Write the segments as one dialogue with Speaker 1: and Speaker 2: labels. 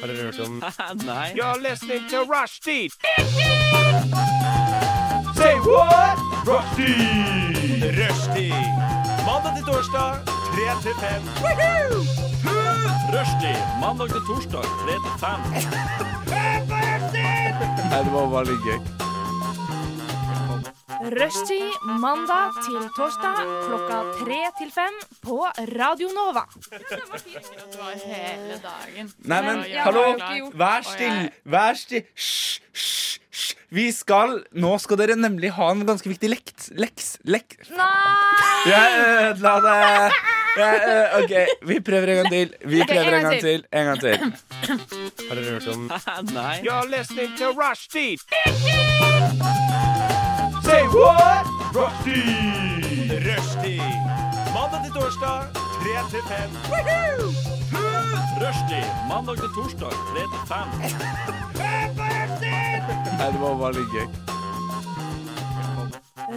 Speaker 1: Har dere hørt om
Speaker 2: Nei.
Speaker 3: You're listening to Rushdie. Say what? Rushdie. Rushdie. Mandag til torsdag, 3 til 5.
Speaker 2: Rushdie mandag til torsdag 3 til 5.
Speaker 4: Rushtid mandag til torsdag klokka tre til fem på Radio Nova.
Speaker 5: Det var hele dagen.
Speaker 6: Nei, men
Speaker 5: Og jeg
Speaker 6: hallo!
Speaker 5: var klar, og
Speaker 6: Vær
Speaker 5: jeg-
Speaker 6: stille! Vær stille! Hysj, hysj, hysj! Vi skal Nå skal dere nemlig ha en ganske viktig lekt. Leks. Lek...
Speaker 4: Nei!
Speaker 6: Jeg ødela det! Jeg, ø- OK, vi prøver en gang til. Vi prøver en gang til. En gang til.
Speaker 1: Har dere hørt om
Speaker 2: Nei.
Speaker 3: You're listening to Rushdie. Say what? Rushdie. Rushdie. Mandag til torsdag, 3 til 5.
Speaker 2: Rushdie mandag til torsdag 3 til 5.
Speaker 6: Nei, det var bare litt gøy.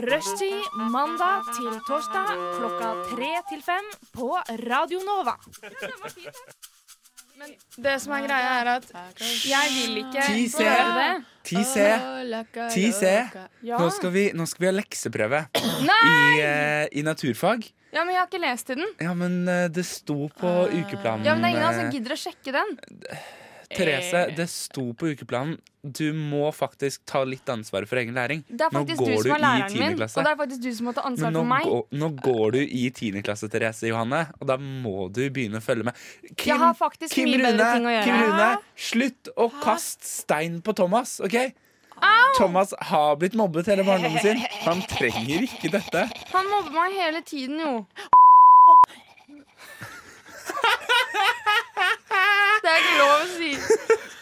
Speaker 4: Rushtid mandag til torsdag klokka tre til fem på Radio Nova.
Speaker 7: Det som er greia, er at jeg vil ikke
Speaker 6: Ti C.
Speaker 7: gjøre det.
Speaker 6: 10C. 10C.
Speaker 7: Ja.
Speaker 6: Nå skal vi, nå skal vi ha lekseprøve
Speaker 7: Nei!
Speaker 6: i, ø, i naturfag.
Speaker 7: Ja, men jeg har ikke lest i den.
Speaker 6: Ja, men ø, det sto på ukeplanen
Speaker 7: Ah. Ja, men det er ingen av oss som
Speaker 6: ø,
Speaker 7: gidder å sjekke den.
Speaker 6: Therese, det sto på ukeplanen. Du må faktisk ta litt ansvar for egen læring.
Speaker 7: Det er
Speaker 6: Nå
Speaker 7: faktisk
Speaker 6: går
Speaker 7: du som
Speaker 6: du
Speaker 7: er
Speaker 6: i
Speaker 7: læreren min,
Speaker 6: tiende klasse.
Speaker 7: og det er faktisk du som må ta ansvar
Speaker 6: Men nå,
Speaker 7: for meg.
Speaker 6: gå, nå går du i tiendeklasse, Therese Johanne, og da må du begynne å følge med. Kim,
Speaker 7: Jeg har faktisk
Speaker 6: Kim
Speaker 7: mye bedre
Speaker 6: Rune,
Speaker 7: ting å gjøre.
Speaker 6: Kim Rune, slutt å kaste stein på Thomas, OK? Thomas har blitt mobbet hele barndommen sin. Han trenger ikke dette.
Speaker 7: Han mobber meg hele tiden, jo. Det er ikke lov å si.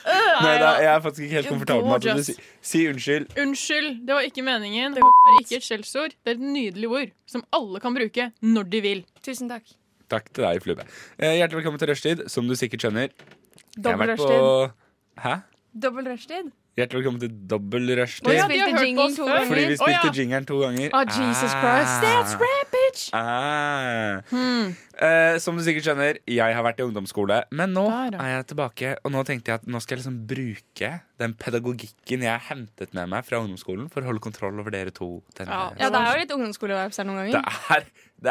Speaker 6: Nei, da, jeg er faktisk ikke helt komfortabel med at du
Speaker 5: Gorgeous.
Speaker 6: si, si unnskyld.
Speaker 5: Unnskyld, det var ikke meningen. Det var ikke et skjellsord. Det er et nydelig ord som alle kan bruke når de vil.
Speaker 7: Tusen takk.
Speaker 6: Takk til deg, Flube. Eh, hjertelig velkommen til Rushtid, som du sikkert skjønner. Jeg har
Speaker 7: Dobbel
Speaker 6: vært
Speaker 7: rushtid.
Speaker 6: på- Hæ?
Speaker 7: Dobbel rushtid.
Speaker 6: Hjertelig velkommen til dobbel rushtid.
Speaker 5: Å ja,
Speaker 7: Spilte
Speaker 5: de har hørt
Speaker 7: jingle
Speaker 5: på oss
Speaker 7: to
Speaker 5: før.
Speaker 7: ganger.
Speaker 6: Fordi vi
Speaker 5: Å
Speaker 6: spilte
Speaker 5: ja.
Speaker 6: jingeren to ganger.
Speaker 7: Å, Ah, Jesus
Speaker 6: Ah.
Speaker 7: Christ. That's
Speaker 6: right, bitch! Ah. Eh, som du sikkert skjønner, jeg har vært i ungdomsskole, men nå
Speaker 5: Der, ja.
Speaker 6: er jeg tilbake. Og nå tenkte jeg at nå skal jeg liksom bruke den pedagogikken jeg har hentet med meg fra ungdomsskolen, for å holde kontroll over dere to. denne-
Speaker 5: Ja.
Speaker 7: Ja, det er jo litt ungdomsskolevibes her noen
Speaker 6: Det
Speaker 7: ganger.
Speaker 6: er, det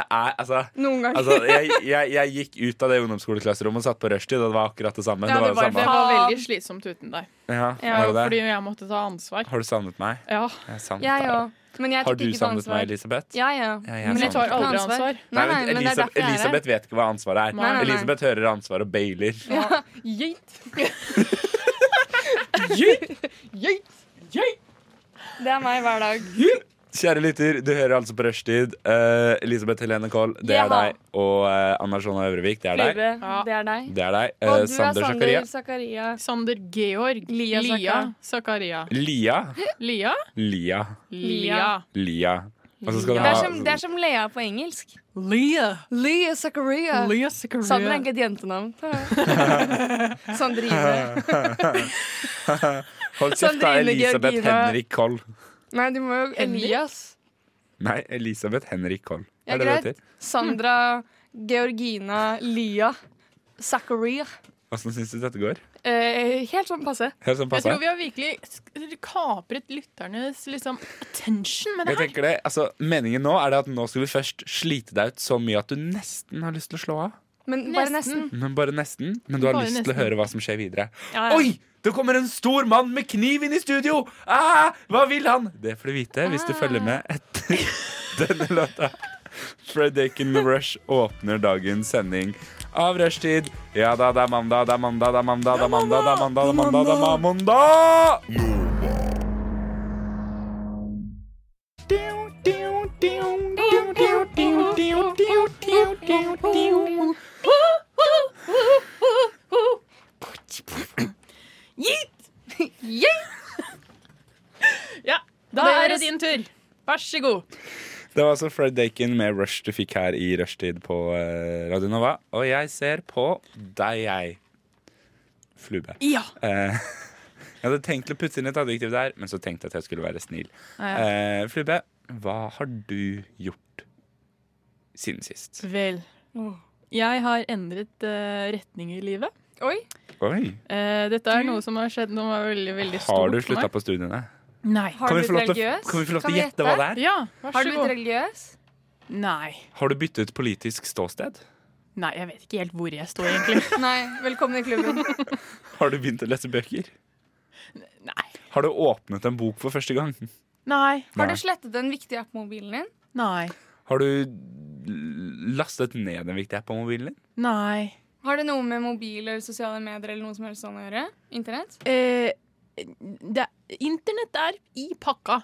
Speaker 6: er altså
Speaker 7: Noen ganger.
Speaker 6: Altså, jeg, jeg, jeg gikk ut av det ungdomsskoleklasserommet og satt på rushtid, og det var akkurat det samme.
Speaker 5: Ja, det, var, det
Speaker 6: samme.
Speaker 5: var veldig slitsomt uten deg.
Speaker 6: Ja,
Speaker 7: Ja,
Speaker 6: var det
Speaker 5: Fordi
Speaker 6: det?
Speaker 5: jeg måtte ta ansvar.
Speaker 6: Har du savnet meg?
Speaker 5: Ja,
Speaker 6: Jeg savnet
Speaker 7: Jeg
Speaker 6: deg.
Speaker 7: òg. Men jeg
Speaker 6: Har
Speaker 7: tok
Speaker 6: du
Speaker 7: ikke på
Speaker 6: savnet meg,
Speaker 7: ansvar.
Speaker 6: Elisabeth?
Speaker 7: Ja, ja.
Speaker 6: Ja, jeg
Speaker 7: Men jeg
Speaker 6: savnet
Speaker 7: tok
Speaker 5: deg.
Speaker 7: ikke noe ansvar. Nei,
Speaker 6: Nei,
Speaker 7: nei,
Speaker 6: men
Speaker 7: men det er
Speaker 6: Elisabeth,
Speaker 7: derfor jeg er her.
Speaker 6: Elisabeth vet ikke hva ansvaret er.
Speaker 5: Nei,
Speaker 7: nei, nei.
Speaker 6: Elisabeth hører ansvar og bailer.
Speaker 7: Det er meg hver dag.
Speaker 6: Kjære lytter, du hører altså på Rushtid. Eh, Elisabeth Helene Kohl, det er
Speaker 7: Jaha.
Speaker 6: deg. Og eh, Anna Sjona Øvrevik, det er deg.
Speaker 7: Flube,
Speaker 5: Ja.
Speaker 7: det er deg.
Speaker 6: Det er deg. Eh,
Speaker 7: Og du er
Speaker 6: Sander Zakaria.
Speaker 7: Sander Zakaria.
Speaker 5: Sander Georg.
Speaker 7: Lia
Speaker 5: Lia Zakaria.
Speaker 6: Lia.
Speaker 5: Lia?
Speaker 6: Lia.
Speaker 5: Lia.
Speaker 6: Lia. Og så skal du
Speaker 7: Det
Speaker 6: ha
Speaker 7: er, som, det er som Lea på engelsk.
Speaker 5: Lia.
Speaker 7: Lea Zakaria.
Speaker 5: Lia Zakaria.
Speaker 7: Sander er ikke et jentenavn. Sandrine.
Speaker 6: Hold kjeft, da.
Speaker 7: Sandrine
Speaker 6: Elisabeth
Speaker 7: Georgina.
Speaker 6: Henrik Koll.
Speaker 7: Nei, du må jo Elias.
Speaker 6: Nei, Elisabeth Henrik Koll.
Speaker 7: Ja,
Speaker 6: Er det det det
Speaker 7: greit.
Speaker 6: heter?
Speaker 7: Sandra Georgina Lia Zakaria.
Speaker 6: Åssen syns du dette går?
Speaker 7: Eh, helt sånn passe.
Speaker 6: Helt sånn
Speaker 5: Jeg
Speaker 6: passe.
Speaker 5: tror vi har virkelig sk- kapret lytternes liksom, attention med det
Speaker 6: Jeg
Speaker 5: her.
Speaker 6: tenker det, altså Meningen nå er det at nå skal vi først slite deg ut så mye at du nesten har lyst til å slå av.
Speaker 7: Men bare nesten.
Speaker 6: Men bare nesten. Men du har
Speaker 5: Bare
Speaker 6: lyst til å
Speaker 5: nesten.
Speaker 6: høre hva som skjer videre.
Speaker 7: Ja, ja.
Speaker 6: Oi! Det kommer en stor mann med kniv inn i studio! Ah, hva vil han? Det får du vite hvis du følger med
Speaker 5: Ah.
Speaker 6: etter denne låta. Fred Aiken Rush åpner dagens sending av rushtid. Ja da, det er mandag, det er mandag, det er mandag, det er mandag, det er mandag, det er mandag, det er ma- mandag!
Speaker 5: Gitt! Ja,
Speaker 7: Det
Speaker 5: da er det
Speaker 7: høres-
Speaker 5: din tur. Vær så god.
Speaker 6: Det var altså Fred Dakin med Rush du fikk her i rushtid på eh, Radio Nova. Og jeg ser på deg, jeg. Flube.
Speaker 5: Ja.
Speaker 6: Eh, jeg hadde tenkt å putte inn et adjektiv der, men så tenkte jeg at jeg skulle være snill. Eh, Flube, hva har du gjort siden sist?
Speaker 5: Vel. Jeg har endret eh, retning i livet.
Speaker 7: Oi.
Speaker 6: Oi.
Speaker 5: Eh, dette er noe som har skjedd nå var veldig, veldig stort.
Speaker 6: Har du
Speaker 5: for meg.
Speaker 6: slutta på studiene?
Speaker 5: Nei.
Speaker 7: Har
Speaker 6: Kan vi
Speaker 7: du blitt
Speaker 6: få lov til å-
Speaker 7: religiøs?
Speaker 6: kan vi få lov til å gjette hva det er?
Speaker 5: Ja, vær
Speaker 7: Har
Speaker 5: så
Speaker 7: du blitt
Speaker 5: god.
Speaker 7: religiøs?
Speaker 5: Nei.
Speaker 6: Har du byttet politisk ståsted?
Speaker 5: Nei, jeg vet ikke helt hvor jeg står, egentlig.
Speaker 7: Nei. Velkommen i klubben.
Speaker 6: Har du begynt å lese bøker?
Speaker 5: Nei.
Speaker 6: Har du åpnet en bok for første gang?
Speaker 5: Nei.
Speaker 7: Har
Speaker 6: Nei.
Speaker 7: du slettet en viktig app på mobilen din?
Speaker 5: Nei.
Speaker 6: Har du lastet ned en viktig app på mobilen din?
Speaker 5: Nei.
Speaker 7: Har det noe med mobil eller sosiale medier eller noe som helst sånn å gjøre? Internett?
Speaker 5: Eh, det, internett er i pakka.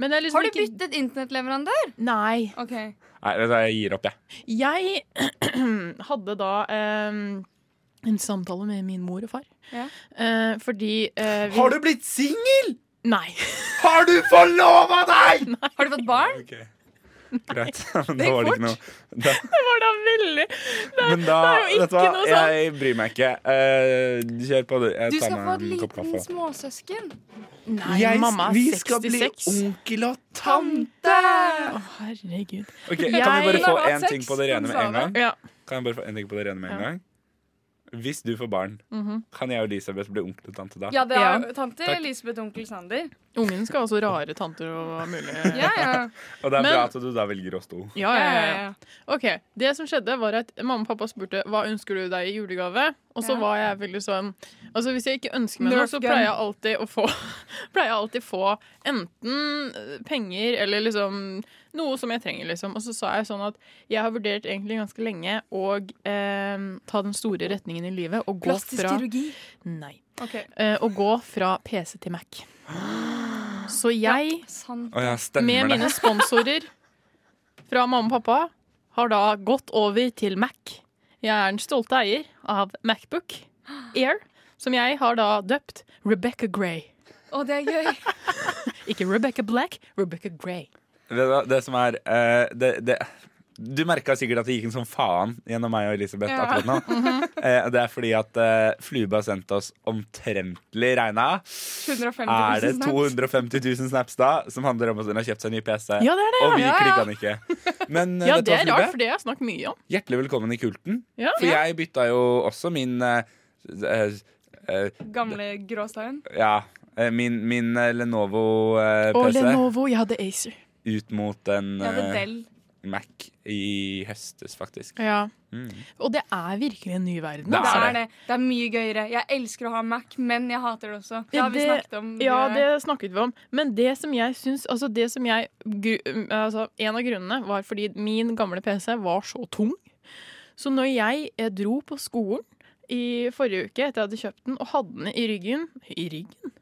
Speaker 5: Men det er liksom
Speaker 7: Har du
Speaker 5: ikke
Speaker 7: byttet internettleverandør?
Speaker 5: Nei.
Speaker 7: Ok.
Speaker 6: Nei, vet du hva, jeg gir opp, jeg.
Speaker 5: Jeg hadde da eh, en samtale med min mor og far.
Speaker 7: Ja.
Speaker 5: Eh, fordi eh, vi-
Speaker 6: Har du blitt singel?!
Speaker 5: Nei.
Speaker 6: Har du forlova deg?!
Speaker 7: Har du fått barn?
Speaker 6: Ok, Greit. Men da var det ikke noe da,
Speaker 5: Det var da veldig
Speaker 6: Men da,
Speaker 5: det er jo
Speaker 6: vet du hva,
Speaker 5: ikke noe sånn.
Speaker 6: jeg bryr meg ikke. Eh, kjør på, du.
Speaker 7: Du
Speaker 6: Jeg tar
Speaker 7: skal få
Speaker 6: meg
Speaker 7: et
Speaker 6: en kopp
Speaker 7: liten
Speaker 6: kaffe.
Speaker 7: småsøsken.
Speaker 5: Nei, mamma er 66.
Speaker 6: onkel og tante!
Speaker 5: Å, herregud.
Speaker 6: Ok, Kan vi
Speaker 5: Jeg-
Speaker 6: bare få
Speaker 7: Hun har
Speaker 6: én
Speaker 7: hatt
Speaker 6: ting
Speaker 7: sex,
Speaker 6: på det
Speaker 7: hun
Speaker 6: rene med
Speaker 7: sa
Speaker 6: en gang?
Speaker 5: Ja.
Speaker 6: Kan jeg bare få en ting på det rene med en
Speaker 5: Ja.
Speaker 6: gang? Hvis du får barn,
Speaker 5: Mhm.
Speaker 6: kan jeg og Elisabeth bli onkel og tante da?
Speaker 7: Ja, det er
Speaker 5: Ja.
Speaker 7: tante
Speaker 6: Takk.
Speaker 7: Elisabeth onkel Sander.
Speaker 5: Ungen skal ha så rare tanter og hva mulig.
Speaker 7: Ja, ja.
Speaker 6: Og det er
Speaker 5: Men-
Speaker 6: bra at du da velger oss to.
Speaker 5: Ja,
Speaker 7: ja,
Speaker 5: ja,
Speaker 7: ja, ja.
Speaker 5: ja. Ok, Det som skjedde, var at mamma og pappa spurte hva ønsker du deg i julegave. Og så
Speaker 7: Ja.
Speaker 5: var jeg veldig sånn Altså Hvis jeg ikke ønsker meg noe,
Speaker 7: Nerf
Speaker 5: så
Speaker 7: gun.
Speaker 5: pleier jeg alltid å få Pleier jeg alltid få enten eh, penger eller liksom noe som jeg trenger, liksom. Og så sa jeg sånn at jeg har vurdert egentlig ganske lenge å eh, ta den store retningen i livet og gå
Speaker 7: Plastisk
Speaker 5: fra
Speaker 7: kirurgi.
Speaker 5: Nei.
Speaker 7: Ok.
Speaker 5: Eh, å gå fra PC til Mac. Så jeg
Speaker 7: Sant.
Speaker 6: Å ja, stemmer
Speaker 5: med
Speaker 6: det.
Speaker 5: mine sponsorer fra mamma og pappa har da gått over til Mac. Jeg er den stolte eier av Macbook Air, som jeg har da døpt Rebecca Grey.
Speaker 7: Å, det er gøy.
Speaker 5: Ikke Rebecca Black, Rebecca Grey.
Speaker 6: Vet du hva, det som er eh, det, det, Du merka sikkert at det gikk en sånn faen gjennom meg og Elisabeth
Speaker 7: Ja.
Speaker 6: akkurat nå.
Speaker 5: Mhm.
Speaker 6: Eh, det er fordi at uh, Flube har sendt oss omtrentlig regna.
Speaker 7: 150
Speaker 6: Er det
Speaker 7: 000 snaps.
Speaker 6: 250 000 snaps da som handler om at hun har kjøpt seg ny PC?
Speaker 5: Ja, det er det.
Speaker 6: Og vi
Speaker 7: Ja, ja.
Speaker 6: klikka den ikke. Men eh,
Speaker 5: Ja,
Speaker 6: vet du
Speaker 5: det
Speaker 6: hva,
Speaker 5: er
Speaker 6: Flube?
Speaker 5: rart, for det har jeg snakket mye om.
Speaker 6: Hjertelig velkommen i kulten.
Speaker 5: Ja.
Speaker 6: For jeg bytta jo også min eh, eh, eh,
Speaker 7: Gamle Gråstein.
Speaker 6: Ja, eh, min, min eh, Lenovo-PC
Speaker 5: Og Lenovo, jeg hadde Acer.
Speaker 6: ut mot en
Speaker 7: Jeg hadde
Speaker 6: eh,
Speaker 7: Del.
Speaker 6: Mac i høstes, faktisk.
Speaker 5: Ja.
Speaker 6: Mm.
Speaker 5: Og det er virkelig en ny verden.
Speaker 6: Det
Speaker 7: Det
Speaker 5: altså.
Speaker 7: er det. Det er mye gøyere. Jeg elsker å ha Mac, men jeg hater det også. Det har vi
Speaker 5: Det-
Speaker 7: snakket om. eh,
Speaker 5: Ja, det snakket vi om. Men det som jeg syns altså det som jeg, gru- altså En av grunnene var fordi min gamle PC var så tung. Så når jeg eh, dro på skolen i forrige uke etter jeg hadde kjøpt den, og hadde den i ryggen I ryggen?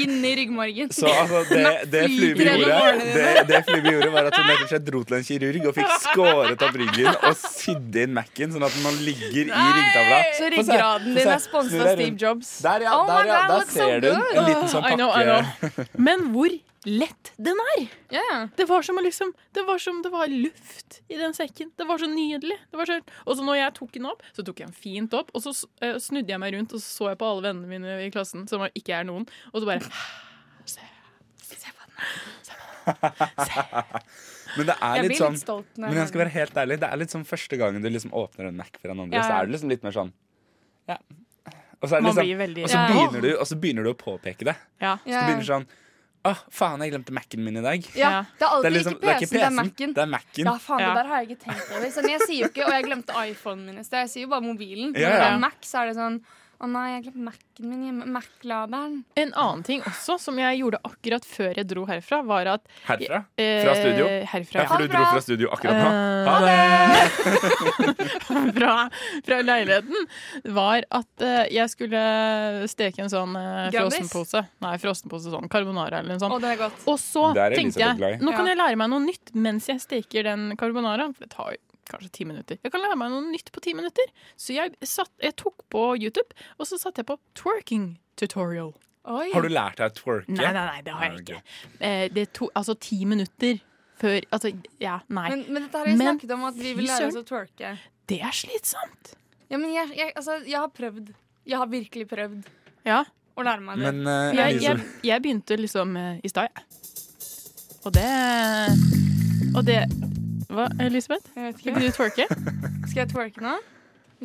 Speaker 7: Inn i ryggmargen.
Speaker 6: Så altså, det, det Flube
Speaker 7: gjennom
Speaker 6: gjorde,
Speaker 7: årene
Speaker 6: det, det Flube gjorde var at hun rett og slett dro til en kirurg og fikk skåret opp ryggen og sydd inn Mac-en, sånn at man ligger i ryggtavla.
Speaker 7: Så
Speaker 6: Få se,
Speaker 7: ryggraden
Speaker 6: få se,
Speaker 7: din er
Speaker 6: snu
Speaker 7: sponset
Speaker 6: deg
Speaker 7: av Steve
Speaker 6: rundt.
Speaker 7: Jobs.
Speaker 6: Der, ja.
Speaker 7: Oh my
Speaker 6: der, ja
Speaker 7: God,
Speaker 6: der
Speaker 7: looks so
Speaker 6: ser du en, en liten sånn
Speaker 5: I
Speaker 6: pakke.
Speaker 5: know, I know. Men hvor lett den er!
Speaker 7: Ja, ja.
Speaker 5: Det var som å liksom Det var som det var luft i den sekken. Det var så nydelig. Det var så, og så når jeg tok den opp, så tok jeg den fint opp, og så eh, snudde jeg meg rundt og så så jeg på alle vennene mine i klassen, som ikke er noen, og så bare Se, se på den.
Speaker 6: Men det er
Speaker 7: Jeg
Speaker 6: litt
Speaker 7: blir
Speaker 6: sånn
Speaker 7: litt stolt når
Speaker 6: men jeg skal være helt ærlig, det er litt sånn første gangen du liksom åpner en Mac for en andre,
Speaker 7: Ja,
Speaker 6: så
Speaker 7: ja.
Speaker 6: er du liksom litt mer sånn Ja. Og så, er det
Speaker 5: Man
Speaker 6: liksom,
Speaker 5: blir veldig
Speaker 6: og så,
Speaker 7: Ja.
Speaker 6: begynner, du, og så begynner du å påpeke det.
Speaker 5: Ja.
Speaker 6: Så
Speaker 7: Ja.
Speaker 6: begynner du sånn Å, faen, jeg glemte Mac-en min i dag.
Speaker 7: Ja,
Speaker 5: Ja.
Speaker 7: det er
Speaker 6: Det
Speaker 7: alltid
Speaker 6: er liksom,
Speaker 7: ikke PC-en, det er Mac-en.
Speaker 6: Det er Mac-en.
Speaker 7: Ja, faen,
Speaker 5: Ja.
Speaker 7: det der har jeg ikke tenkt over. Sånn, jeg sier jo ikke, og jeg glemte iPhonen min i sted. Jeg sier jo bare mobilen. Men
Speaker 6: Ja,
Speaker 7: Når det
Speaker 5: ja.
Speaker 7: er Mac, så er det sånn Å nei, jeg glemte Mac-en min hjemme. Mac-laderen.
Speaker 5: En annen ting også som jeg gjorde akkurat før jeg dro herfra, var at
Speaker 6: Herfra?
Speaker 5: eh,
Speaker 6: Fra studio?
Speaker 5: Herfra.
Speaker 6: Ja, for du dro fra studio akkurat nå.
Speaker 5: Eh,
Speaker 6: Ha det!
Speaker 5: fra, fra leiligheten, var at eh, jeg skulle steke en sånn uh,
Speaker 7: Grandis?
Speaker 5: frossenpose. Nei, frossenpose sånn carbonara eller noe sånt.
Speaker 7: Å, det er godt.
Speaker 5: Og så
Speaker 6: Der er
Speaker 5: tenkte
Speaker 6: Elisabeth
Speaker 5: jeg
Speaker 6: glad i.
Speaker 5: nå kan
Speaker 7: Ja.
Speaker 5: jeg lære meg noe nytt mens jeg steker den carbonaraen. For det tar jo kanskje ti minutter. Jeg kan lære meg noe nytt på ti minutter. Så jeg, satt, jeg tok på YouTube, og så satte jeg på twerking tutorial.
Speaker 7: Oi.
Speaker 6: Har du lært deg å twerke?
Speaker 5: Nei, nei, nei, det har jeg
Speaker 6: Nei,
Speaker 5: ikke. Eh, det tok altså ti minutter før Altså, ja, nei.
Speaker 7: Men, men dette har jeg
Speaker 5: Men
Speaker 7: snakket om at vi
Speaker 5: fy
Speaker 7: vil lære oss
Speaker 5: søren.
Speaker 7: å twerke.
Speaker 5: det er slitsomt.
Speaker 7: Ja, men jeg, jeg, altså, jeg har prøvd. Jeg har virkelig prøvd
Speaker 5: Ja.
Speaker 7: å lære meg det.
Speaker 6: Men eh,
Speaker 5: Jeg, jeg,
Speaker 6: Elisabeth,
Speaker 5: jeg begynte liksom eh, i stad, jeg. Og det Og det Hva, Elisabeth?
Speaker 7: Jeg vet
Speaker 5: Skal
Speaker 7: ikke.
Speaker 5: ikke du twerke?
Speaker 7: Skal jeg twerke nå?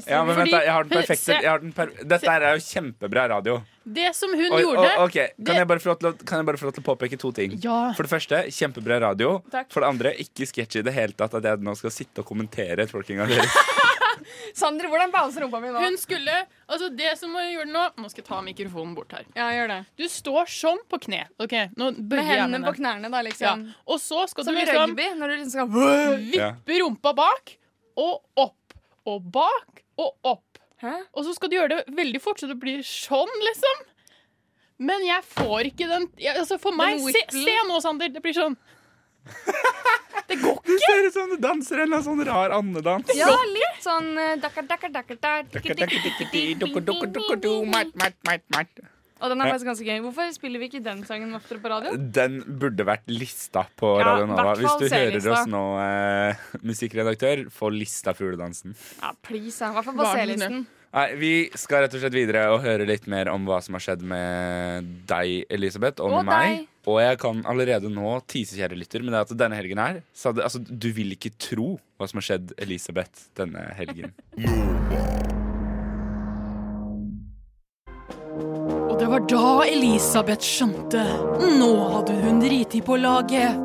Speaker 6: Ja, men vent
Speaker 5: Fordi-
Speaker 6: da, jeg har den perfekte
Speaker 5: se-
Speaker 6: jeg har den per Dette her er jo kjempebra radio.
Speaker 5: Det som hun
Speaker 6: Oi,
Speaker 5: gjorde
Speaker 6: å, ok,
Speaker 5: det-
Speaker 6: Kan jeg bare få lov til å- kan jeg bare få lov til å påpeke to ting?
Speaker 5: Ja.
Speaker 6: For det første, kjempebra radio.
Speaker 5: Takk.
Speaker 6: For det andre, ikke sketsj i det hele tatt at jeg nå skal sitte og kommentere tolkinga deres.
Speaker 7: Sander, hvordan bouncer rumpa mi nå?
Speaker 5: Hun skulle Altså, det som hun gjorde nå Nå skal jeg ta mikrofonen bort her.
Speaker 7: Ja, gjør det.
Speaker 5: Du står sånn på kne. OK, nå bøyer
Speaker 7: Med
Speaker 5: jeg
Speaker 7: hendene på knærne, da,
Speaker 5: Ja.
Speaker 7: liksom.
Speaker 5: Og så skal
Speaker 7: Som
Speaker 5: du
Speaker 7: i
Speaker 5: liksom Mm.
Speaker 7: rugby, når du liksom skal
Speaker 5: vippe rumpa bak og opp og bak og opp.
Speaker 7: Hæ?
Speaker 5: Og så skal du gjøre det veldig fort, så det blir sånn, liksom. Men jeg får ikke den jeg, Altså, for meg se,
Speaker 7: whittlen.
Speaker 5: se nå, Sander. Det blir sånn.
Speaker 6: Du ser ut som du danser en eller annen sånn rar andedans.
Speaker 7: Ja, litt sånn eh, dakka, dakka, dakka, dakka, dakka, dakka, dakka, dakka, dakka, dakka. Og den er faktisk ganske gøy. Hvorfor spiller vi ikke den sangen oftere på radio?
Speaker 6: Den burde vært lista på
Speaker 7: Ja,
Speaker 6: Radio Nova.
Speaker 7: hvert
Speaker 6: Hvis
Speaker 7: fall
Speaker 6: du hører
Speaker 7: C-lista.
Speaker 6: oss nå, eh, musikkredaktør, få lista fugledansen.
Speaker 7: Ja, please, ja. I hvert fall på
Speaker 5: Barn,
Speaker 7: C-listen.
Speaker 6: Nei, Vi skal rett og slett videre og høre litt mer om hva som har skjedd med deg, Elisabeth, og, med
Speaker 7: Og
Speaker 6: meg.
Speaker 7: deg.
Speaker 6: Og jeg kan allerede nå tise, kjære lytter, men det er at denne helgen her så hadde, altså, Du vil ikke tro hva som har skjedd Elisabeth denne helgen.
Speaker 5: Og det var da Elisabeth skjønte. Nå hadde hun driti på laget.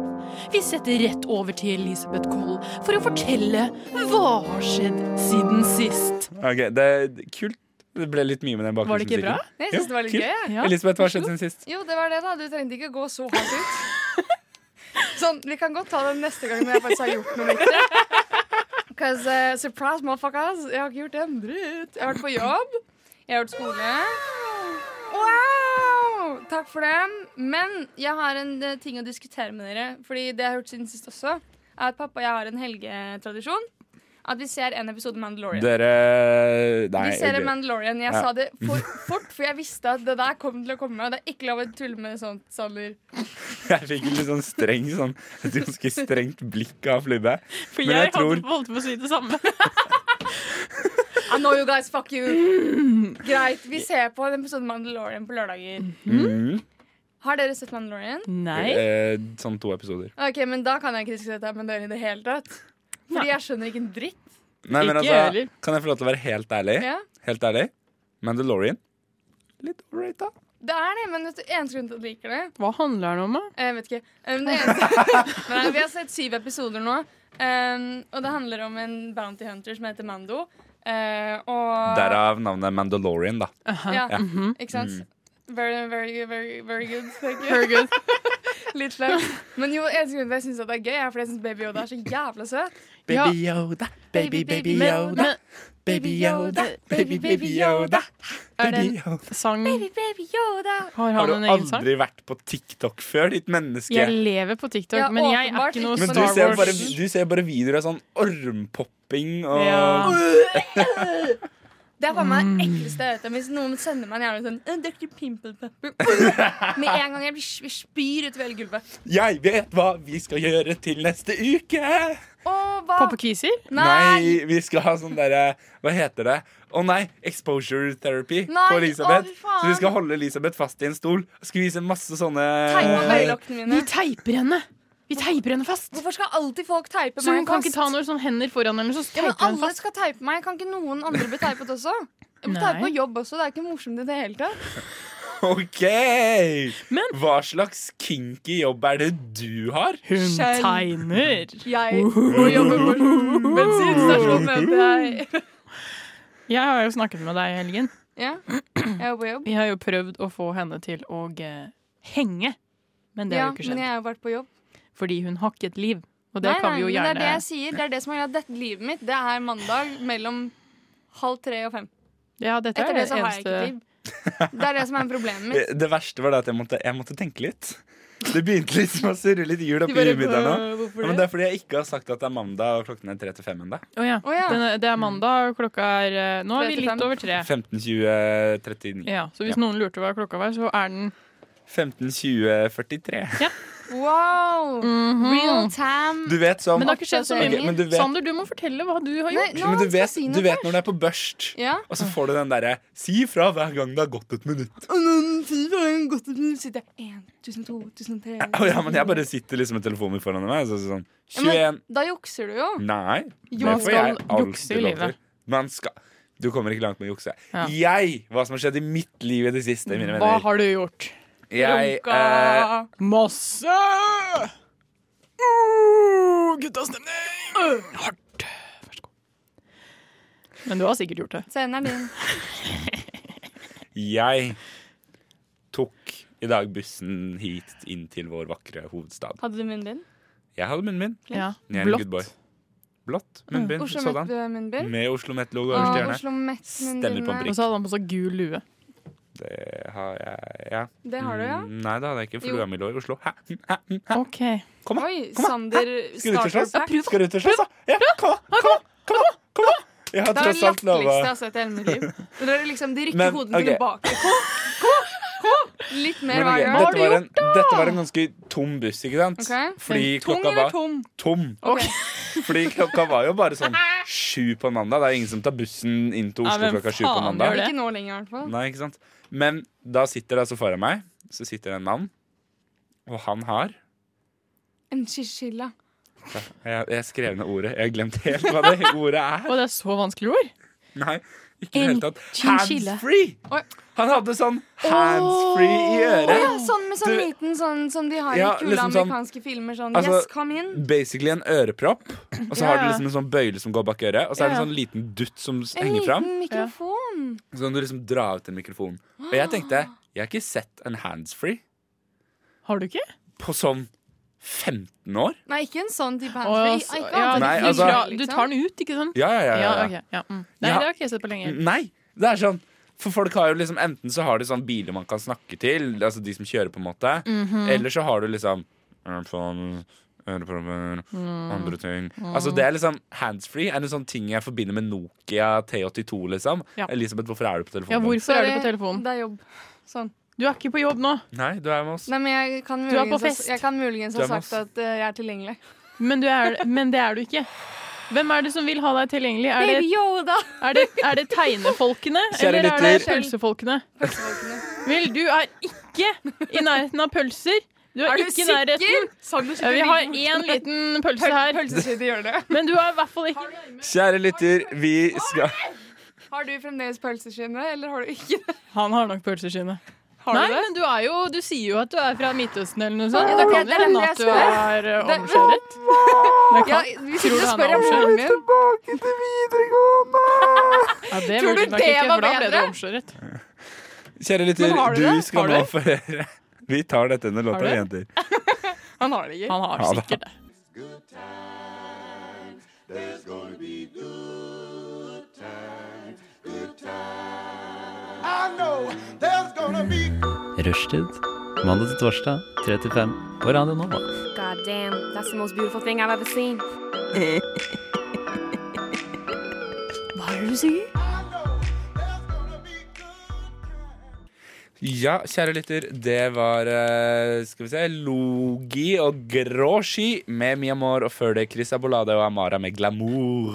Speaker 5: Vi setter rett over til Elisabeth Koll for å fortelle hva har skjedd siden sist.
Speaker 6: Ok, det er Kult. Det ble litt mye med den
Speaker 5: Var det ikke bra?
Speaker 6: bakgrunnsmusikken.
Speaker 7: Jeg synes det var litt gøy. jeg.
Speaker 5: Ja.
Speaker 6: Elisabeth, hva har skjedd siden sist?
Speaker 7: Jo, det var det, da. Du trengte ikke gå så hardt ut. Sånn, Vi kan godt ta den neste gang når jeg faktisk har gjort noe viktig. Cause, eh, surprise, motherfuckers. Jeg har ikke gjort en dritt. Jeg har vært på jobb. Jeg har vært skole. Wow! Takk for det. Men jeg har en eh, ting å diskutere med dere. Fordi det jeg har hørt siden sist også, er at pappa og jeg har en helgetradisjon. At vi ser en episode Mandalorian.
Speaker 6: Dere Nei.
Speaker 7: Vi ser
Speaker 6: jeg-
Speaker 7: en Mandalorian. Jeg
Speaker 6: Ja.
Speaker 7: sa det for fort, for jeg visste at det der kom til å komme. Og det er ikke lov å tulle med sånt, Sander.
Speaker 6: Jeg fikk litt sånn streng, sånn, et ganske strengt blikk av Flubbe.
Speaker 5: For
Speaker 6: Men
Speaker 5: jeg,
Speaker 6: jeg tror-
Speaker 5: hadde holdt på å si det samme.
Speaker 7: I know you guys, fuck you. Greit. Vi ser på en episode Mandalorian på lørdager.
Speaker 6: Mm.
Speaker 7: Har dere sett Mandalorian?
Speaker 5: Nei.
Speaker 6: Eh, sånn to episoder.
Speaker 7: Ok, men Da kan jeg ikke diskutere dette med dere i det hele tatt. Fordi jeg skjønner ikke en dritt.
Speaker 6: Nei, men
Speaker 5: Ikke
Speaker 6: altså,
Speaker 5: jeg heller.
Speaker 6: kan jeg få lov til å være helt ærlig?
Speaker 7: Ja.
Speaker 6: Helt ærlig, Mandalorian Litt overrated.
Speaker 7: Det er det, men vet du, eneste grunn til at jeg liker det
Speaker 5: Hva handler den om, da?
Speaker 7: Jeg vet ikke. Um, det eneste, men nei, vi har sett syv episoder nå. Um, og det handler om en bounty hunter som heter Mando. Uh,
Speaker 5: Ah.
Speaker 7: og
Speaker 6: Derav navnet Mandalorian, da.
Speaker 7: Ja, Mm.
Speaker 6: Ja.
Speaker 5: Mhm.
Speaker 7: ikke sant? Very, very, very, very good. Thank you.
Speaker 5: Very good.
Speaker 7: Litt flaut. Men jo, eneste grunn til at jeg syns det er gøy, er fordi jeg syns Baby Yoda er så jævla søt.
Speaker 5: Ja.
Speaker 6: Yoda,
Speaker 5: Men, men
Speaker 6: baby
Speaker 7: baby, baby Yoda,
Speaker 5: er det en
Speaker 6: Yoda.
Speaker 5: sang
Speaker 7: Baby Yoda.
Speaker 6: Har
Speaker 5: Har han en
Speaker 6: du
Speaker 5: egen sang?
Speaker 6: aldri vært på TikTok før, ditt menneske?
Speaker 5: Jeg lever på TikTok,
Speaker 7: Ja,
Speaker 5: men jeg er
Speaker 7: åpenbart
Speaker 5: ikke noe
Speaker 7: ikke.
Speaker 6: Men
Speaker 5: Star
Speaker 6: du ser,
Speaker 5: Wars.
Speaker 6: jo bare, du ser bare videoer av sånn ormpopping og
Speaker 5: Ja.
Speaker 7: Det er faen meg
Speaker 5: Mm.
Speaker 7: det ekleste jeg vet om. Hvis noen sender meg en jævla sånn «Eh, Dr. Pimple Popper Med en gang jeg blir jeg spyr utover hele gulvet.
Speaker 6: Jeg vet hva vi skal gjøre til neste uke!
Speaker 7: Og hva
Speaker 5: Pappa Kiser?
Speaker 7: Nei!
Speaker 6: Nei, vi skal ha sånn derre Hva heter det? Å nei, exposure therapy
Speaker 7: Nei,
Speaker 6: på Elisabeth.
Speaker 7: å, fy faen.
Speaker 6: så vi skal holde Elisabeth fast i en stol og skal vise masse sånne
Speaker 7: Teipe
Speaker 6: Nei,
Speaker 7: øyelokkene
Speaker 5: Vi
Speaker 7: mine.
Speaker 5: teiper henne. Vi teiper henne fast.
Speaker 7: Hvorfor skal alltid folk teipe meg
Speaker 5: Så hun kan
Speaker 7: fast?
Speaker 5: ikke ta noen sånn hender foran henne, så
Speaker 7: ja, men
Speaker 5: teiper hun
Speaker 7: alle
Speaker 5: fast.
Speaker 7: skal teipe meg. Kan ikke noen andre bli teipet også? Jeg blir
Speaker 5: Nei.
Speaker 7: teipet på jobb også. Det er ikke morsomt i det hele tatt.
Speaker 6: OK!
Speaker 5: Men-
Speaker 6: Hva slags kinky jobb er det du har?
Speaker 5: Hun
Speaker 7: Skjønn.
Speaker 5: tegner.
Speaker 7: Jeg må jobbe på bensinstasjon, mente jeg.
Speaker 5: Jeg har jo snakket med deg i helgen.
Speaker 7: Ja, jeg er på jobb.
Speaker 5: Vi har jo prøvd å få henne til å eh, henge, men det
Speaker 7: Ja,
Speaker 5: har jo
Speaker 7: men
Speaker 5: ikke skjedd.
Speaker 7: jeg har jo vært på jobb.
Speaker 5: Fordi hun har ikke et liv, og det
Speaker 7: Nei,
Speaker 5: kan vi
Speaker 7: nei,
Speaker 5: jo
Speaker 7: men
Speaker 5: gjerne
Speaker 7: Det er det jeg sier. Det er det som har gjort dette livet mitt. Det er mandag mellom halv tre og fem.
Speaker 5: Ja, dette
Speaker 7: Etter
Speaker 5: er det
Speaker 7: det så har jeg
Speaker 5: eneste
Speaker 7: ikke tid. Det er det som er problemet mitt.
Speaker 6: Eh, Det verste var det at jeg måtte, jeg måtte tenke litt. Det begynte liksom å surre litt hjul oppi
Speaker 5: bare,
Speaker 6: huet mitt der nå.
Speaker 5: øh, hvorfor
Speaker 6: Ja, men
Speaker 5: det?
Speaker 6: det er fordi jeg ikke har sagt at det er mandag og klokken er tre til fem ennå.
Speaker 5: Å ja.
Speaker 7: Å ja.
Speaker 5: Den er- det er mandag, og klokka er eh, Nå er vi litt
Speaker 7: 35.
Speaker 5: over tre.
Speaker 6: 15.20.39.
Speaker 5: Ja, så hvis noen lurte hva klokka var, så er den
Speaker 6: 15.20.43.
Speaker 7: Wow! Real time.
Speaker 6: Du vet som
Speaker 5: Mhm. Men det har ikke skjedd så mye.
Speaker 6: Ok, men du vet-
Speaker 5: Sander, du må fortelle hva du har
Speaker 7: Nei,
Speaker 5: gjort.
Speaker 7: nå
Speaker 6: Men du
Speaker 7: skal jeg
Speaker 6: vet,
Speaker 7: si
Speaker 6: du
Speaker 7: noe
Speaker 6: vet når du er på børst,
Speaker 7: Ja.
Speaker 6: og så får du den derre 'si fra hver gang det har gått et minutt'.
Speaker 7: Sitter jeg 1, 1002, 1003
Speaker 6: Å ja, men jeg bare sitter liksom med telefonen min foran meg. Så sånn
Speaker 7: Ja, men
Speaker 6: 21
Speaker 7: Da jukser du jo.
Speaker 6: Nei.
Speaker 5: Jo, man
Speaker 6: det får jeg
Speaker 5: skal
Speaker 6: alltid
Speaker 5: jukse i
Speaker 6: lov
Speaker 5: livet.
Speaker 6: til. Man skal Du kommer ikke langt med å jukse.
Speaker 5: Ja.
Speaker 6: Jeg! Hva som har skjedd i mitt liv i det siste, mine venner.
Speaker 5: Hva har du gjort?
Speaker 6: Jeg, eh,
Speaker 5: Masse!
Speaker 6: Oh,
Speaker 5: Uh, Guttastemning! Hardt. Vær så god. Men du har sikkert gjort det.
Speaker 7: Scenen er din.
Speaker 6: jeg tok i dag bussen hit inn til vår vakre hovedstad.
Speaker 7: Hadde du munnbind?
Speaker 6: Jeg hadde munnbind.
Speaker 5: Ja.
Speaker 6: Jeg er en good boy.
Speaker 5: Blått. Mm.
Speaker 6: Blått munnbind.
Speaker 7: Oslo
Speaker 6: Sådan.
Speaker 7: Met-munnbind?
Speaker 6: Med Oslo Met-logo
Speaker 7: Og
Speaker 6: øverst i hjørnet.
Speaker 7: Oslo
Speaker 6: Stemmer på en
Speaker 5: Og
Speaker 7: Met-munnbindet.
Speaker 5: så hadde han på seg gul lue.
Speaker 6: Det har jeg ja.
Speaker 7: Det har du, ja?
Speaker 6: Mm, Nei, det hadde jeg ikke, for
Speaker 7: Jo.
Speaker 6: lua mi lå i Oslo. Hæ?
Speaker 5: Ok.
Speaker 6: Kom, da!
Speaker 7: Oi, Sander
Speaker 6: Skal du ut og
Speaker 7: starter
Speaker 6: slåss?
Speaker 7: pack.
Speaker 6: Skal du ut og slåss, da? Ja, kom, da! Kom, da! Kom, da! Kom, da! Jeg har
Speaker 7: Det er
Speaker 6: tross
Speaker 7: det
Speaker 6: alt lova
Speaker 7: latterligste jeg har sett i hele mitt liv. Når dere liksom, de rykker
Speaker 6: Men,
Speaker 7: hodene
Speaker 6: ok.
Speaker 7: tilbake. Kom, kom, kom! Litt mer
Speaker 6: Men
Speaker 7: hver
Speaker 6: ok,
Speaker 7: gang.
Speaker 6: dette, var en, dette var en ganske tom buss, ikke sant?
Speaker 7: Ok.
Speaker 6: Fordi
Speaker 7: Tung
Speaker 6: klokka
Speaker 7: eller
Speaker 6: var
Speaker 7: tom?
Speaker 6: tom.
Speaker 7: Ok.
Speaker 6: Fordi klokka var jo bare sånn sju på mandag. Det er jo ingen som tar bussen inn til
Speaker 5: Ja,
Speaker 6: Oslo
Speaker 5: men
Speaker 6: klokka sju på
Speaker 5: faen,
Speaker 6: mandag.
Speaker 5: gjør det?
Speaker 7: Ikke nå lenger, i hvert fall.
Speaker 6: Nei, ikke sant? Men da sitter det altså foran meg Så sitter det en mann Og han har
Speaker 7: En chinchilla.
Speaker 6: Jeg, jeg skrev ned ordet Jeg har glemt helt hva det ordet er
Speaker 5: Og det er så vanskelig ord.
Speaker 6: Nei, ikke i det
Speaker 5: En
Speaker 6: hele tatt
Speaker 5: chinchilla.
Speaker 6: Hands-free
Speaker 7: Oi.
Speaker 6: Han hadde sånn hands-free i
Speaker 7: Å ja,
Speaker 6: øret
Speaker 7: sånn med sånn
Speaker 6: Du-
Speaker 7: liten sånn som de har
Speaker 6: Ja,
Speaker 7: i kule
Speaker 6: liksom sånn-
Speaker 7: amerikanske filmer. Sånn
Speaker 6: Altså-
Speaker 7: Yes, kom inn.
Speaker 6: Basically en ørepropp Og så
Speaker 5: Ja,
Speaker 6: har du
Speaker 5: ja.
Speaker 6: liksom en sånn bøyle som går bak øret Og så er det
Speaker 5: Ja,
Speaker 6: en sånn liten dutt som s-
Speaker 7: En
Speaker 6: henger fram
Speaker 7: liten mikrofon.
Speaker 6: Så kan du liksom dra ut en mikrofon Og jeg tenkte, jeg har ikke sett en hands-free
Speaker 5: Har du ikke?
Speaker 6: På sånn 15 år
Speaker 7: Nei, ikke en sånn type
Speaker 5: Å,
Speaker 7: handsfree.
Speaker 5: så-
Speaker 7: Ikke
Speaker 5: ja,
Speaker 7: annet enn
Speaker 6: Nei,
Speaker 5: du,
Speaker 7: en
Speaker 6: altså-
Speaker 5: dra-
Speaker 7: mikrofon,
Speaker 5: du
Speaker 7: liksom.
Speaker 5: tar den ut, ikke sant?
Speaker 6: Ja, ja, ja, ja,
Speaker 5: Ja,
Speaker 6: ja.
Speaker 5: ok. Ja, mm.
Speaker 6: Ja.
Speaker 5: Nei,
Speaker 6: Mm.
Speaker 5: det har ikke jeg sett på lenge.
Speaker 6: Nei, det er sånn For folk har jo liksom Enten så har de sånn biler man kan snakke til Altså de som kjører på en måte Eller så har du liksom Earphones Ørepropper Andre ting Altså det er liksom Handsfree er en sånn ting jeg forbinder med Nokia T82 liksom
Speaker 5: Ja.
Speaker 6: Elisabeth, hvorfor er du på telefonen?
Speaker 5: Ja, hvorfor er du på
Speaker 7: Sorry,
Speaker 5: telefonen?
Speaker 7: Det er jobb. Sånn.
Speaker 5: Du er ikke på jobb nå,
Speaker 6: Nei, du er med oss
Speaker 7: Nei, men jeg kan
Speaker 5: Du er på
Speaker 7: muligens,
Speaker 5: fest.
Speaker 7: jeg kan muligens
Speaker 6: Du
Speaker 7: ha
Speaker 6: er med
Speaker 7: sagt at eh, jeg er tilgjengelig.
Speaker 5: men, du er, men det er du ikke. Hvem er det som vil ha deg tilgjengelig? Er det,
Speaker 7: Baby Yoda!
Speaker 5: er det, er det tegnefolkene,
Speaker 6: Kjære
Speaker 5: eller er det
Speaker 6: lytter.
Speaker 5: pølsefolkene?
Speaker 7: Pølsefolkene.
Speaker 5: Vel, du er ikke i nærheten av pølser. Du er,
Speaker 7: Er du
Speaker 5: ikke i nærheten.
Speaker 7: sikker? Sander
Speaker 5: Ja,
Speaker 7: sitter
Speaker 5: Vi har
Speaker 7: like borte.
Speaker 5: én liten pølse
Speaker 7: Pøl-
Speaker 5: her,
Speaker 7: Pølsesydde gjør det.
Speaker 5: men du er i hvert fall ikke
Speaker 6: Kjære lytter, vi skal
Speaker 7: Har du fremdeles pølseskinne, eller har du ikke det?
Speaker 5: Han har nok pølseskinne.
Speaker 7: Har
Speaker 5: Nei,
Speaker 7: du det?
Speaker 5: men du er jo Du sier jo at du er fra Midtøsten eller noe sånt.
Speaker 7: Ja,
Speaker 5: det
Speaker 7: det er
Speaker 5: kan
Speaker 7: det
Speaker 5: jo hende
Speaker 7: jeg
Speaker 5: at du
Speaker 7: spør.
Speaker 5: er eh,
Speaker 7: Det-
Speaker 5: omskjæret. Det
Speaker 7: Ja,
Speaker 5: kan.
Speaker 7: vi sitter og
Speaker 5: han
Speaker 7: spør
Speaker 5: er
Speaker 7: om moren min.
Speaker 5: Ja, det
Speaker 7: Tror
Speaker 5: burde
Speaker 7: du
Speaker 5: nok
Speaker 7: det
Speaker 5: ikke,
Speaker 7: var
Speaker 5: for da ble
Speaker 7: bedre?
Speaker 5: du omskjæret.
Speaker 6: Kjære lytter,
Speaker 7: Men har du
Speaker 6: du,
Speaker 7: det?
Speaker 6: skal
Speaker 5: Har du
Speaker 6: nå
Speaker 5: det?
Speaker 6: få høre Vi tar dette under låta
Speaker 5: Har du
Speaker 6: jenter
Speaker 7: Han har det ikke.
Speaker 5: Han har
Speaker 6: Ja, da.
Speaker 5: sikkert det.
Speaker 8: Rushtid. Mandag til torsdag, 3 til 5 på Radio Nova.
Speaker 9: Oh, God damn, that's the most beautiful thing I've ever seen.
Speaker 6: Ja, kjære lytter, det var eh, skal vi se, Logi og Gråski med Mi Amor, og før det Chris Abolade og Amara med Glamour.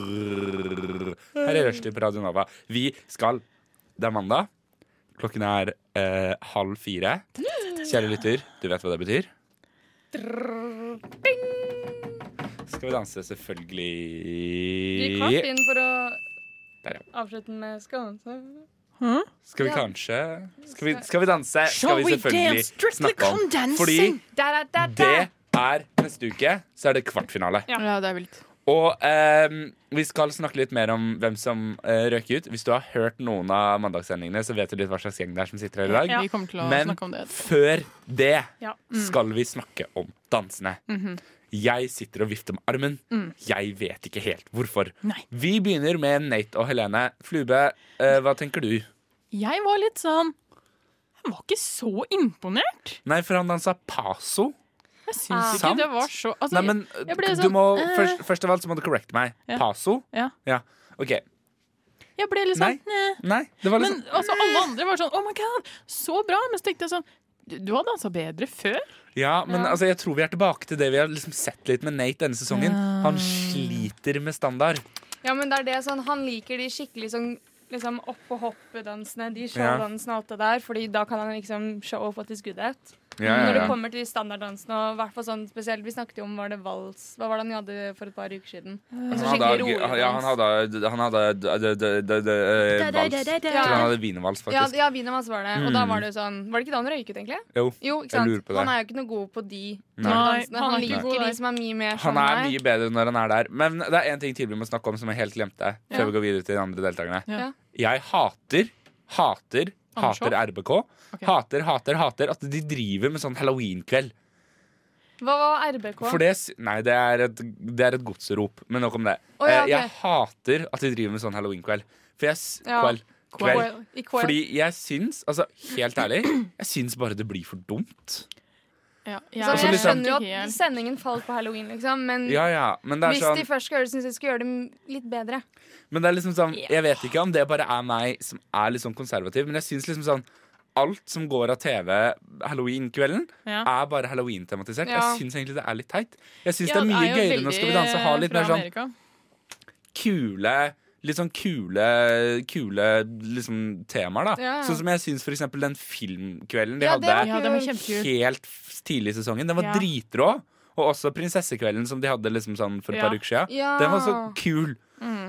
Speaker 6: Her er Rushdie på Radio Nova. Vi skal Det er mandag. Klokken er eh, halv fire. Kjære lytter, du vet hva det betyr? Skal vi danse,
Speaker 7: Gikk hardt
Speaker 6: selvfølgelig.
Speaker 7: inn for å
Speaker 6: Der, ja.
Speaker 7: avslutte den med skånelse.
Speaker 6: Skal vi kanskje Skal vi, skal vi danse? Skal vi selvfølgelig snakke om. Fordi
Speaker 7: Da, da, da, da.
Speaker 6: Det er neste uke, så er det kvartfinale.
Speaker 5: Ja, det er vilt.
Speaker 6: Og ehm, vi skal snakke litt mer om hvem som eh, røker ut. Hvis du har hørt noen av mandagssendingene, så vet du litt hva slags gjeng det er som sitter her i dag.
Speaker 5: Ja. Vi kommer til å
Speaker 6: Men
Speaker 5: snakke om det.
Speaker 6: før det
Speaker 5: Ja. Mm. Mhm.
Speaker 6: skal vi snakke om dansene. Jeg sitter og vifter med armen. Jeg vet ikke helt hvorfor.
Speaker 5: Mm. Nei.
Speaker 6: Vi begynner med Nate og Helene. Flube, eh, hva tenker du?
Speaker 5: Jeg var litt sånn Jeg var ikke så imponert.
Speaker 6: Nei, for han dansa paso.
Speaker 5: Jeg syns ikke
Speaker 6: Ah. Sant.
Speaker 5: det var så altså,
Speaker 6: Nei, men
Speaker 5: jeg ble
Speaker 6: du
Speaker 5: sånn,
Speaker 6: må,
Speaker 5: eh.
Speaker 6: først, først av alt så må du correcte meg.
Speaker 5: Ja.
Speaker 6: Paso?
Speaker 5: Ja.
Speaker 6: ja. OK.
Speaker 5: Jeg ble litt sånn eh.
Speaker 6: Nei, det var
Speaker 5: Men
Speaker 6: liksom
Speaker 5: altså, alle andre var sånn Oh my god, så bra! Men så tenkte jeg sånn Du, du har dansa bedre før.
Speaker 6: Ja, men altså, jeg tror vi er tilbake til det vi har liksom sett litt med Nate denne sesongen. Han sliter med standard.
Speaker 7: Ja, men det er det sånn, han liker de skikkelig sånn liksom opp- og hoppe-dansene, de showdansene og alt det der, fordi da kan han liksom show off what he's good at.
Speaker 6: Ja, ja,
Speaker 7: Når det
Speaker 6: ja.
Speaker 7: kommer til standarddansen og i hvert fall sånn spesielt Vi snakket jo om var det vals Hva var det han hadde for et par uker siden?
Speaker 5: Eh,
Speaker 6: Han
Speaker 7: Så
Speaker 6: hadde,
Speaker 7: skikkelig rolig
Speaker 6: ja, han
Speaker 7: dans.
Speaker 6: hadde, han hadde d- d- d- d- eh, vals. Jeg
Speaker 7: Ja.
Speaker 6: tror han hadde wienervals,
Speaker 7: Ja,
Speaker 6: faktisk. Mm.
Speaker 7: ja wienervals var det. Og da var det jo sånn Var det ikke da han røyket, egentlig?
Speaker 6: Jo.
Speaker 7: Jo, ikke
Speaker 6: Jeg
Speaker 7: sant?
Speaker 6: lurer på det.
Speaker 7: Han er jo ikke noe god på de
Speaker 6: Nei.
Speaker 7: dansene.
Speaker 5: Nei,
Speaker 7: Han,
Speaker 5: han er ikke
Speaker 7: liker
Speaker 5: god
Speaker 7: de
Speaker 5: der.
Speaker 7: som er mye mer
Speaker 6: Han
Speaker 7: sånn
Speaker 6: er
Speaker 7: meg.
Speaker 6: mye bedre når han er der. Men det er én ting til vi må snakke om som jeg helt glemte. Før
Speaker 5: Ja.
Speaker 6: vi går videre til de andre deltakerne
Speaker 5: Ja.
Speaker 6: Jeg hater, hater,
Speaker 5: Andersson?
Speaker 6: hater RBK. Hater, hater, hater at de driver med sånn halloweenkveld.
Speaker 7: Hva var RBK?
Speaker 6: For det, s- nei, det er et, det er et godsrop. Men nok om det.
Speaker 7: Å, ja,
Speaker 6: Eh, Jeg
Speaker 7: ok.
Speaker 6: hater at de driver med sånn halloweenkveld. For jeg s-
Speaker 7: Ja.
Speaker 6: kveld, kveld.
Speaker 7: Coil- I coil.
Speaker 6: Fordi jeg syns, altså helt ærlig, jeg syns bare det blir for dumt.
Speaker 5: Ja,
Speaker 7: Så
Speaker 6: Altså,
Speaker 7: jeg
Speaker 6: liksom-
Speaker 7: skjønner jo at
Speaker 5: helt-
Speaker 7: sendingen falt på halloween, liksom. Men
Speaker 6: Ja, ja, men det er
Speaker 7: hvis
Speaker 6: sånn
Speaker 7: de først skal gjøre det, syns jeg de skal gjøre det litt bedre.
Speaker 6: Men det er liksom sånn, jeg vet ikke om det bare er meg som er litt sånn konservativ, men jeg syns liksom sånn Alt som går av TV halloween-kvelden,
Speaker 5: Ja.
Speaker 6: er bare halloween-tematisert.
Speaker 7: Ja.
Speaker 6: Jeg syns egentlig det er litt teit. Jeg syns
Speaker 5: Ja,
Speaker 6: det er mye
Speaker 5: jo
Speaker 6: gøyere når Skal vi
Speaker 5: veldig
Speaker 6: danse ha litt
Speaker 5: fra
Speaker 6: mer sånn
Speaker 5: Amerika.
Speaker 6: kule Litt sånn kule, kule liksom, temaer, da.
Speaker 7: Ja, ja.
Speaker 6: Sånn som jeg syns for eksempel den filmkvelden de
Speaker 7: Ja, det
Speaker 6: hadde
Speaker 5: Ja, den var kjempekul.
Speaker 6: helt f- tidlig i sesongen, den var
Speaker 5: Ja.
Speaker 6: dritrå. Og også prinsessekvelden som de hadde liksom sånn for et
Speaker 5: Ja. Mm.
Speaker 6: par uker siden.
Speaker 7: Ja.
Speaker 6: Den var så kul.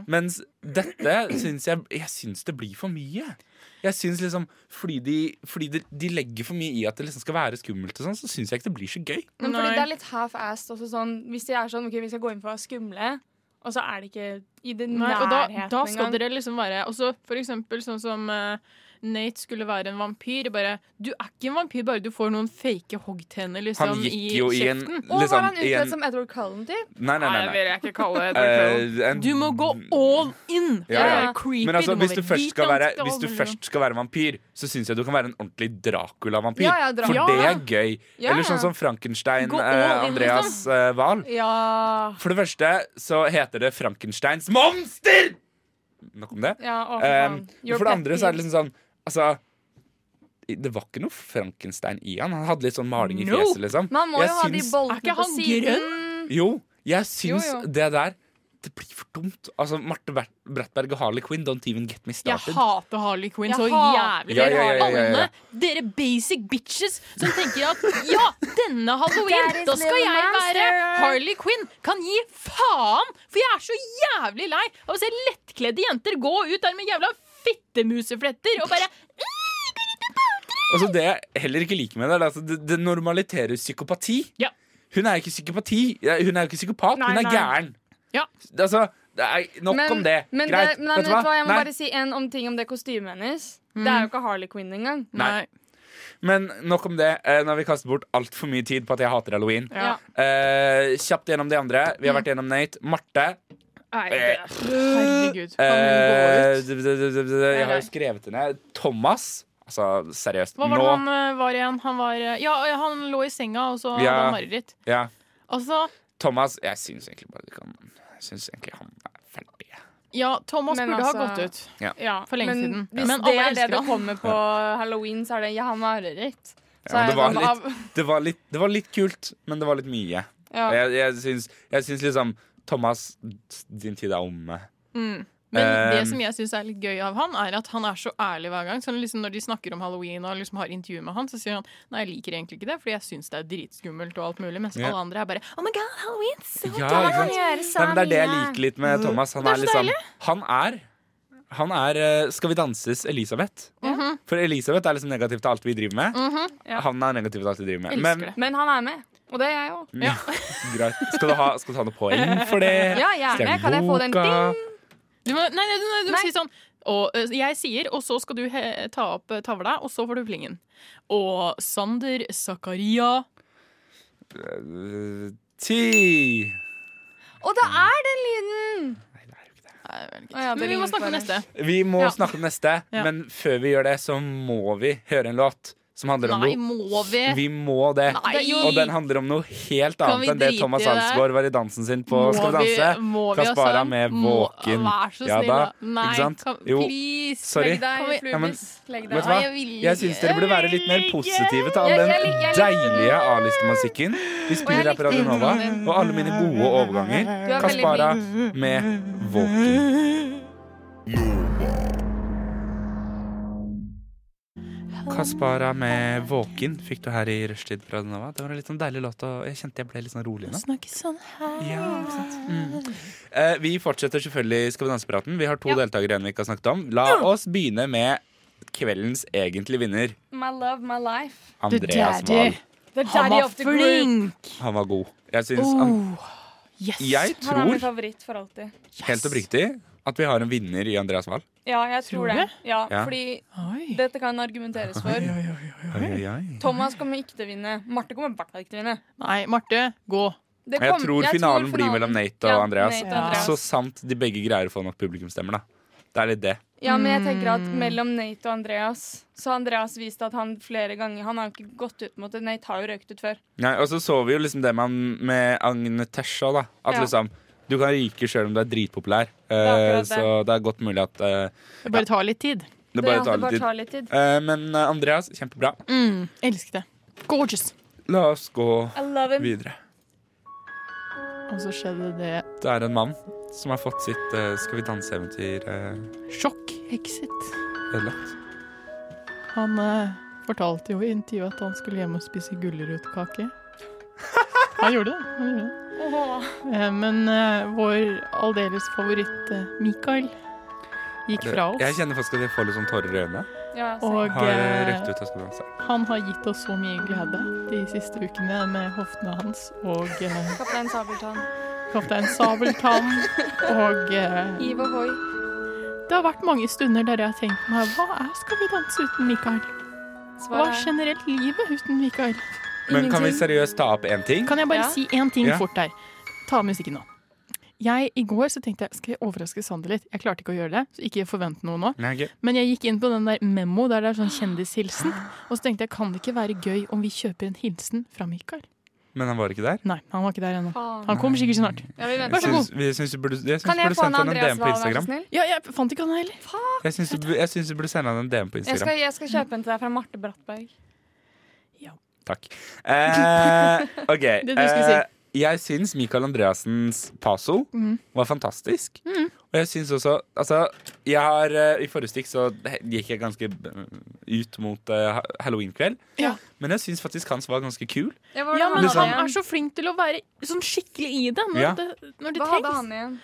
Speaker 6: Mens dette syns jeg Jeg syns det blir for mye. Jeg syns liksom Fordi de, fordi de, de legger for mye i at det liksom skal være skummelt, og sånn, så syns jeg ikke det blir så gøy.
Speaker 7: Men fordi
Speaker 5: Nei.
Speaker 7: det er litt half-assed også sånn Hvis de er sånn OK, vi skal gå inn for å være skumle, og så er det ikke i den
Speaker 5: Nei, og da,
Speaker 7: nærheten
Speaker 5: da skal
Speaker 7: engang.
Speaker 5: dere liksom være Og så for eksempel sånn som eh, Nate skulle være en vampyr. Bare, du er ikke en vampyr, bare du får noen fake hoggtenner liksom,
Speaker 6: Han gikk
Speaker 5: i
Speaker 6: jo i en,
Speaker 5: kjeften.
Speaker 7: Og var
Speaker 6: liksom,
Speaker 7: han
Speaker 6: i
Speaker 7: utkledd
Speaker 6: en
Speaker 7: som Edward Cullen, typ?
Speaker 6: Nei, nei, nei.
Speaker 5: det
Speaker 6: nei.
Speaker 5: vil jeg ikke kalle det. Edward Cullen.
Speaker 6: Eh, en-
Speaker 5: Du må gå all in!
Speaker 6: Ja,
Speaker 5: Det er
Speaker 7: ja.
Speaker 5: creepy,
Speaker 6: Men altså,
Speaker 5: må
Speaker 6: hvis du,
Speaker 5: være
Speaker 6: først
Speaker 5: hvit
Speaker 6: skal være,
Speaker 5: ansikt og
Speaker 6: hvis du
Speaker 5: alt liksom- mulig.
Speaker 6: først skal være vampyr, så syns jeg du kan være en ordentlig Dracula-vampyr.
Speaker 7: Ja, ja, Dracula.
Speaker 6: For det er gøy.
Speaker 7: Ja,
Speaker 6: Eller
Speaker 7: ja.
Speaker 6: sånn som Frankenstein,
Speaker 5: Gå all
Speaker 6: eh,
Speaker 5: in,
Speaker 6: Andreas
Speaker 7: liksom.
Speaker 6: eh, Wahl.
Speaker 7: Ja.
Speaker 6: For det første så heter det Frankensteins monster! Nok om det.
Speaker 7: ja å,
Speaker 6: Um,
Speaker 7: faen. Your
Speaker 6: for det
Speaker 7: pet
Speaker 6: andre så er det
Speaker 7: peeve.
Speaker 6: liksom sånn Altså, det var ikke noe Frankenstein i han. Han hadde litt sånn maling i
Speaker 5: Nope.
Speaker 6: fjeset, liksom.
Speaker 7: Man må
Speaker 6: Jeg
Speaker 7: jo ha de
Speaker 6: syns-
Speaker 5: Er ikke
Speaker 7: boltene på
Speaker 5: han
Speaker 7: siden.
Speaker 6: Jo, jeg syns
Speaker 7: Jo, jo.
Speaker 6: det der Det blir for dumt. Altså, Marte Ber- Brattberg og Harley Quinn, don't even get me started.
Speaker 5: Jeg hater Harley Quinn
Speaker 7: Jeg
Speaker 5: så
Speaker 7: hater
Speaker 5: jævlig.
Speaker 6: Ja, ja, ja, ja, ja, ja.
Speaker 5: Alle dere basic bitches som tenker at ja, denne halloween,
Speaker 9: Daddy's
Speaker 5: da skal
Speaker 9: little
Speaker 5: jeg være
Speaker 9: monster.
Speaker 5: Harley Quinn. Kan gi faen! For jeg er så jævlig lei av å se lettkledde jenter gå ut der med jævla fittemusefletter og bare
Speaker 6: Og så Altså, Det jeg heller ikke liker med det, er at det, det normaliterer psykopati.
Speaker 5: Ja.
Speaker 6: Hun er jo ikke psykopati. Hun er jo ikke psykopat,
Speaker 5: Nei,
Speaker 6: hun er
Speaker 5: nei.
Speaker 6: gæren.
Speaker 5: Ja.
Speaker 6: Altså, nei, nok om det.
Speaker 7: Men
Speaker 6: Greit.
Speaker 7: Det, nei,
Speaker 6: Vet du hva?
Speaker 7: Jeg må
Speaker 6: Nei.
Speaker 7: bare si en om ting om det kostymet hennes. Det er jo ikke Harley Quinn engang.
Speaker 6: Nei. Men nok om det. eh, Nå har vi kastet bort altfor mye tid på at jeg hater halloween.
Speaker 5: Ja. Mm.
Speaker 6: Eh, kjapt gjennom de andre. Vi har vært gjennom Nate. Marte.
Speaker 5: Herregud.
Speaker 6: eh, d- d- d- d- d- jeg har jo skrevet det ned. Thomas. Altså, seriøst.
Speaker 5: Hva var det
Speaker 6: Nå.
Speaker 5: han eh, var igjen? Han var eh, Ja, han lå i senga, og så hadde
Speaker 6: Ja.
Speaker 5: han mareritt.
Speaker 6: Ja.
Speaker 5: Altså,
Speaker 6: Thomas. Jeg syns egentlig bare det kan Jeg syns egentlig han er ferdig.
Speaker 5: ja, Thomas
Speaker 7: Men
Speaker 5: burde ha
Speaker 7: altså-
Speaker 5: gått ut.
Speaker 7: Ja,
Speaker 5: For lenge
Speaker 7: men
Speaker 5: siden.
Speaker 7: Hvis
Speaker 5: Men
Speaker 7: det
Speaker 5: alle
Speaker 7: er det
Speaker 5: elsker
Speaker 7: det
Speaker 5: han.
Speaker 7: kommer på halloween, så er det 'jeg har mareritt'. Så
Speaker 6: Ja, men
Speaker 7: er
Speaker 6: det, var
Speaker 7: jeg sånn,
Speaker 6: litt, det, var litt, det var litt kult, men det var litt mye.
Speaker 7: Ja.
Speaker 6: Jeg, jeg, syns, jeg syns liksom Thomas, din tid er omme.
Speaker 5: Men
Speaker 6: Um,
Speaker 5: det som jeg syns er litt gøy av han, er at han er så ærlig hver gang. Så liksom når de snakker om halloween og liksom har intervju med han, så sier han nei, jeg liker egentlig ikke det, fordi jeg syns det er dritskummelt og alt mulig. Mens
Speaker 6: Ja.
Speaker 5: alle andre er bare oh my god, halloween, so
Speaker 6: Ja,
Speaker 5: dark.
Speaker 6: ikke sant? Nei, men det er det jeg liker litt med Thomas. Han
Speaker 5: Det er
Speaker 6: er
Speaker 5: så
Speaker 6: liksom Han er han er eh, Skal vi danses Elisabeth?
Speaker 7: Mhm.
Speaker 6: For Elisabeth er liksom negativ til alt vi driver med.
Speaker 7: ja.
Speaker 6: Han er negativ til alt vi driver med.
Speaker 5: Elsker
Speaker 6: Men
Speaker 5: det.
Speaker 7: Men han er med. Og det er jeg òg.
Speaker 6: greit. Skal du, ha, skal du ha noe poeng for det?
Speaker 7: Ja, gjerne. Kan jeg få den ding?
Speaker 5: Du må, nei, nei, nei, du må
Speaker 7: Nei.
Speaker 5: si sånn og, eh, jeg sier, og så skal du he, ta opp eh, tavla, og så får du plingen. Og Sander Zakaria
Speaker 6: ding? Eh, Ti.
Speaker 7: Og det er den lyden!
Speaker 5: Nei, vel, gitt.
Speaker 7: Å ja, det
Speaker 5: Men vi
Speaker 7: ringer
Speaker 5: må snakke om
Speaker 7: bare.
Speaker 5: neste.
Speaker 6: Vi må
Speaker 5: Ja.
Speaker 6: snakke om neste,
Speaker 5: Ja.
Speaker 6: men før vi gjør det, så må vi høre en låt som handler om
Speaker 5: Nei,
Speaker 6: noe.
Speaker 5: må vi?
Speaker 6: Vi må det.
Speaker 5: Nei.
Speaker 6: Og den handler om noe helt
Speaker 5: Kan
Speaker 6: annet
Speaker 5: vi
Speaker 6: enn det
Speaker 5: drite
Speaker 6: Thomas
Speaker 5: i det?
Speaker 6: Alsgaard var i dansen sin på Skal vi danse.
Speaker 5: må
Speaker 6: Kaspara
Speaker 5: altså?
Speaker 6: med
Speaker 5: Må-
Speaker 6: våken.
Speaker 5: Vær så
Speaker 6: Ja
Speaker 5: snill,
Speaker 6: da,
Speaker 5: da. Nei,
Speaker 6: ikke sant?
Speaker 5: Kan,
Speaker 6: Jo.
Speaker 5: please.
Speaker 6: Sorry.
Speaker 7: Legg deg,
Speaker 5: Kan
Speaker 7: Flubis.
Speaker 5: vi-
Speaker 6: Ja, men-
Speaker 7: Legg
Speaker 6: Vet
Speaker 7: deg.
Speaker 6: du hva?
Speaker 5: Nei, jeg vil
Speaker 6: Jeg syns dere burde være litt mer
Speaker 5: ikke.
Speaker 6: positive til all den
Speaker 7: Jeg- jeg lik- jeg likte
Speaker 6: deilige A-listemusikken vi spiller her på Radio
Speaker 7: likte
Speaker 6: Nova,
Speaker 7: den.
Speaker 6: og alle mine gode overganger.
Speaker 7: Du er veldig
Speaker 6: Kaspara
Speaker 7: flink.
Speaker 6: med Våken. Kaspara med 'Våken' fikk du her i rushtid fra Nova. Det var en litt sånn deilig låt, og jeg kjente jeg ble litt sånn rolig nå.
Speaker 5: Snakke sånn her.
Speaker 6: Ja, ikke sant? Mm. Eh, vi fortsetter selvfølgelig Skal vi danse-praten. Vi har to deltakere igjen vi ikke har snakket om. La oss begynne med kveldens egentlige vinner,
Speaker 7: My love, my life.
Speaker 5: The
Speaker 6: Andreas Wahl.
Speaker 5: daddy.
Speaker 7: The
Speaker 5: Han
Speaker 7: daddy
Speaker 5: var
Speaker 7: of the group.
Speaker 5: flink!
Speaker 6: Han var god. Jeg syns han
Speaker 5: Oh, yes.
Speaker 6: Jeg
Speaker 9: Han er min
Speaker 6: tror,
Speaker 9: favoritt for alltid.
Speaker 6: helt oppriktig, at vi har en vinner i Andreas Wahl.
Speaker 9: Ja, jeg
Speaker 5: Tror
Speaker 9: tror, det.
Speaker 5: du?
Speaker 9: Ja,
Speaker 6: Ja.
Speaker 9: Fordi
Speaker 5: Oi.
Speaker 9: dette kan argumenteres for.
Speaker 6: Oi, oi, oi.
Speaker 9: Thomas kommer ikke til å vinne. Marte kommer i hvert fall ikke til å vinne.
Speaker 5: Nei, Marte, gå.
Speaker 9: Det
Speaker 6: Jeg
Speaker 9: kom-
Speaker 6: tror finalen blir mellom Nate og
Speaker 9: Ja,
Speaker 6: Andreas.
Speaker 9: Nate og Andreas.
Speaker 6: Så sant de begge greier å få nok publikumsstemmer, da. Det er litt det.
Speaker 9: Ja, men jeg tenker at mellom Nate og Andreas Så Andreas viste at han flere ganger Han har jo ikke gått ut mot det. Nate har jo røykt ut før.
Speaker 6: Nei, og så så vi jo liksom det med, han- med Agne Tesha, da. At
Speaker 9: Ja.
Speaker 6: liksom du kan ryke sjøl om du er dritpopulær. Eh,
Speaker 9: akkurat det.
Speaker 6: så det er godt mulig at eh,
Speaker 5: Det bare tar litt tid.
Speaker 6: det bare
Speaker 9: ja,
Speaker 6: tar
Speaker 9: det
Speaker 6: litt tid.
Speaker 9: tar litt tid.
Speaker 6: Eh, men eh, Andreas, kjempebra.
Speaker 5: Mm, elsket det. Gorgeous.
Speaker 6: La oss gå
Speaker 9: I love him.
Speaker 6: videre.
Speaker 5: Og så skjedde det
Speaker 6: Det er en mann som har fått sitt eh, Skal vi danse-eventyr eh,
Speaker 5: sjokk-exit.
Speaker 6: ødelagt.
Speaker 5: Han eh, fortalte jo i intervjuet at han skulle hjem og spise gulrotkake. Han gjorde det. Han gjorde det. Eh, men eh, vår aldeles favoritt eh, Mikael gikk
Speaker 6: Det-
Speaker 5: fra
Speaker 6: Jeg
Speaker 5: oss.
Speaker 6: kjenner faktisk at jeg får litt sånn tårer i øynene.
Speaker 9: Ja, så-
Speaker 5: Og
Speaker 6: Har eh,
Speaker 5: eh,
Speaker 6: røkt ut av Skal vi danse.
Speaker 5: han har gitt oss så mye glede de siste ukene med hoftene hans og eh,
Speaker 9: Kaptein Sabeltann.
Speaker 5: Kaptein Sabeltann og eh,
Speaker 9: Iv og Hoi.
Speaker 5: Det har vært mange stunder der jeg har tenkt meg Hva er Skal vi danse uten Mikael? Hva
Speaker 9: Svaret
Speaker 5: er
Speaker 9: er
Speaker 5: generelt livet uten Mikael?
Speaker 6: Men kan vi
Speaker 9: ingenting.
Speaker 6: seriøst ta opp én ting?
Speaker 5: Kan jeg bare
Speaker 9: Ja.
Speaker 5: si én ting
Speaker 6: Ja.
Speaker 5: fort der? Ta av musikken nå. Jeg, I går så tenkte jeg skal jeg overraske Sander litt. Jeg klarte ikke å gjøre det. så ikke forvent noe nå.
Speaker 6: Nei, ok.
Speaker 5: Men jeg gikk inn på den der memo der det er sånn kjendishilsen. Og så tenkte jeg kan det ikke være gøy om vi kjøper en hilsen fra Mikael?
Speaker 6: Men han var ikke der.
Speaker 5: Nei, han var ikke der ennå.
Speaker 9: Faen.
Speaker 5: Han kommer sikkert snart.
Speaker 9: Ja, vi
Speaker 6: Jeg
Speaker 9: venter.
Speaker 6: syns, vi syns du burde, jeg syns
Speaker 9: Kan
Speaker 6: du
Speaker 9: jeg
Speaker 6: burde
Speaker 9: få en
Speaker 6: sendt han en
Speaker 9: Andreas
Speaker 6: DM på
Speaker 9: Wahl, vær så
Speaker 6: Instagram.
Speaker 9: snill?
Speaker 5: Ja, jeg fant ikke han heller.
Speaker 6: Jeg syns du, jeg syns du burde sende han en DM på
Speaker 9: Jeg
Speaker 6: Instagram.
Speaker 9: skal, jeg skal kjøpe en til deg fra Marte Brattberg.
Speaker 6: Takk. Eh, OK.
Speaker 5: Det du skulle si. Mhm.
Speaker 6: Eh, jeg syns Michael Andreassens paso var fantastisk. Og jeg syns også Altså, jeg har eh, I forrige stikk så gikk jeg ganske eh, ut mot eh, ha- halloween-kveld.
Speaker 5: Ja.
Speaker 6: Men jeg syns faktisk hans var ganske kul.
Speaker 9: Ja, hvordan
Speaker 5: Ja, men
Speaker 9: hadde
Speaker 5: han
Speaker 9: han
Speaker 5: er så flink til å være sånn skikkelig i det når
Speaker 6: Ja.
Speaker 5: det, når det
Speaker 9: Hva hadde han
Speaker 5: trengs.
Speaker 9: igjen?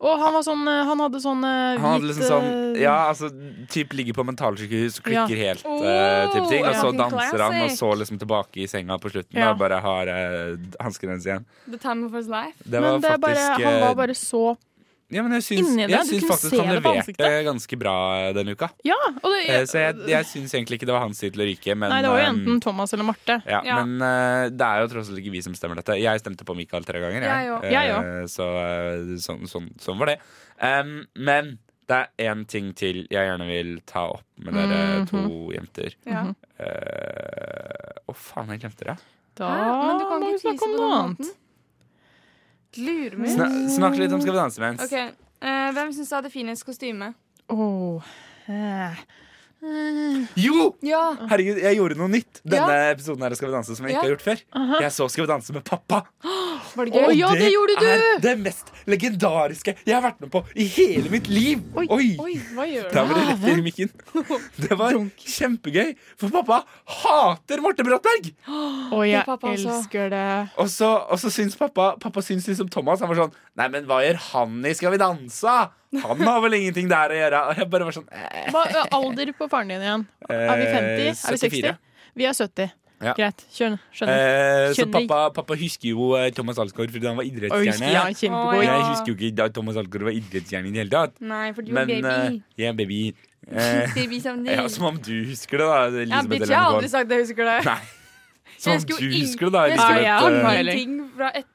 Speaker 5: Og han var sånn eh, Han hadde sånn eh,
Speaker 6: Han hadde
Speaker 5: hvit,
Speaker 6: liksom sånn
Speaker 5: eh,
Speaker 6: Ja, altså typ ligger på mentalsykehus og klikker helt eh, type ting. Og
Speaker 9: Oh,
Speaker 6: så
Speaker 9: ja.
Speaker 6: danser han, og
Speaker 9: Classic.
Speaker 6: så liksom tilbake i senga på slutten
Speaker 5: Ja.
Speaker 6: og bare har uh, hanskene hennes igjen.
Speaker 9: The time of his life?
Speaker 6: Det var
Speaker 5: Men det er bare,
Speaker 6: faktisk
Speaker 5: han
Speaker 6: eh,
Speaker 5: var bare så
Speaker 6: Ja, men jeg syns,
Speaker 5: Inni det,
Speaker 6: jeg
Speaker 5: du
Speaker 6: syns
Speaker 5: kunne
Speaker 6: faktisk
Speaker 5: se
Speaker 6: han
Speaker 5: det på
Speaker 6: leverte
Speaker 5: ansiktet.
Speaker 6: ganske bra denne uka.
Speaker 5: Ja! Og det,
Speaker 6: Eh, Så jeg, jeg syns egentlig ikke det var hans tid til å ryke. Men,
Speaker 5: Nei, det var jo
Speaker 6: eh,
Speaker 5: enten Thomas eller Marte.
Speaker 6: ja,
Speaker 9: Ja.
Speaker 6: men eh, det er jo tross alt ikke vi som stemmer dette. Jeg stemte på Mikael tre ganger.
Speaker 9: Jeg òg.
Speaker 6: Eh,
Speaker 5: Jeg
Speaker 6: Så eh, sånn, sånn, sånn var det. Em, men det er én ting til jeg gjerne vil ta opp med dere
Speaker 5: Mhm.
Speaker 6: to jenter.
Speaker 9: Ja.
Speaker 6: Eh, Å, faen, jeg glemte det.
Speaker 5: Da
Speaker 9: Hæ? Men du kan
Speaker 5: må
Speaker 9: ikke
Speaker 5: vi snakke
Speaker 9: fise
Speaker 5: om
Speaker 9: på
Speaker 5: noe
Speaker 9: den
Speaker 5: annet.
Speaker 9: måten. Lurer meg.
Speaker 6: Sna snakk litt om Skal vi danse mens.
Speaker 9: Ok, eh, Hvem syns du hadde finest kostyme?
Speaker 5: Åh, eh.
Speaker 6: Jo!
Speaker 9: Ja,
Speaker 6: Herregud, jeg gjorde noe nytt denne episoden her av Skal vi danse som jeg
Speaker 9: Ja.
Speaker 6: ikke har gjort før. Jeg så Skal vi danse med pappa.
Speaker 9: var det
Speaker 5: Å,
Speaker 9: gøy?
Speaker 5: ja, det gjorde du!
Speaker 6: er det mest legendariske jeg har vært med på i hele mitt liv. Oi!
Speaker 9: Oi, hva gjør du?
Speaker 6: Der var det rett inn i mikken. Det var kjempegøy, for pappa hater Marte Brattberg!
Speaker 5: Og jeg
Speaker 9: pappa også.
Speaker 5: elsker det.
Speaker 6: Og så, og så syns pappa Pappa syns liksom Thomas. Han var sånn Nei, men hva gjør han i Skal vi danse? Han har vel ingenting der å gjøre. Og jeg bare var sånn eh,
Speaker 5: Hva er alder på faren din igjen? Er vi 50? Er vi 60?
Speaker 6: 74.
Speaker 5: Vi er 70.
Speaker 6: Eh, Ja.
Speaker 5: Greit. Kjør, skjønner.
Speaker 6: Eh, så
Speaker 5: Skjønner.
Speaker 6: pappa, pappa husker jo eh, Thomas Alsgaard fordi han var
Speaker 5: Oi,
Speaker 6: idrettsstjerne.
Speaker 5: ja,
Speaker 9: Å,
Speaker 5: kjempegod.
Speaker 9: ja.
Speaker 6: Jeg husker jo ikke da Thomas Alsgaard var idrettsstjerne i det hele tatt.
Speaker 9: Nei, for du er
Speaker 6: Men eh,
Speaker 9: baby.
Speaker 6: jeg er baby. Eh,
Speaker 9: baby som de.
Speaker 6: ja, som om du husker det, da.
Speaker 9: Ja,
Speaker 6: Elisabeth
Speaker 9: bitch, jeg har
Speaker 6: Elene Kvaal.
Speaker 9: aldri sagt det, jeg husker det.
Speaker 6: Nei. Som om
Speaker 9: husker
Speaker 6: du
Speaker 9: jo ing-
Speaker 6: husker det, Sånn da.
Speaker 9: jeg
Speaker 5: husker
Speaker 6: Elisabeth.
Speaker 5: jo ikke
Speaker 6: Eh,
Speaker 5: Nei, eller?
Speaker 9: Ingenting fra et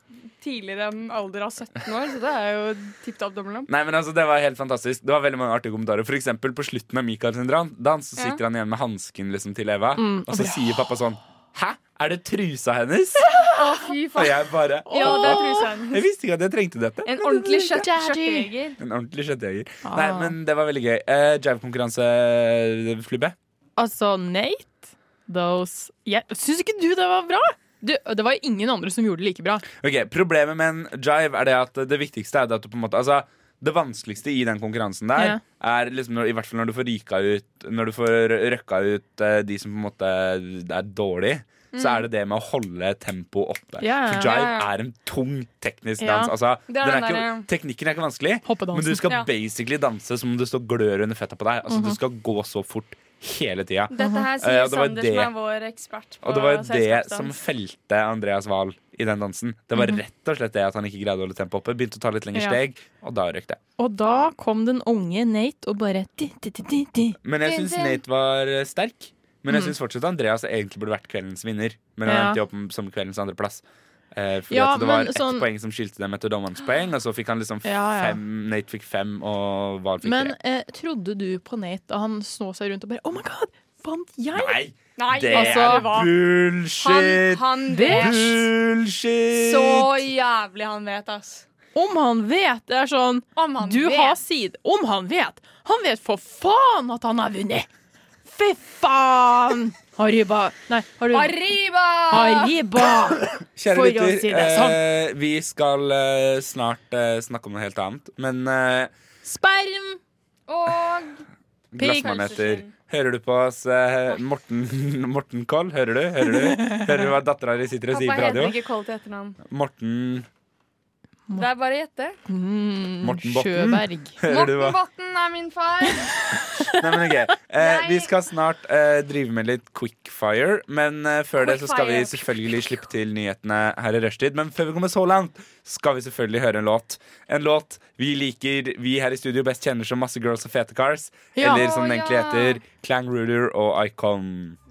Speaker 9: tidligere enn alder av 17 år, så det er jo tipp topp dobbel opp.
Speaker 6: Nei, men altså, Det var helt fantastisk. Det var veldig mange artige kommentarer. For eksempel, på slutten av Michael sin dran- dans så
Speaker 9: Ja.
Speaker 6: sitter han igjen med hansken liksom, til Eva,
Speaker 5: Mm,
Speaker 6: og så
Speaker 5: og
Speaker 6: sier pappa sånn Hæ? Er det trusa hennes?
Speaker 9: Å, fy
Speaker 6: Og
Speaker 9: faen.
Speaker 6: jeg bare
Speaker 9: Ja, det er
Speaker 6: «Åh,
Speaker 9: trusa hennes.
Speaker 6: Jeg visste ikke at jeg trengte dette.
Speaker 9: En ordentlig kjøtt,
Speaker 5: Daddy.
Speaker 9: kjøttjeger.
Speaker 6: En ordentlig kjøttjeger.
Speaker 5: Ah.
Speaker 6: Nei, men det var veldig gøy. Eh, Jive-konkurranse, eh, Flubbe.
Speaker 5: Altså, Nate Those yeah. Syns ikke du det var bra? Du, det var jo ingen andre som gjorde det like bra.
Speaker 6: Ok, Problemet med en jive er det at det viktigste er det at du på en måte Altså, det vanskeligste i den konkurransen der
Speaker 5: Ja.
Speaker 6: er liksom når, I hvert fall når du får ryka ut Når du får røkka ut eh, de som på en måte er dårlige, så er det det med å holde tempoet oppe.
Speaker 5: Ja, ja,
Speaker 6: For jive
Speaker 9: ja, ja.
Speaker 6: er en tung teknisk
Speaker 5: Ja.
Speaker 6: dans. Altså,
Speaker 9: Det er
Speaker 6: den
Speaker 9: den
Speaker 6: er ikke,
Speaker 9: der,
Speaker 6: teknikken er ikke vanskelig,
Speaker 5: Hoppedansen.
Speaker 6: men du skal
Speaker 9: Ja.
Speaker 6: basically danse som om det står glør under fetta på deg. Altså, Du skal gå så fort hele tida.
Speaker 9: Dette her
Speaker 6: Eh,
Speaker 9: sier
Speaker 6: og det var
Speaker 9: Sander,
Speaker 6: det-
Speaker 9: som er vår ekspert på
Speaker 6: Og det var jo det
Speaker 9: selskapsdans.
Speaker 6: som felte Andreas Wahl i den dansen. Det var rett og slett det at han ikke greide å holde tempoet oppe. Begynte å ta litt lengre
Speaker 5: Mhm. Ja.
Speaker 6: steg, og da røk det.
Speaker 5: Og da kom den unge Nate og bare ti, ti, ti, ti, ti.
Speaker 6: Men jeg syns Nate var eh, sterk. Men jeg syns fortsatt Andreas egentlig burde vært kveldens vinner. Men han
Speaker 5: Mhm. Ja.
Speaker 6: endte jo opp som kveldens andreplass. Eh, fordi
Speaker 5: Ja,
Speaker 6: at det var
Speaker 5: men
Speaker 6: ett
Speaker 5: sånn-
Speaker 6: poeng som skilte dem etter dommerens poeng, og så fikk han liksom
Speaker 5: Ja, ja.
Speaker 6: fem Nate fikk fem, og Wahl fikk
Speaker 5: Men
Speaker 6: tre.
Speaker 5: eh, trodde du på Nate da han så seg rundt og bare Oh my god, vant jeg?
Speaker 6: Nei,
Speaker 9: Nei,
Speaker 6: det
Speaker 5: altså,
Speaker 6: er
Speaker 9: Han,
Speaker 6: bullshit!
Speaker 9: han vet
Speaker 6: bullshit!
Speaker 9: så jævlig han vet, ass.
Speaker 5: Om han vet! Det er sånn
Speaker 9: Om han
Speaker 5: Du
Speaker 9: vet.
Speaker 5: har side Om han vet! Han vet for faen at han har vunnet! Fy faen! Arriba Nei, har du
Speaker 9: Arriba!
Speaker 5: Arriba!
Speaker 6: Kjære
Speaker 5: For å
Speaker 6: lytter,
Speaker 5: si det sånn.
Speaker 6: eh, vi skal eh, snart eh, snakke om noe helt annet. Men eh,
Speaker 5: Sperm!
Speaker 9: Og
Speaker 6: glassmaneter,
Speaker 9: Pølseskinn.
Speaker 6: hører du på oss? eh, Morten, Morten Koll, hører du? Hører du, hører du hva dattera di sitter og sier
Speaker 9: pappa
Speaker 6: på radio?
Speaker 9: heter ikke Koll til etternavn.
Speaker 6: Morten,
Speaker 9: Det er bare å gjette.
Speaker 5: Mm,
Speaker 6: Morten Botten.
Speaker 5: Sjøberg.
Speaker 6: hører du hva?
Speaker 9: Morten Botten er min far.
Speaker 6: Nei, men ok. Eh,
Speaker 9: Jeg-
Speaker 6: vi skal snart eh, drive med litt quickfire, men eh, før det så skal vi
Speaker 9: Quickfire.
Speaker 6: selvfølgelig slippe til nyhetene her i rushtid. Men før vi kommer så langt, skal vi selvfølgelig høre en låt. En låt vi liker, vi her i studio best kjenner som Masse Girls og Fete Cars.
Speaker 5: Ja.
Speaker 6: Eller som den
Speaker 9: Å,
Speaker 6: egentlig
Speaker 9: ja.
Speaker 6: heter, Clang Ruler og Icon.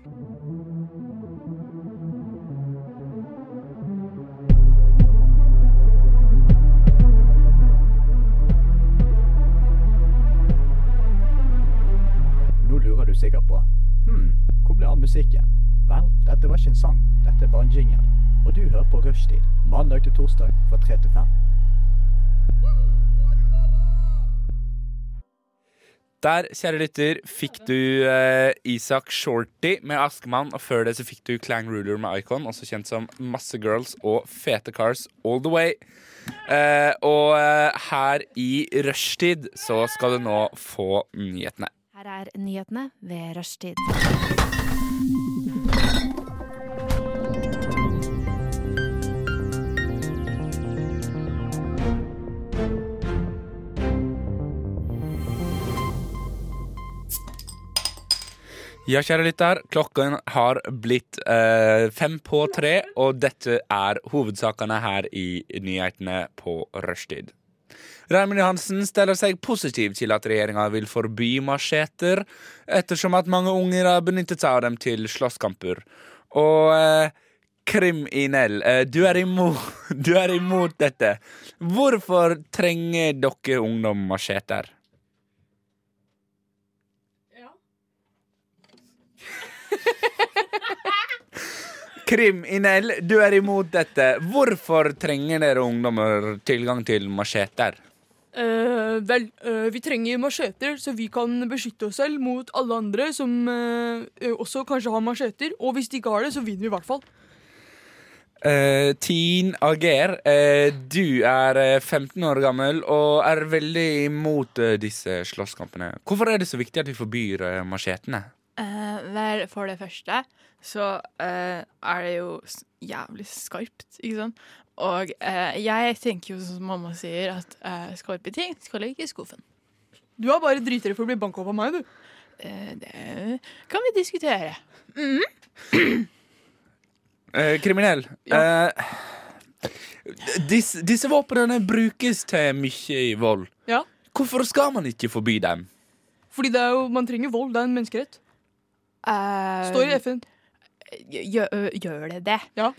Speaker 10: Nå lurer du sikkert på Hm, hvor ble av musikken? Vel, dette var ikke en sang, dette er bare en jingle. Og du hører på Rushtid, mandag til torsdag fra 3 til 5.
Speaker 6: Der, kjære lytter, fikk du eh, Isak Shorty med Askemann, og før det så fikk du Clang Ruler med Icon, også kjent som Masse Girls og Fete Cars All The Way. Eh, og eh, her i rushtid så skal du nå få nyhetene.
Speaker 11: Her er nyhetene ved rushtid.
Speaker 6: Ja, kjære lytter, klokken har blitt eh, fem på tre, og dette er hovedsakene her i nyhetene på rushtid. Raymond Johansen stiller seg positiv til at regjeringa vil forby macheter, ettersom at mange unger har benyttet seg av dem til slåsskamper. Og eh, Krim Inel, eh, du er, imot, du er imot dette. Hvorfor trenger dere ungdom macheter? Krim Inel, du er imot dette. Hvorfor trenger dere ungdommer tilgang til macheter?
Speaker 9: Eh, vel, eh, vi trenger macheter, så vi kan beskytte oss selv mot alle andre som eh, også kanskje har macheter. Og hvis de ikke har det, så vinner vi i hvert fall.
Speaker 6: Eh, Teen Ager, eh, du er eh, 15 år gammel og er veldig imot eh, disse slåsskampene. Hvorfor er det så viktig at vi forbyr eh, machetene?
Speaker 5: Eh, vel, for det første så eh, er det jo s- jævlig skarpt, ikke sant? Og eh, jeg tenker jo sånn som mamma sier, at eh, skarpe ting skal ligge i skuffen.
Speaker 9: Du er bare dritere for å bli banka opp av meg, du.
Speaker 5: Eh, det kan vi diskutere.
Speaker 6: Eh, kriminell. Eh, disse, disse våpnene brukes til mye i vold.
Speaker 9: Ja.
Speaker 6: Hvorfor skal man ikke forby dem?
Speaker 9: Fordi det er jo, man trenger vold. Det er en menneskerett. Står i FN.
Speaker 5: gjør, gjør det det?
Speaker 9: Ja.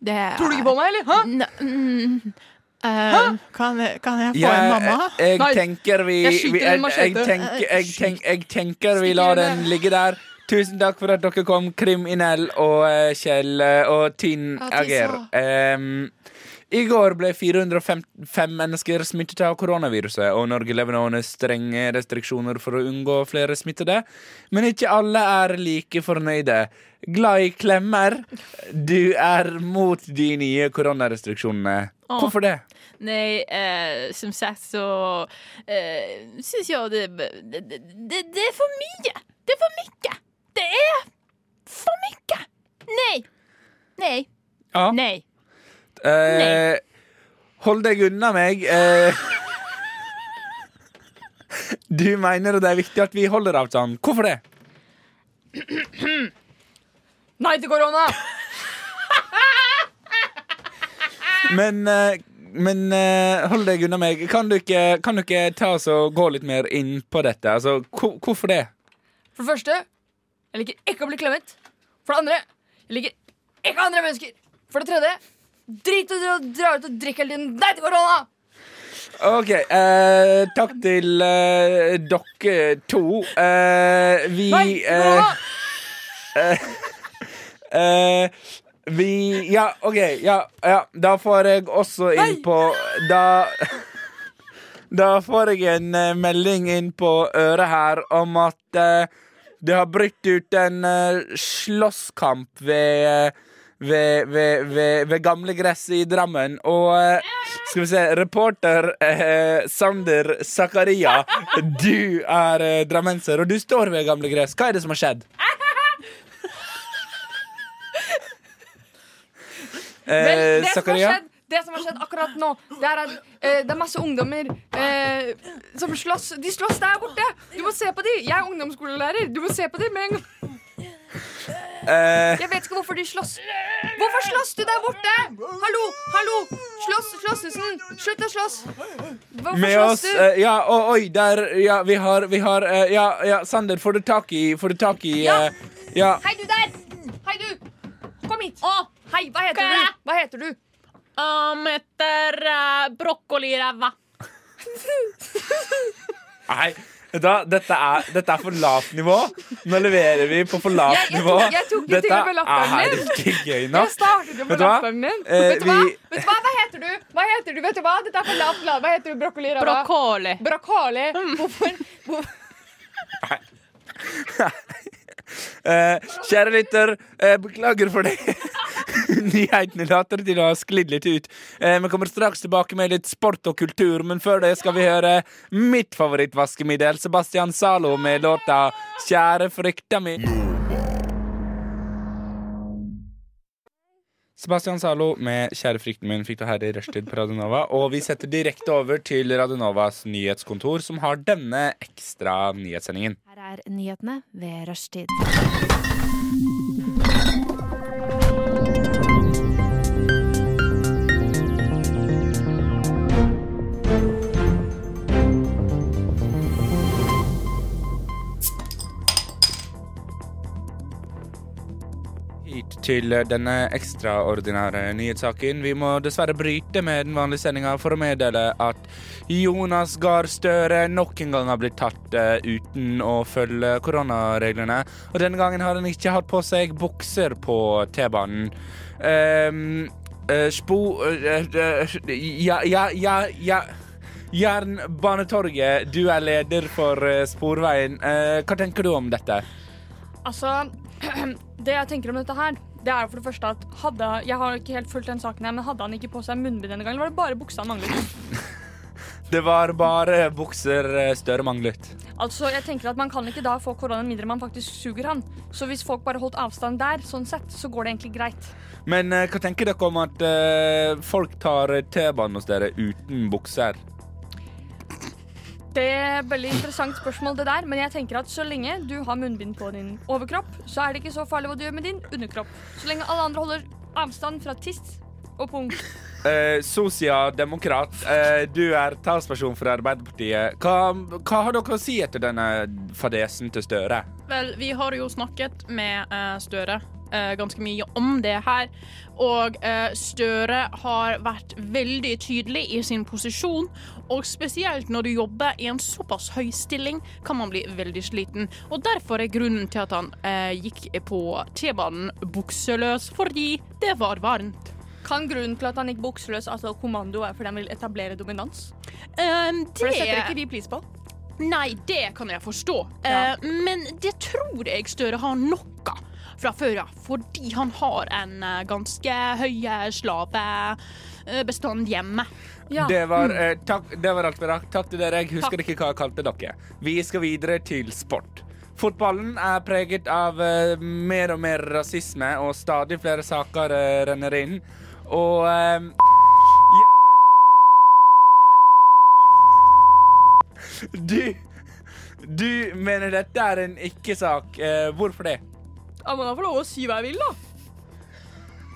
Speaker 5: Det er,
Speaker 9: Tror du ikke på meg, eller? Hæ?
Speaker 5: N- mm, eh, kan, kan jeg få en
Speaker 6: Jeg,
Speaker 5: mamma?
Speaker 6: jeg
Speaker 9: Nei.
Speaker 6: tenker vi
Speaker 9: Jeg
Speaker 6: vi-
Speaker 9: skyter
Speaker 6: jeg,
Speaker 9: en
Speaker 6: jeg,
Speaker 9: machete.
Speaker 6: tenker, jeg, tenk, jeg tenker vi
Speaker 9: Skyt
Speaker 6: lar
Speaker 9: i
Speaker 6: den
Speaker 9: øynene.
Speaker 6: ligge der. Tusen takk for at dere kom, Krim Inel og eh, Kjell eh, og Tin Ager. Em, I går ble 455 mennesker smittet av koronaviruset, og Norge lever nå under strenge restriksjoner for å unngå flere smittede. Men ikke alle er like fornøyde. Glad i klemmer. Du er mot de nye koronarestriksjonene.
Speaker 5: Åh.
Speaker 6: Hvorfor det?
Speaker 5: Nei, eh, som sagt så eh, syns jeg det det, det det er for mye! Det er for mye! Det er for mye! Nei! Nei.
Speaker 6: Ja.
Speaker 5: Nei.
Speaker 6: Eh, hold deg unna meg. Eh, du mener det er viktig at vi holder avstand. Hvorfor det?
Speaker 9: Nei til korona!
Speaker 6: Men, eh, men eh, hold deg unna meg. Kan du ikke, kan du ikke ta oss og gå litt mer inn på dette? Altså, hvor- hvorfor det?
Speaker 9: For det første, jeg liker ikke å bli klemmet. For det andre, jeg liker ikke andre mennesker. For det tredje, drit i å dra ut og drikke hele tiden. Nei til korona!
Speaker 6: OK. Eh, takk til eh, dere to. Eh, vi eh, eh, eh, Vi Ja, OK. Ja, ja. Da får jeg også inn på Da Da får jeg en eh, melding inn på øret her om at eh, det har brutt ut en eh, slåsskamp ved eh, ved, ved, ved, ved gamlegresset i Drammen. Og eh, skal vi se Reporter eh, Sander Zakaria, du er eh, drammenser, og du står ved gamlegress. Hva er det som har skjedd?
Speaker 7: Vel,
Speaker 6: Eh,
Speaker 7: det, som har
Speaker 6: Zakaria?
Speaker 7: skjedd, det som har skjedd akkurat nå, det er at eh, det er masse ungdommer eh, som slåss. De slåss der borte! Du må se på de Jeg er ungdomsskolelærer. Du må se på de med en gang.
Speaker 6: Eh,
Speaker 7: Jeg vet ikke hvorfor de slåss. Hvorfor slåss du der borte? Hallo, hallo! Slåss, Slåsshusen! Slutt å slåss! Hvorfor
Speaker 6: med
Speaker 7: slåss
Speaker 6: oss
Speaker 7: du?
Speaker 6: eh, Ja, og oi, der Ja, vi har, vi har eh, ja, ja, Sander, får du tak i Får du tak i eh, Ja.
Speaker 7: Hei, du der! Hei, du! Kom hit. Hei, hva heter du? Hva heter du?
Speaker 5: Um, heter uh, brokkolireva.
Speaker 6: Nei, vet du hva? dette er, dette er for lavt nivå. Nå leverer vi på for lavt
Speaker 7: Jeg- jeg
Speaker 6: nivå.
Speaker 7: tok- jeg tok ikke til
Speaker 6: dette
Speaker 7: og med latteren
Speaker 6: er
Speaker 7: din.
Speaker 6: ikke gøy
Speaker 7: Jeg
Speaker 6: nok.
Speaker 7: startet jo på
Speaker 6: Vet du hva?
Speaker 7: latteren din.
Speaker 6: Eh,
Speaker 7: Vet du hva?
Speaker 6: vi-
Speaker 7: Vet du hva? Hva heter du? Hva heter du? Vet du hva? Dette er for lavt lavt. Hva heter du? Brokkoli? Rava?
Speaker 5: Brokkoli.
Speaker 7: Brokkoli. Hvorfor? Hvor-
Speaker 6: Eh, kjære lytter, eh, beklager for det. Nyhetene later til å ha sklidd litt ut. Eh, Vi kommer straks tilbake med litt sport og kultur, men før det skal vi høre mitt favorittvaskemiddel, Sebastian Zalo, med låta 'Kjære frykta mi'. Sebastian Zalo med 'Kjære frykten min' fikk du her i rushtid på Radionova. Og vi setter direkte over til Radionovas nyhetskontor, som har denne ekstra nyhetssendingen.
Speaker 11: Her er nyhetene ved rushtid.
Speaker 6: Hit til denne ekstraordinære nyhetssaken. Vi må dessverre bryte med den vanlige sendinga for å meddele at Jonas Gahr Støre nok en gang har blitt tatt eh, uten å følge koronareglene. Og denne gangen har han ikke hatt på seg bukser på T-banen. Ehm, eh, spo... eh, eh, ja, ja, ja, ja. Jernbanetorget, du er leder for eh, Sporveien. Eh, hva tenker du om dette?
Speaker 7: Altså, det jeg tenker om dette her, det er jo for det første at hadde Jeg har ikke helt fulgt den saken her, men hadde han ikke på seg munnbind denne gangen, var det bare buksa han manglet.
Speaker 6: Det var bare bukser eh, Støre manglet.
Speaker 7: Altså, jeg tenker at Man kan ikke da få koronaen mindre man faktisk suger han. Så hvis folk bare holdt avstand der, sånn sett, så går det egentlig greit.
Speaker 6: Men eh, hva tenker dere om at eh, folk tar T-banen hos dere uten bukser?
Speaker 7: Det er et veldig interessant spørsmål, det der, men jeg tenker at så lenge du har munnbind på din overkropp, så er det ikke så farlig hva du gjør med din underkropp. Så lenge alle andre holder avstand fra tiss og pung.
Speaker 6: Eh, Sosialdemokrat, eh, du er talsperson for Arbeiderpartiet. Hva, hva har dere å si etter denne fadesen til Støre?
Speaker 5: Vel, vi har jo snakket med eh, Støre eh, ganske mye om det her. Og eh, Støre har vært veldig tydelig i sin posisjon. Og spesielt når du jobber i en såpass høy stilling, kan man bli veldig sliten. Og derfor er grunnen til at han eh, gikk på T-banen bukseløs, fordi det var varmt.
Speaker 7: Kan grunnen til at han gikk bukseløs, altså kommando, være fordi han vil etablere dominans?
Speaker 5: For
Speaker 7: det setter ikke vi pris på.
Speaker 5: Nei, det kan jeg forstå. Eh, men det tror jeg Støre har nok av. fra før av, fordi han har en eh, ganske høy eh, slavebestand hjemme.
Speaker 6: Det, var, eh, takk, det var alt vi rakk. Takk til dere. Jeg husker ikke hva jeg kalte dere. Vi skal videre til sport. Fotballen er preget av eh, mer og mer rasisme, og stadig flere saker eh, renner inn. Og eh, Du Du mener dette er en ikke-sak. Eh, hvorfor det?
Speaker 7: Ja, men da får jeg lov å si hva jeg vil, da.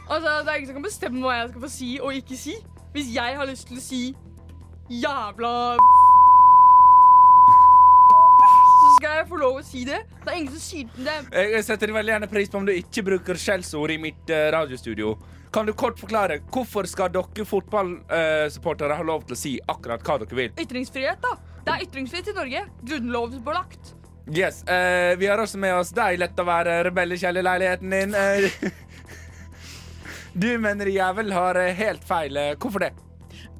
Speaker 7: Altså, Det er ingen som kan bestemme hva jeg skal få si og ikke si. Hvis jeg har lyst til å si jævla så skal jeg få lov å si det. Det er ingen som sier det.
Speaker 6: Eh, Jeg setter veldig gjerne pris på om du ikke bruker skjellsord i mitt eh, radiostudio. Kan du kort forklare hvorfor skal dere fotballsupportere ha lov til å si akkurat hva dere vil?
Speaker 7: Ytringsfrihet, da. Det er ytringsfrihet i Norge. Grunnlovsbelagt.
Speaker 6: Yes, eh, Vi har også med oss deg, lett å være rebell i kjellerleiligheten din. Eh, du mener jævel har eh, helt feil. Eh, Hvorfor det?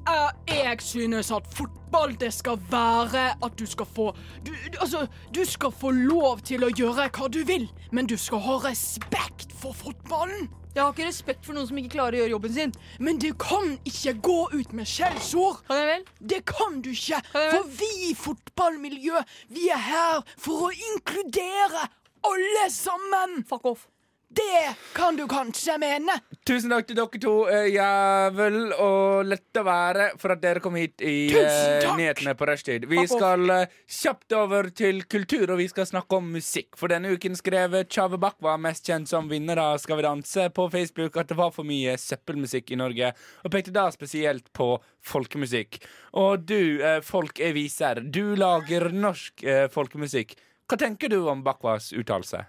Speaker 12: Eh, jeg synes at fotball, det skal være at du skal få du, du- Altså, du skal få lov til å gjøre hva du vil, men du skal ha respekt for fotballen.
Speaker 7: Jeg har ikke respekt for noen som ikke klarer å gjøre jobben sin.
Speaker 12: Men du kan ikke gå ut med skjellsord.
Speaker 7: Kan jeg
Speaker 12: vel? Det kan du ikke. For vi i fotballmiljø, vi er her for å inkludere alle sammen.
Speaker 7: Fuck off.
Speaker 12: Det kan du kanskje mene.
Speaker 6: Tusen takk til dere to, eh, jævel og lett å være, for at dere kom hit i
Speaker 12: Tusen
Speaker 6: eh,
Speaker 12: takk!
Speaker 6: nyhetene på rushtid. Vi
Speaker 12: Takk også.
Speaker 6: skal eh, kjapt over til kultur, og vi skal snakke om musikk. For denne uken skrev Tjave Bakwa, mest kjent som vinner av Skal vi danse, på Facebook at det var for mye søppelmusikk i Norge, og pekte da spesielt på folkemusikk. Og du, eh, folk jeg viser, du lager norsk eh, folkemusikk. Hva tenker du om Bakwas uttalelse?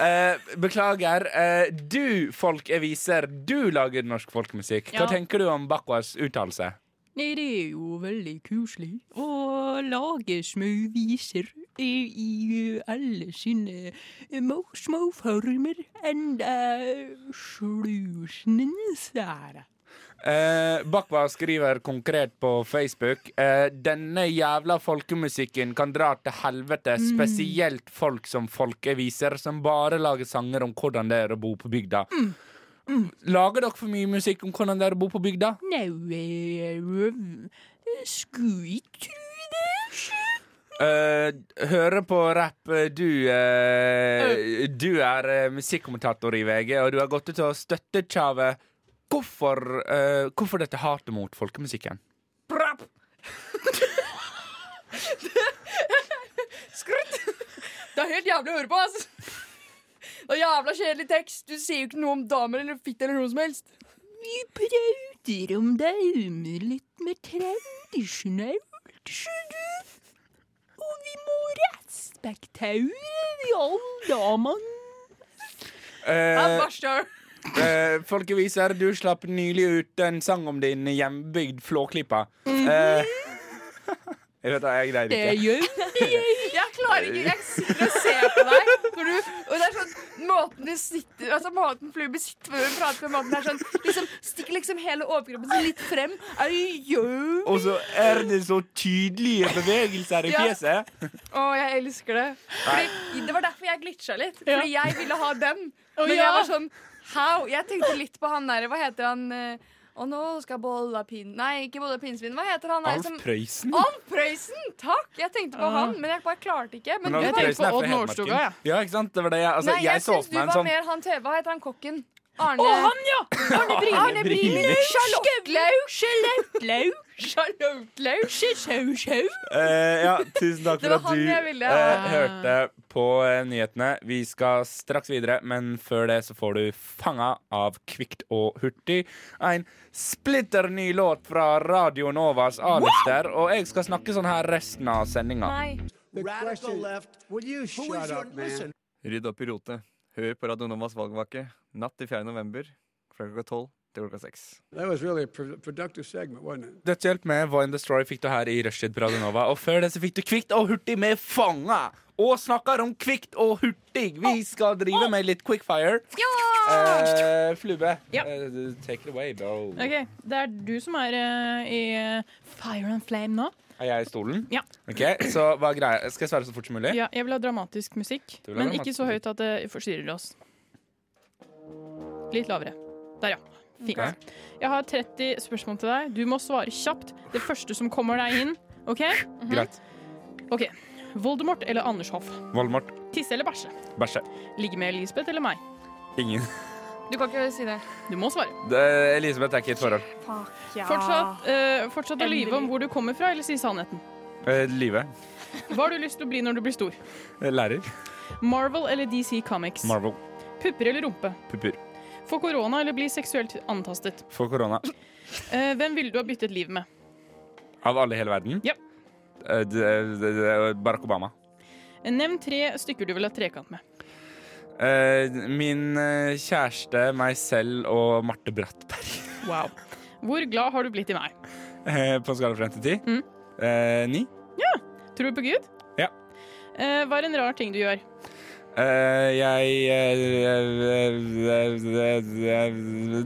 Speaker 6: Eh, beklager. Eh, du, folk jeg viser, du lager norsk folkemusikk. Hva
Speaker 5: Ja.
Speaker 6: tenker du om Bakwas uttalelse?
Speaker 5: Nei, det er jo veldig koselig å lage små viser i, i alle sine små, små former enda slusene sære.
Speaker 6: Eh, Bakwa skriver konkret på Facebook eh, Denne jævla folkemusikken kan dra til helvete,
Speaker 12: Mm.
Speaker 6: spesielt folk som folkeviser, som bare lager sanger om hvordan det er å bo på bygda. Lager dere for mye musikk om hvordan det er å bo på bygda?
Speaker 5: Nei, eh, skulle ikke tro det, sjø.
Speaker 6: Eh, hører på rapp. eh, Du, eh, du er eh, musikkommentator i VG, og du har gått ut og støttet Tjave. Hvorfor, eh, hvorfor dette hatet mot folkemusikken?
Speaker 7: Skrutt! Det er helt jævlig å høre på, ass. Det er jævla kjedelig tekst. Du sier jo ikke noe om damer eller fitte eller noe som helst.
Speaker 5: Vi prøvde om det med litt med tradisjonelt, skjønner du. Og vi må respektere de alle damene.
Speaker 6: Eh, eh, folkeviser, du slapp nylig ut en sang om din hjembygd Flåklypa. Eh, jeg vet da, jeg greide ikke.
Speaker 7: Jeg klarer ikke. Jeg sitter og ser på deg. Når du, og det er sånn, Måten du sitter Altså måten Flube sitter på når hun prater med måten er sånn liksom, Stikker liksom hele overkroppen sin litt frem. Au, jo.
Speaker 6: Og så er det så tydelige bevegelser i
Speaker 7: Ja.
Speaker 6: fjeset.
Speaker 7: Å, jeg elsker det. Fordi, det var derfor jeg glitcha litt. Fordi
Speaker 13: Ja.
Speaker 7: jeg ville ha den.
Speaker 13: Å,
Speaker 7: Men jeg
Speaker 13: ja.
Speaker 7: var sånn How? Jeg tenkte litt på han der Hva heter han? eh, Å, nå skal bolla pin... Nei, ikke bolla pinnsvin. Hva heter han der
Speaker 6: Alf Prøysen?
Speaker 7: Alf Prøysen! Takk! Jeg tenkte på
Speaker 6: Ah.
Speaker 7: han, men jeg bare klarte ikke. Men,
Speaker 6: Alf
Speaker 7: du
Speaker 6: Prøysen er fra Hedmarken. Ja, ikke sant? Det var det jeg, altså,
Speaker 7: Nei, jeg
Speaker 6: jeg så
Speaker 7: syns
Speaker 6: for
Speaker 7: du
Speaker 6: meg en
Speaker 7: var
Speaker 6: sånn
Speaker 7: mer han TV. Hva heter han kokken? Arne
Speaker 5: Å, han, ja!
Speaker 7: Arne Brini.
Speaker 5: Arne Brini.
Speaker 7: Charlotte Laug.
Speaker 5: Charlotte Laug.
Speaker 7: Charlotte
Speaker 5: Laug.
Speaker 6: Eh, ja, tusen takk for
Speaker 7: Det var
Speaker 6: at
Speaker 7: han
Speaker 6: du
Speaker 7: jeg ville
Speaker 6: eh,
Speaker 7: ha.
Speaker 6: hørte på eh, nyhetene. Vi skal straks videre, men før det så får du Fanga av Kvikt og Hurtig. En splitter ny låt fra Radio Novas A-lister, og jeg skal snakke sånn her resten av sendinga.
Speaker 14: Radical left, will you shut up, man?
Speaker 15: Rydd opp i rotet. Hør på Radio Novas valgvake natt til 4. november fra klokka 12 til klokka 6.
Speaker 14: That was really a pro- productive segment, wasn't it?
Speaker 6: Dødshjelp med Void and Destroy fikk du her i Rushtid på Radio Nova. Og før det så fikk du Kvikt og Hurtig med Fanga. Og snakker om Kvikt og Hurtig. Vi skal drive med litt quickfire. Eh, Flube,
Speaker 5: Ja.
Speaker 6: eh, take it away, bro.
Speaker 5: Ok, det er du som er eh, i eh, Fire and Flame nå.
Speaker 6: Er jeg i stolen?
Speaker 5: Ja.
Speaker 6: Ok, så hva er greia? Skal jeg svare så fort som mulig?
Speaker 5: Ja, jeg vil ha dramatisk musikk,
Speaker 6: Du vil ha
Speaker 5: men
Speaker 6: dramatisk
Speaker 5: ikke så høyt at det forstyrrer oss. Litt lavere. Der, ja. Fint.
Speaker 6: Ok.
Speaker 5: Jeg har 30 spørsmål til deg. Du må svare kjapt. Det første som kommer deg inn. OK? Mhm.
Speaker 6: Greit.
Speaker 5: OK. Voldemort eller Anders Hoff?
Speaker 6: Voldemort.
Speaker 5: Tisse eller bæsje?
Speaker 6: Bæsje.
Speaker 5: Ligge med Elisabeth eller meg?
Speaker 6: Ingen.
Speaker 5: Du kan ikke si det. Du må svare.
Speaker 6: Det, Elisabeth er ikke i et forhold.
Speaker 5: Fortsatt, eh, fortsatt å lyve om hvor du kommer fra, eller si sannheten.
Speaker 6: Eh, Lyve.
Speaker 5: Hva har du lyst til å bli når du blir stor?
Speaker 6: Eh, Lærer.
Speaker 5: Marvel eller DC Comics?
Speaker 6: Marvel.
Speaker 5: Pupper eller rumpe?
Speaker 6: Pupper.
Speaker 5: Få korona eller bli seksuelt antastet?
Speaker 6: Får korona.
Speaker 5: Eh, hvem ville du ha byttet liv med?
Speaker 6: Av alle i hele verden?
Speaker 5: Ja.
Speaker 6: Eh, d- d- d- Barack Obama.
Speaker 5: Nevn tre stykker du vil ha trekant med.
Speaker 6: Eh, Min eh, kjæreste, meg selv og Marte Brattberg.
Speaker 5: Wow. Hvor glad har du blitt i meg?
Speaker 6: Eh, På en skala fra 1 til 10?
Speaker 5: Mm.
Speaker 6: Eh, Ni.
Speaker 5: Ja. Tror du på Gud?
Speaker 6: Ja.
Speaker 5: Eh, hva er en rar ting du gjør?
Speaker 6: Eh, jeg eh,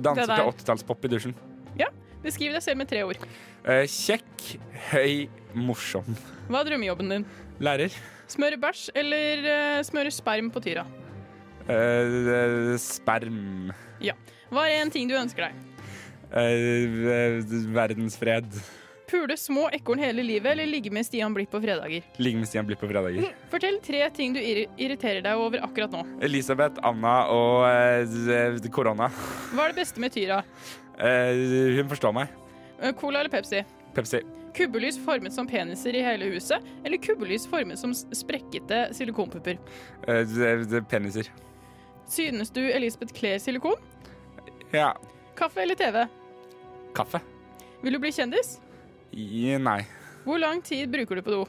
Speaker 6: danser
Speaker 5: Det der.
Speaker 6: til 80-tallspop i dusjen.
Speaker 5: Ja. Beskriv deg selv med tre ord.
Speaker 6: Eh, kjekk, høy, morsom.
Speaker 5: Hva er drømmejobben din?
Speaker 6: Lærer.
Speaker 5: Smøre bæsj eller eh, smøre sperm på tyra?
Speaker 6: Eh, sperm.
Speaker 5: Ja. Hva er en ting du ønsker deg?
Speaker 6: Eh, verdensfred.
Speaker 5: Pule små ekorn hele livet eller ligge med Stian Blipp på fredager?
Speaker 6: Ligge med Stian Blipp på fredager.
Speaker 5: Fortell tre ting du irri- irriterer deg over akkurat nå.
Speaker 6: Elisabeth, Anna og eh, z- korona.
Speaker 5: Hva er det beste med tyra?
Speaker 6: Eh, hun forstår meg.
Speaker 5: Eh, Cola eller Pepsi?
Speaker 6: Pepsi.
Speaker 5: Kubbelys formet som peniser i hele huset, eller kubbelys formet som s- sprekkete silikonpupper?
Speaker 6: Eh, z- z- peniser.
Speaker 5: Synes du Elisabeth kler silikon?
Speaker 6: Ja.
Speaker 5: Kaffe eller TV?
Speaker 6: Kaffe?
Speaker 5: Vil du bli kjendis?
Speaker 6: I, nei.
Speaker 5: Hvor lang tid bruker du på do?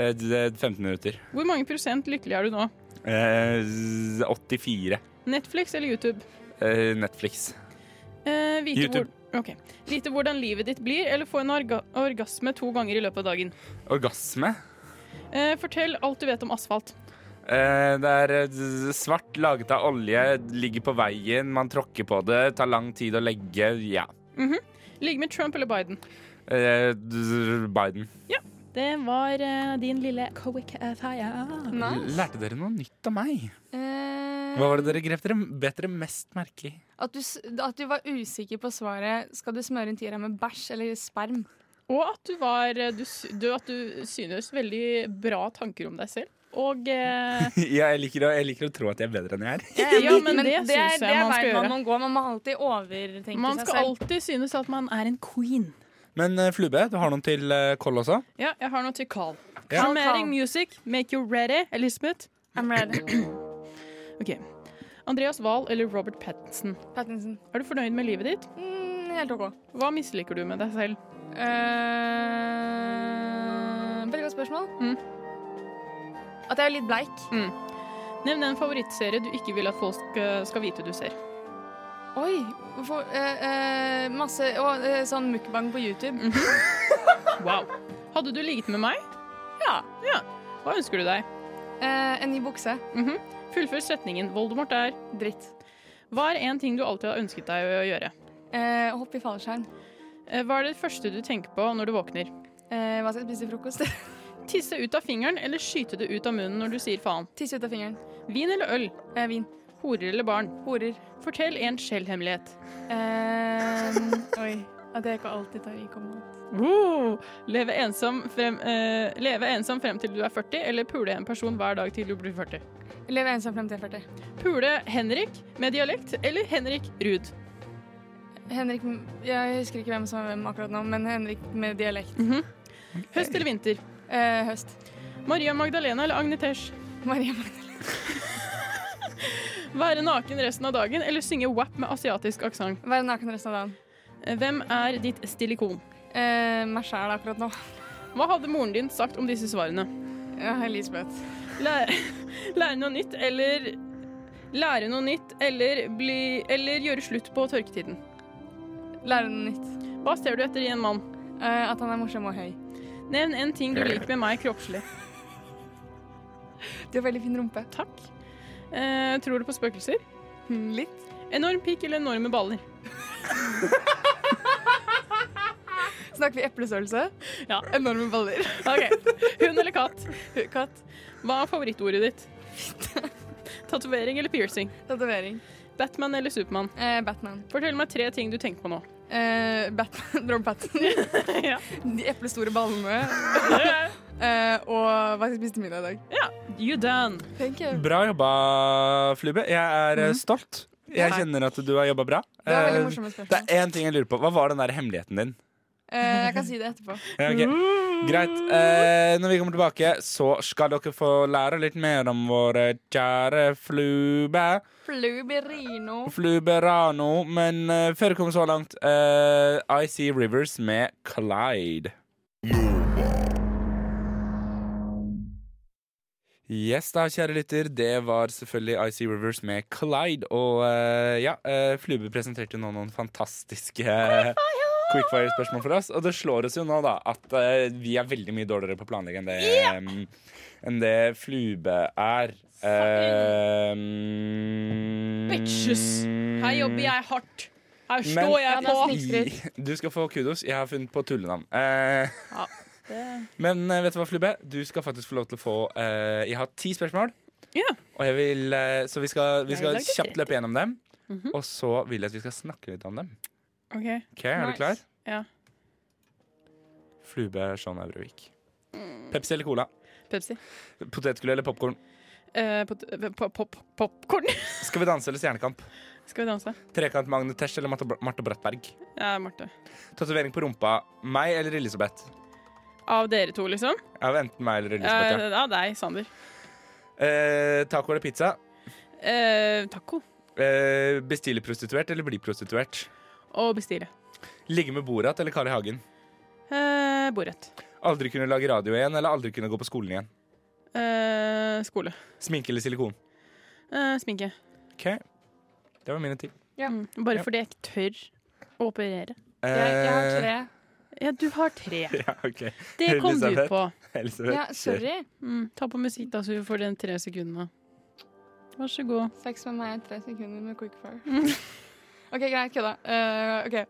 Speaker 6: Eh, z- 15 minutter.
Speaker 5: Hvor mange prosent lykkelig er du nå?
Speaker 6: Eh, z- 84.
Speaker 5: Netflix eller YouTube?
Speaker 6: Eh, Netflix.
Speaker 5: Eh, vite
Speaker 6: YouTube.
Speaker 5: Hvor, ok. Vite hvordan livet ditt blir, eller få en orga orgasme to ganger i løpet av dagen.
Speaker 6: Orgasme?
Speaker 5: Eh, fortell alt du vet om asfalt.
Speaker 6: Eh, det er eh, z- svart, laget av olje, ligger på veien, man tråkker på det, tar lang tid å legge. Ja.
Speaker 5: Mhm. Ligge med Trump eller Biden.
Speaker 6: Eh, d- Biden.
Speaker 5: Det var eh, din lille quick fire.
Speaker 6: Lærte dere noe nytt om meg?
Speaker 7: Eh,
Speaker 6: Hva var det dere grep dere bet dere mest merke i?
Speaker 7: at, du, s- at du var usikker på svaret. Skal du smøre inn tira med bæsj eller sperm?
Speaker 5: Og at du var eh, du, sy- du, At du synes veldig bra tanker om deg selv. Og eh,
Speaker 6: Ja, jeg liker, å, jeg liker å tro at jeg er bedre enn jeg er.
Speaker 5: Ja, men det
Speaker 7: det er-
Speaker 5: synes jeg
Speaker 7: det er
Speaker 5: man skal
Speaker 7: veien
Speaker 5: gjøre.
Speaker 7: Man må, gå. man må alltid overtenke
Speaker 5: man
Speaker 7: seg
Speaker 5: skal
Speaker 7: selv.
Speaker 5: alltid synes at man er en queen.
Speaker 6: Men eh, Flube, du har noen til eh, Koll også?
Speaker 5: Ja, jeg har noe til Carl.
Speaker 6: Ja.
Speaker 5: Summering music, make you ready, Elisabeth.
Speaker 7: I'm ready.
Speaker 5: ok. Andreas Wahl eller Robert Pattinson?
Speaker 7: Pattinson. Mm,
Speaker 5: Er du fornøyd med livet ditt?
Speaker 7: helt OK.
Speaker 5: Hva misliker du med deg selv?
Speaker 7: Eh, veldig godt spørsmål. At jeg er litt bleik.
Speaker 5: Mm. Nevn en favorittserie du ikke vil at folk eh, skal vite du ser.
Speaker 7: Oi! Hvorfor eh, eh, Masse og, eh, sånn mukbang på YouTube.
Speaker 5: Wow. Hadde du ligget med meg?
Speaker 7: Ja.
Speaker 5: Ja. Hva ønsker du deg?
Speaker 7: Eh, en ny bukse.
Speaker 5: Mhm. Fullfør setningen. Voldemort er
Speaker 7: Dritt.
Speaker 5: Hva er en ting du alltid har ønsket deg å gjøre?
Speaker 7: Eh, hopp i fallskjerm.
Speaker 5: Eh, Hva er det første du tenker på når du våkner?
Speaker 7: Eh, hva skal jeg spise til frokost?
Speaker 5: Tisse ut av fingeren eller skyte det ut av munnen når du sier faen?
Speaker 7: Tisse ut av fingeren. Eh,
Speaker 5: Vin eller øl?
Speaker 7: vin.
Speaker 5: Horer eller barn?
Speaker 7: Horer.
Speaker 5: Fortell en skjellhemmelighet.
Speaker 7: Eh, oi. At jeg ikke alltid tar i kommand.
Speaker 5: Wow. Leve, ensom frem, eh, leve ensom frem til du er 40, eller pule en person hver dag til du blir 40?
Speaker 7: Lev ensom frem til jeg er 40.
Speaker 5: Pule Henrik med dialekt eller Henrik Ruud?
Speaker 7: Henrik, jeg husker ikke hvem som er hvem akkurat nå, men Henrik med dialekt.
Speaker 5: Høst eller vinter?
Speaker 7: Eh, høst.
Speaker 5: Maria Magdalena eller Agnetesh?
Speaker 7: Maria Magdalena.
Speaker 5: Være naken resten av dagen eller synge WAP med asiatisk aksent? Eh,
Speaker 7: Være naken resten av dagen.
Speaker 5: Hvem er ditt stilikon?
Speaker 7: Eh, meg sjæl akkurat nå.
Speaker 5: Hva hadde moren din sagt om disse svarene?
Speaker 7: Ja, Elisabeth.
Speaker 5: Lære, lære noe nytt eller Lære noe nytt eller, bli, eller gjøre slutt på tørketiden.
Speaker 7: Lære noe nytt.
Speaker 5: Hva ser du etter i en mann?
Speaker 7: Eh, at han er morsom og høy.
Speaker 5: Nevn en ting du liker med meg kroppslig.
Speaker 7: Du har veldig fin rumpe.
Speaker 5: Takk. Mm, Eh, tror du på spøkelser? Litt. Enorm pikk eller enorme baller?
Speaker 7: Snakker vi eplestørrelse?
Speaker 5: Ja.
Speaker 7: Enorme baller.
Speaker 5: Ok. Hund eller katt? Katt. Hva er favorittordet ditt? Tatovering eller piercing?
Speaker 7: Tatovering.
Speaker 5: Batman eller Supermann?
Speaker 7: Eh, Batman.
Speaker 5: Fortell meg tre ting du tenker på nå.
Speaker 7: Eh, Batman, Rob Patton. De eplestore ballene. Eh, og hva skal jeg spise til middag i dag?
Speaker 5: Ja, you done.
Speaker 7: Thank you.
Speaker 6: Bra jobba, Flube. Jeg er eh, stolt. Jeg
Speaker 7: Mhm. Takk.
Speaker 6: kjenner at du har jobba bra.
Speaker 7: Det var veldig
Speaker 6: Eh,
Speaker 7: morsomme spørsmål.
Speaker 6: det er én ting jeg lurer på. Hva var den der hemmeligheten din?
Speaker 7: Eh, jeg kan si det etterpå.
Speaker 6: Ja, ok. Greit. Eh, når vi kommer tilbake, så skal dere få lære litt mer om vår kjære Flube.
Speaker 7: Fluberino.
Speaker 6: Fluberano. Men eh, før vi kommer så langt, eh, I See Rivers med Clyde. Yes da, kjære lytter. Det var selvfølgelig I See Rivers med Clyde. Og eh, ja, eh, Flube presenterte jo nå noen fantastiske eh, quickfire-spørsmål for oss. Og det slår oss jo nå da at eh, vi er veldig mye dårligere på å planlegge enn det, em, enn det Flube er. Eh, mm, Em,
Speaker 5: Bitches. Her jobber jeg hardt. Her
Speaker 6: Mm. men-
Speaker 5: står jeg på.
Speaker 6: Du skal få kudos. Jeg har funnet på tullenavn. Eh,
Speaker 5: Ja, det...
Speaker 6: men eh, vet du hva, Flubbe? Du skal faktisk få lov til å få eh, Jeg har ti spørsmål.
Speaker 5: Ja.
Speaker 6: Og jeg vil, eh, så vi skal, vi
Speaker 5: Jeg
Speaker 6: skal
Speaker 5: lagde
Speaker 6: kjapt løpe gjennom dem.
Speaker 5: Mhm.
Speaker 6: Og så vil jeg at vi skal snakke litt om dem.
Speaker 5: OK.
Speaker 6: Ok, Er du
Speaker 5: Nice.
Speaker 6: klar?
Speaker 5: Ja.
Speaker 6: Flube Sean Aubrevik. Pepsi eller cola?
Speaker 5: Pepsi.
Speaker 6: Potetgull eller popkorn?
Speaker 5: Eh, pot- eh, pop- pop- Popkorn.
Speaker 6: Skal vi danse eller Stjernekamp?
Speaker 5: Skal vi danse?
Speaker 6: Trekant Magne Tesch eller Marte- Marte Brattberg?
Speaker 5: Ja, Marte.
Speaker 6: Tatovering på rumpa. Meg eller Elisabeth?
Speaker 5: Av dere to, liksom?
Speaker 6: Av enten meg eller Elisabeth.
Speaker 5: Eh,
Speaker 6: Ja.
Speaker 5: Av deg, Sander.
Speaker 6: Eh, taco eller pizza?
Speaker 5: Eh, taco.
Speaker 6: Eh, bestille prostituert eller bli prostituert?
Speaker 5: Og bestille.
Speaker 6: Ligge med Borat eller Carl I. Hagen?
Speaker 5: Eh, Borett.
Speaker 6: Aldri kunne lage radio igjen eller aldri kunne gå på skolen igjen?
Speaker 5: Eh, skole.
Speaker 6: Sminke eller silikon?
Speaker 5: Eh, sminke.
Speaker 6: OK. Det var mine ting.
Speaker 5: Mm. Bare
Speaker 6: Ja.
Speaker 5: fordi jeg ikke tør å operere.
Speaker 6: Jeg- jeg har tre.
Speaker 5: Ja, du har tre.
Speaker 6: Eh, Ja, OK.
Speaker 5: Det kom du
Speaker 6: Elisabeth.
Speaker 5: på.
Speaker 6: Elisabeth.
Speaker 5: Mm, ta på musikk, da, så vi får den tre sekundene. Vær så god.
Speaker 7: Sex med meg i tre sekunder med quickfire. OK, greit, kødda. Eh, OK,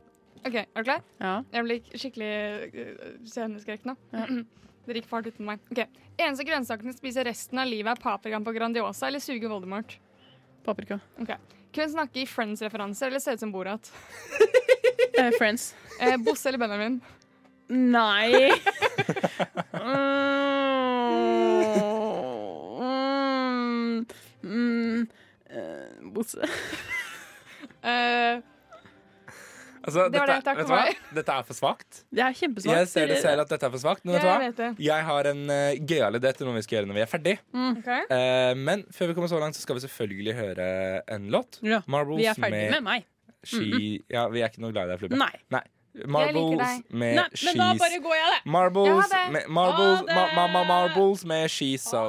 Speaker 7: Ok, er du klar?
Speaker 5: Ja.
Speaker 7: Jeg blir skikkelig eh, sceneskrekk nå. Dere gikk fart uten meg. Ok, Eneste grønnsaken du spiser resten av livet, er paprikaen på Grandiosa eller suger Voldemort?
Speaker 5: Paprika.
Speaker 7: Ok. Kun snakke i Friends-referanser eller se ut som Borat?
Speaker 5: Eh, friends.
Speaker 7: Eh, Bosse eller Benjamin?
Speaker 5: Nei. Mm, mm, eh, Bosse.
Speaker 6: Altså,
Speaker 5: Det var
Speaker 6: dette,
Speaker 5: det. Takk
Speaker 6: vet
Speaker 5: for
Speaker 6: du hva?
Speaker 5: meg.
Speaker 6: Dette er for svakt.
Speaker 5: Det er kjempesvakt.
Speaker 6: Jeg ser det selv at dette er for svakt. Men vet du
Speaker 5: Jeg
Speaker 6: hva?
Speaker 5: vet det.
Speaker 6: Jeg har en uh, gøyal idé til noe vi skal gjøre når vi er ferdig.
Speaker 5: Mm.
Speaker 6: Eh, men før vi kommer så langt, så skal vi selvfølgelig høre en låt. Marbles
Speaker 5: Vi er ferdig med meg.
Speaker 6: She, ja, vi er ikke noe glad i deg, Flubbe.
Speaker 5: Nei.
Speaker 6: Marbles med
Speaker 5: Nei, men da
Speaker 6: She's-
Speaker 5: bare går jeg, det.
Speaker 6: Marbles,
Speaker 5: Ja, ha det.
Speaker 6: med, marbles,
Speaker 5: Ha det.
Speaker 6: ma, ma, ma, marbles med She's So.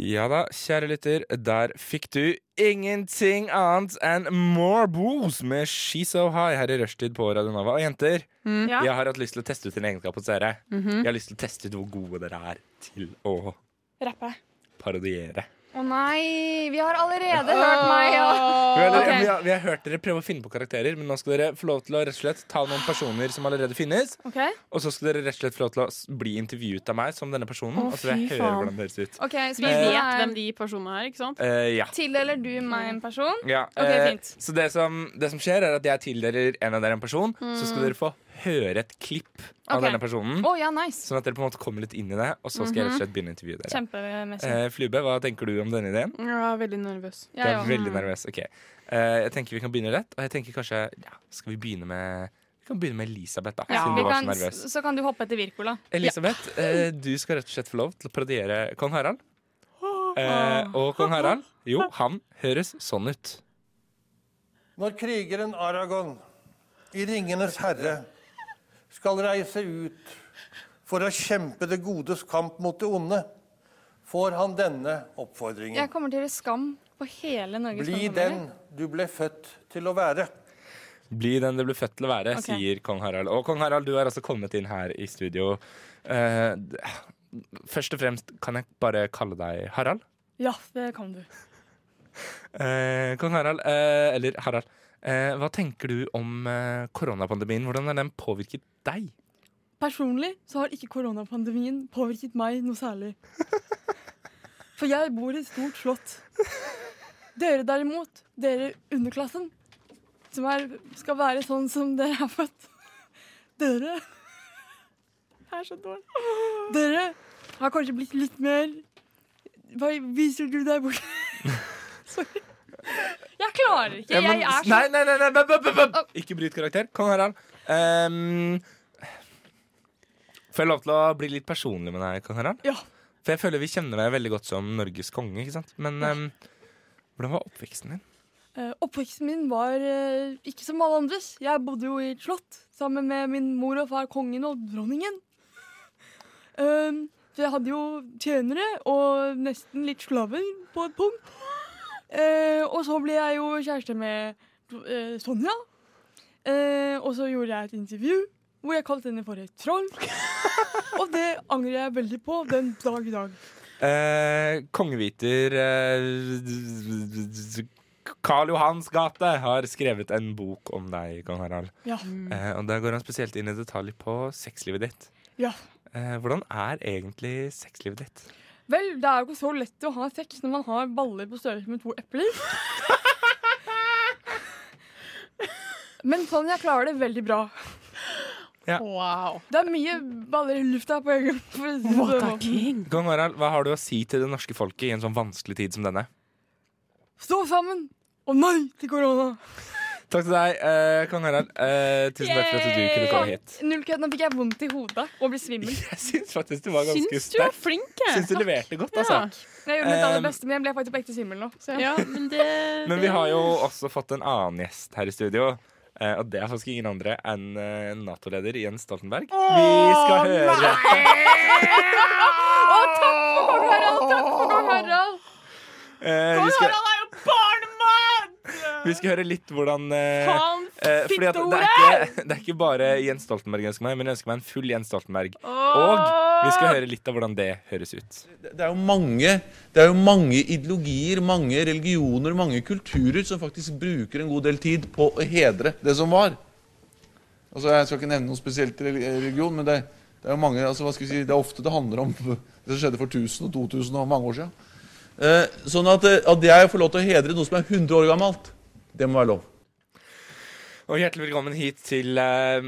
Speaker 6: Ja da, kjære lytter, der fikk du ingenting annet enn Marbles med She's So High her i rushtid på Radio Nova. Og jenter,
Speaker 5: Mm. Ja.
Speaker 6: jeg har hatt lyst til å teste ut en egenskap hos dere.
Speaker 5: Mhm.
Speaker 6: Jeg har lyst til å teste ut hvor gode dere er til å
Speaker 7: Rappe.
Speaker 6: parodiere.
Speaker 7: Å nei, vi har allerede hørt meg. Ja.
Speaker 6: Vi har, allerede-
Speaker 7: Ok.
Speaker 6: vi, har, vi har hørt dere prøve å finne på karakterer, men nå skal dere få lov til å rett og slett ta noen personer som allerede finnes.
Speaker 7: Ok.
Speaker 6: Og så skal dere rett og slett få lov til å s- bli intervjuet av meg som denne personen.
Speaker 5: Å,
Speaker 6: og så vil
Speaker 5: fy
Speaker 6: jeg høre
Speaker 5: faen.
Speaker 6: hvordan dere ser ut.
Speaker 7: Ok,
Speaker 5: Vi
Speaker 7: spørsmålet
Speaker 5: vet
Speaker 7: er-
Speaker 5: hvem de personene er, ikke sant?
Speaker 6: Eh, ja.
Speaker 7: Tildeler du meg en person?
Speaker 6: ja.
Speaker 7: Ok,
Speaker 6: eh,
Speaker 7: fint.
Speaker 6: så det som, det som skjer, er at jeg tildeler en av dere en person. Så skal
Speaker 7: Mm.
Speaker 6: dere få høre et klipp av
Speaker 7: Ok.
Speaker 6: denne personen.
Speaker 7: Å, ja, nice.
Speaker 6: Sånn at dere på en måte kommer litt inn i det, og så skal jeg rett og
Speaker 7: Mhm.
Speaker 6: slett begynne å intervjue dere.
Speaker 7: Kjempemessig.
Speaker 6: Eh, Flube, hva tenker du om denne ideen?
Speaker 5: Jeg er veldig nervøs.
Speaker 6: Du er veldig nervøs. Ok. Eh, jeg tenker vi kan begynne rett. Og jeg tenker kanskje ja, Skal vi begynne med Vi kan begynne med Elisabeth, da.
Speaker 7: Ja,
Speaker 6: siden
Speaker 7: vi
Speaker 6: du var
Speaker 7: kan,
Speaker 6: så nervøs.
Speaker 7: så kan du hoppe etter Virkola.
Speaker 6: Elisabeth, eh, du skal rett og slett få lov til å parodiere kong Harald. Eh, og kong Harald, jo, han høres sånn ut.
Speaker 16: Når krigeren Aragon i Ringenes herre skal reise ut for å kjempe det godes kamp mot det onde, får han denne oppfordringen.
Speaker 7: Jeg kommer til å gjøre skam på hele Norges
Speaker 16: Bli
Speaker 7: kongefamilie.
Speaker 16: den du ble født til å være.
Speaker 6: Bli den det ble født til å være,
Speaker 16: Ok.
Speaker 6: sier kong Harald. Og kong Harald, du er altså kommet inn her i studio. Eh, d- først og fremst, kan jeg bare kalle deg Harald?
Speaker 7: Ja, det kan du.
Speaker 6: Eh, Kong Harald, eh, eller Harald, eh, hva tenker du om eh, koronapandemien? Hvordan har den påvirket deg?
Speaker 7: Personlig så har ikke koronapandemien påvirket meg noe særlig. For jeg bor i et stort slott. Dere derimot, dere underklassen, som er, skal være sånn som dere er født Dere
Speaker 17: er så dårlig.
Speaker 7: Dere har kanskje blitt litt mer Hva viser du der borte? Sorry.
Speaker 18: Jeg klarer ikke.
Speaker 6: Ja, Eh, men-
Speaker 18: Jeg er
Speaker 6: Nei,
Speaker 18: så
Speaker 6: nei, nei, nei bøp, bøp, bøp, bøp. Ikke bryt karakter. Kong Harald. ehm, får jeg lov til å bli litt personlig med deg, Kong Harald?
Speaker 7: Ja.
Speaker 6: For jeg føler vi kjenner deg veldig godt som Norges konge, ikke sant? Men ehm, hvordan var oppveksten din?
Speaker 7: Eh, Oppveksten min var eh, ikke som alle andres. Jeg bodde jo i et slott sammen med min mor og far, kongen og dronningen. Um, så jeg hadde jo tjenere og nesten litt slaver på et punkt. Eh, og så ble jeg jo kjæreste med eh, Sonja. Eh, og så gjorde jeg et intervju hvor jeg kalte henne for et troll. og det angrer jeg veldig på den dag i dag.
Speaker 6: Eh, Kongeviter eh, Karl Johans gate har skrevet en bok om deg, Kong Harald.
Speaker 7: Ja.
Speaker 6: Eh, og der går han spesielt inn i detalj på sexlivet ditt.
Speaker 7: Ja.
Speaker 6: Eh, hvordan er egentlig sexlivet ditt?
Speaker 7: Vel, det er jo ikke så lett å ha sex når man har baller på størrelse med to epler. Men sånn, jeg klarer det veldig bra.
Speaker 17: Wow.
Speaker 7: Det er mye baller i lufta på en gang. for å si det sånn. på den måten.
Speaker 6: Kong Harald, hva har du å si til det norske folket i en sånn vanskelig tid som denne?
Speaker 7: Stå sammen! Og nei til korona!
Speaker 6: Takk til deg, eh, kong Harald. Eh, tusen takk for at du kunne komme hit.
Speaker 7: Null kødd, nå fikk jeg vondt i hodet og ble svimmel.
Speaker 6: Jeg syns faktisk du var ganske
Speaker 7: Syns
Speaker 6: sterk.
Speaker 7: du er flink, jeg.
Speaker 6: Syns du
Speaker 7: Takk.
Speaker 6: leverte godt,
Speaker 7: Ja.
Speaker 6: altså.
Speaker 18: Jeg gjorde mitt aller
Speaker 6: Um,
Speaker 18: beste, men jeg ble faktisk på ekte svimmel nå. Så
Speaker 17: Ja, men det
Speaker 6: Men vi har jo også fått en annen gjest her i studio. eh, Og det er faktisk ingen andre enn eh, Nato-leder Jens Stoltenberg. Vi skal høre eh,
Speaker 18: Å, takk for kong Harald! Takk for kong Harald!
Speaker 6: eh, vi, skal,
Speaker 18: er jo barnemann!
Speaker 6: vi skal høre litt hvordan eh,
Speaker 18: Faen,
Speaker 6: eh, fordi at det, er ikke, det er ikke bare Jens Stoltenberg jeg ønsker meg, men jeg ønsker meg en full Jens Stoltenberg. Og vi skal høre litt av hvordan det høres ut.
Speaker 19: Det er jo mange, det er jo mange ideologier, mange religioner, mange kulturer som faktisk bruker en god del tid på å hedre det som var. Altså, Jeg skal ikke nevne noen spesielt reli- religion, men det, det er jo mange, altså, hva skal vi si, det er ofte det handler om det som skjedde for 1000 og 2000 og mange år siden. Eh, sånn at, eh, at jeg får lov til å hedre noe som er 100 år gammelt, det må være lov.
Speaker 6: Og hjertelig velkommen hit til, eh,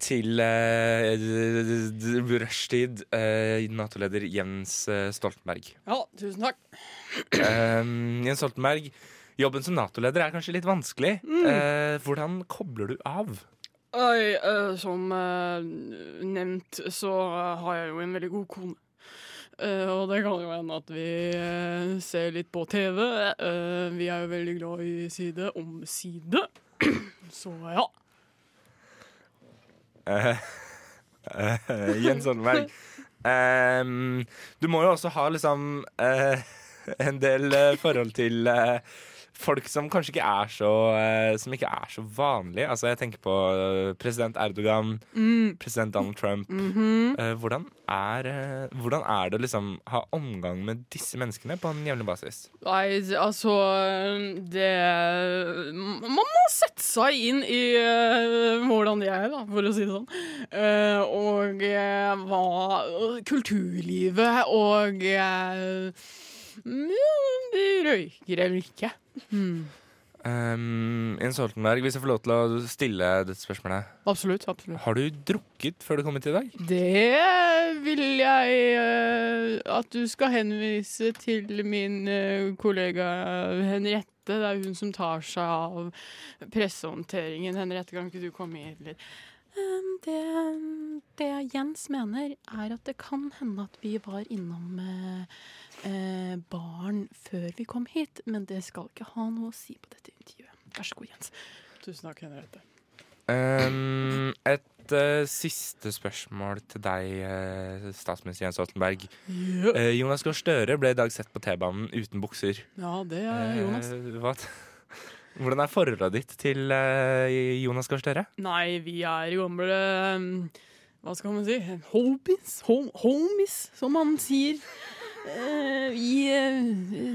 Speaker 6: til eh, d- d- d- rushtid, eh, Nato-leder Jens eh, Stoltenberg.
Speaker 5: Ja, tusen takk.
Speaker 6: Eh, Jens Stoltenberg, jobben som Nato-leder er kanskje litt vanskelig.
Speaker 5: Mm.
Speaker 6: Eh, hvordan kobler du av?
Speaker 5: Oi, eh, som eh, nevnt så eh, har jeg jo en veldig god kone. Eh, og det kan jo hende at vi eh, ser litt på TV. Eh, vi er jo veldig glad i side om side. så ja.
Speaker 6: Eh, eh, Jens Stoltenberg, eh, du må jo også ha liksom eh, en del eh, forhold til eh, folk som kanskje ikke er så eh, Som ikke er så vanlige. Altså, jeg tenker på eh, president Erdogan,
Speaker 5: Mm.
Speaker 6: president Donald Trump.
Speaker 5: Mhm.
Speaker 6: Eh, hvordan, er, eh, hvordan er det å liksom ha omgang med disse menneskene på en jevnlig basis?
Speaker 5: Nei, det- altså Det Man må sette seg inn i eh, hvordan de er, da, for å si det sånn. Eh, og eh, hva Kulturlivet og eh, mm, De røyker eller ikke. Hmm.
Speaker 6: Um, Jens Stoltenberg, hvis jeg får lov til å stille dette spørsmålet.
Speaker 5: Absolutt. absolutt.
Speaker 6: Har du drukket før du kom hit i dag?
Speaker 5: Det vil jeg eh, at du skal henvise til min eh, kollega Henriette. Det er hun som tar seg av pressehåndteringen. Henriette, kan ikke du komme hit litt?
Speaker 17: Um, Det, det Jens mener, er at det kan hende at vi var innom eh, eh, baren før vi kom hit, men det skal ikke ha noe å si på dette intervjuet. Vær så god, Jens.
Speaker 5: Tusen takk, Henriette.
Speaker 6: Um, et eh, siste spørsmål til deg, eh, statsminister Jens Stoltenberg.
Speaker 5: Ja.
Speaker 6: Eh, Jonas Gahr Støre ble i dag sett på T-banen uten bukser.
Speaker 5: Ja, det er Jonas.
Speaker 6: Eh, hva t- Hvordan er forholdet ditt til eh, Jonas Gahr Støre?
Speaker 5: Nei, vi er gamle
Speaker 20: eh,
Speaker 5: um, Hva skal man si? Hobies? Hom homies, som han sier.
Speaker 20: Eh, vi eh,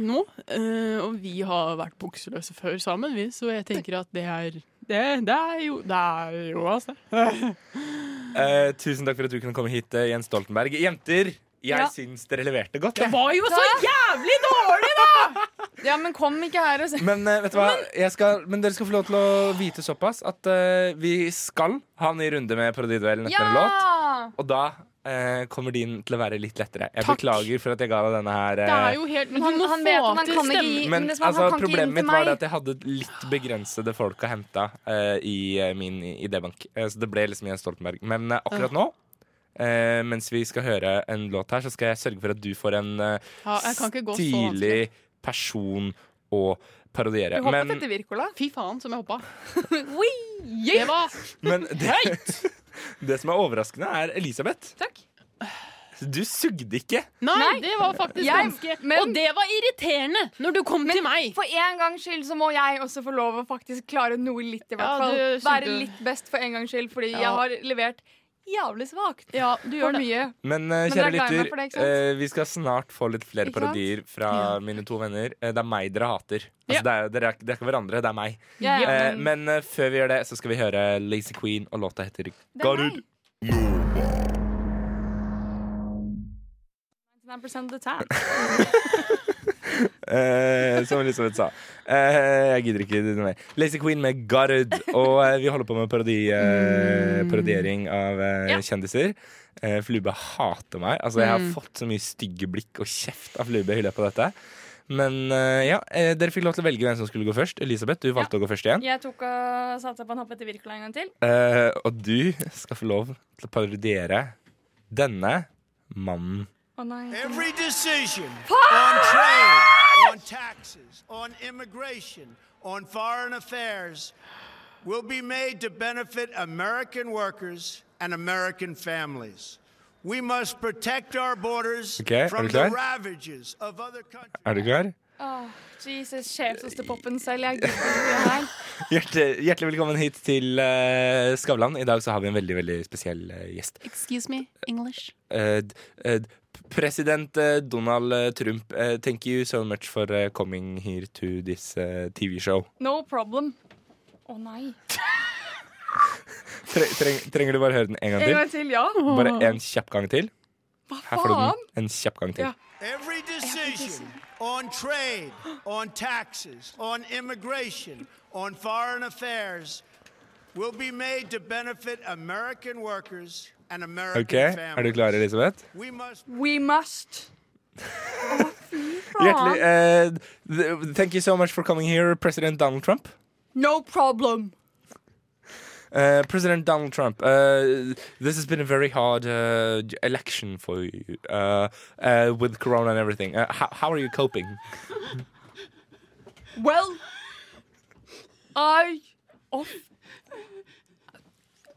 Speaker 20: nå, eh, og vi har vært bukseløse før sammen, vi, så jeg tenker at det er Det, det er jo Det er jo, altså.
Speaker 6: Eh, tusen takk for at du kunne komme hit, eh, Jens Stoltenberg. Jenter, jeg
Speaker 7: Ja.
Speaker 6: syns dere leverte godt. jeg.
Speaker 20: var jo så jævlig dårlig,
Speaker 7: da! Ja, men kom ikke her og se.
Speaker 6: Men eh, vet du hva? Jeg skal, men dere skal få lov til å vite såpass at eh, vi skal ha en ny runde med parodiduellen etter en låt. Og da eh, kommer din til å være litt lettere. Jeg beklager for at jeg ga deg denne her. eh,
Speaker 20: Det er jo helt Men
Speaker 7: Han-
Speaker 20: du må
Speaker 7: han
Speaker 20: få
Speaker 7: vet at han
Speaker 20: til
Speaker 7: kan ikke
Speaker 20: stemmen.
Speaker 7: gi-
Speaker 6: men
Speaker 7: det er sånn, han
Speaker 6: altså,
Speaker 7: kan ikke gi den
Speaker 6: problemet
Speaker 7: til
Speaker 6: mitt var
Speaker 7: meg.
Speaker 6: det at jeg hadde litt begrensede folk å hente eh, i eh, min idébank. Eh, så det ble liksom Jens Stoltenberg. Men eh, akkurat nå, eh, mens vi skal høre en låt her, så skal jeg sørge for at du får en eh,
Speaker 20: Ja, jeg kan ikke gå så
Speaker 6: stilig person å parodiere.
Speaker 20: Du hoppet
Speaker 6: Men-
Speaker 20: etter Wirkola? Fy faen, som jeg hoppa. det var
Speaker 6: Men det, det som er overraskende, er Elisabeth. Du sugde ikke.
Speaker 20: Nei, det var faktisk
Speaker 7: Jeg-
Speaker 20: ganske Og det var irriterende når du kom til meg.
Speaker 7: For en gangs skyld så må jeg også få lov å faktisk klare noe litt, i hvert
Speaker 20: Ja,
Speaker 7: fall.
Speaker 20: du-
Speaker 7: Være
Speaker 20: du-
Speaker 7: litt best for en gangs skyld, fordi
Speaker 20: Ja.
Speaker 7: jeg har levert jævlig svakt.
Speaker 20: Ja, du
Speaker 7: gjør mye.
Speaker 6: Men eh,
Speaker 7: Men
Speaker 6: kjære
Speaker 7: dere er glad i meg
Speaker 6: lytter,
Speaker 7: for det, ikke sant?
Speaker 6: eh, vi skal snart få litt flere
Speaker 7: Ikke sant?
Speaker 6: parodier fra mine to venner. Eh, det er meg dere hater. Altså,
Speaker 20: Ja.
Speaker 6: det, er, dere er, ikke- det er ikke hverandre, det er meg.
Speaker 20: Ja, ja,
Speaker 6: Eh,
Speaker 20: men-
Speaker 6: men eh, før vi gjør det, så skal vi høre Lazy Queen, og låta heter Garud.
Speaker 7: 99% of the time.
Speaker 6: Eh, som Elisabeth sa. Eh, jeg gidder ikke noe mer. Lazy Queen med Gard. Og eh, vi holder på med parodi, eh, parodiering av eh, kjendiser. Eh, Flube hater meg. Altså, jeg har
Speaker 20: Mm.
Speaker 6: fått så mye stygge blikk og kjeft av Flube i løpet av dette. Men eh, ja, eh, dere fikk lov til å velge hvem som skulle gå først. Elisabeth, du valgte å gå først igjen.
Speaker 7: Jeg tok og satsa på en hopp etter Wirkola en gang til.
Speaker 6: Eh, og du skal få lov til å parodiere denne mannen.
Speaker 7: Å nei.
Speaker 14: Every decision
Speaker 7: Fuck!
Speaker 14: on trade, on taxes, on immigration, on foreign affairs will be made to benefit American workers and American families. We must protect our borders
Speaker 6: Okay,
Speaker 14: from
Speaker 6: are we
Speaker 14: the
Speaker 6: clear?
Speaker 14: ravages of other countries.
Speaker 6: Er du klar?
Speaker 7: Åh, Jesus, sjelsostepopen selv. Jeg gidder ikke det her.
Speaker 6: Hjerte, hjertelig velkommen hit til eh, Skavlan. I dag så har vi en veldig veldig spesiell eh, gjest.
Speaker 20: Excuse me, English.
Speaker 6: Eh, d- eh, d- president eh, Donald eh, Trump, eh, thank you so much for eh, coming here to this eh, TV show.
Speaker 7: No problem. Å nei.
Speaker 6: Tre, treng, trenger du bare høre den en gang
Speaker 7: En
Speaker 6: til?
Speaker 7: gang til, ja.
Speaker 6: Bare en kjapp gang til. Her får du den. En kjapp gang til.
Speaker 14: Every decision on trade, on taxes, on immigration, on foreign affairs will be made to benefit American workers and American
Speaker 6: OK, er du
Speaker 14: families.
Speaker 6: klar, Elisabeth?
Speaker 14: We must
Speaker 7: We must.
Speaker 6: Hjertelig eh, th- Thank you so much for coming here, President Donald Trump.
Speaker 7: No problem.
Speaker 6: Uh, President Donald Trump, uh, this has been a very hard uh, j- election for you uh, uh, with Corona and everything. Uh, how, how are you coping?
Speaker 7: Well,
Speaker 21: I of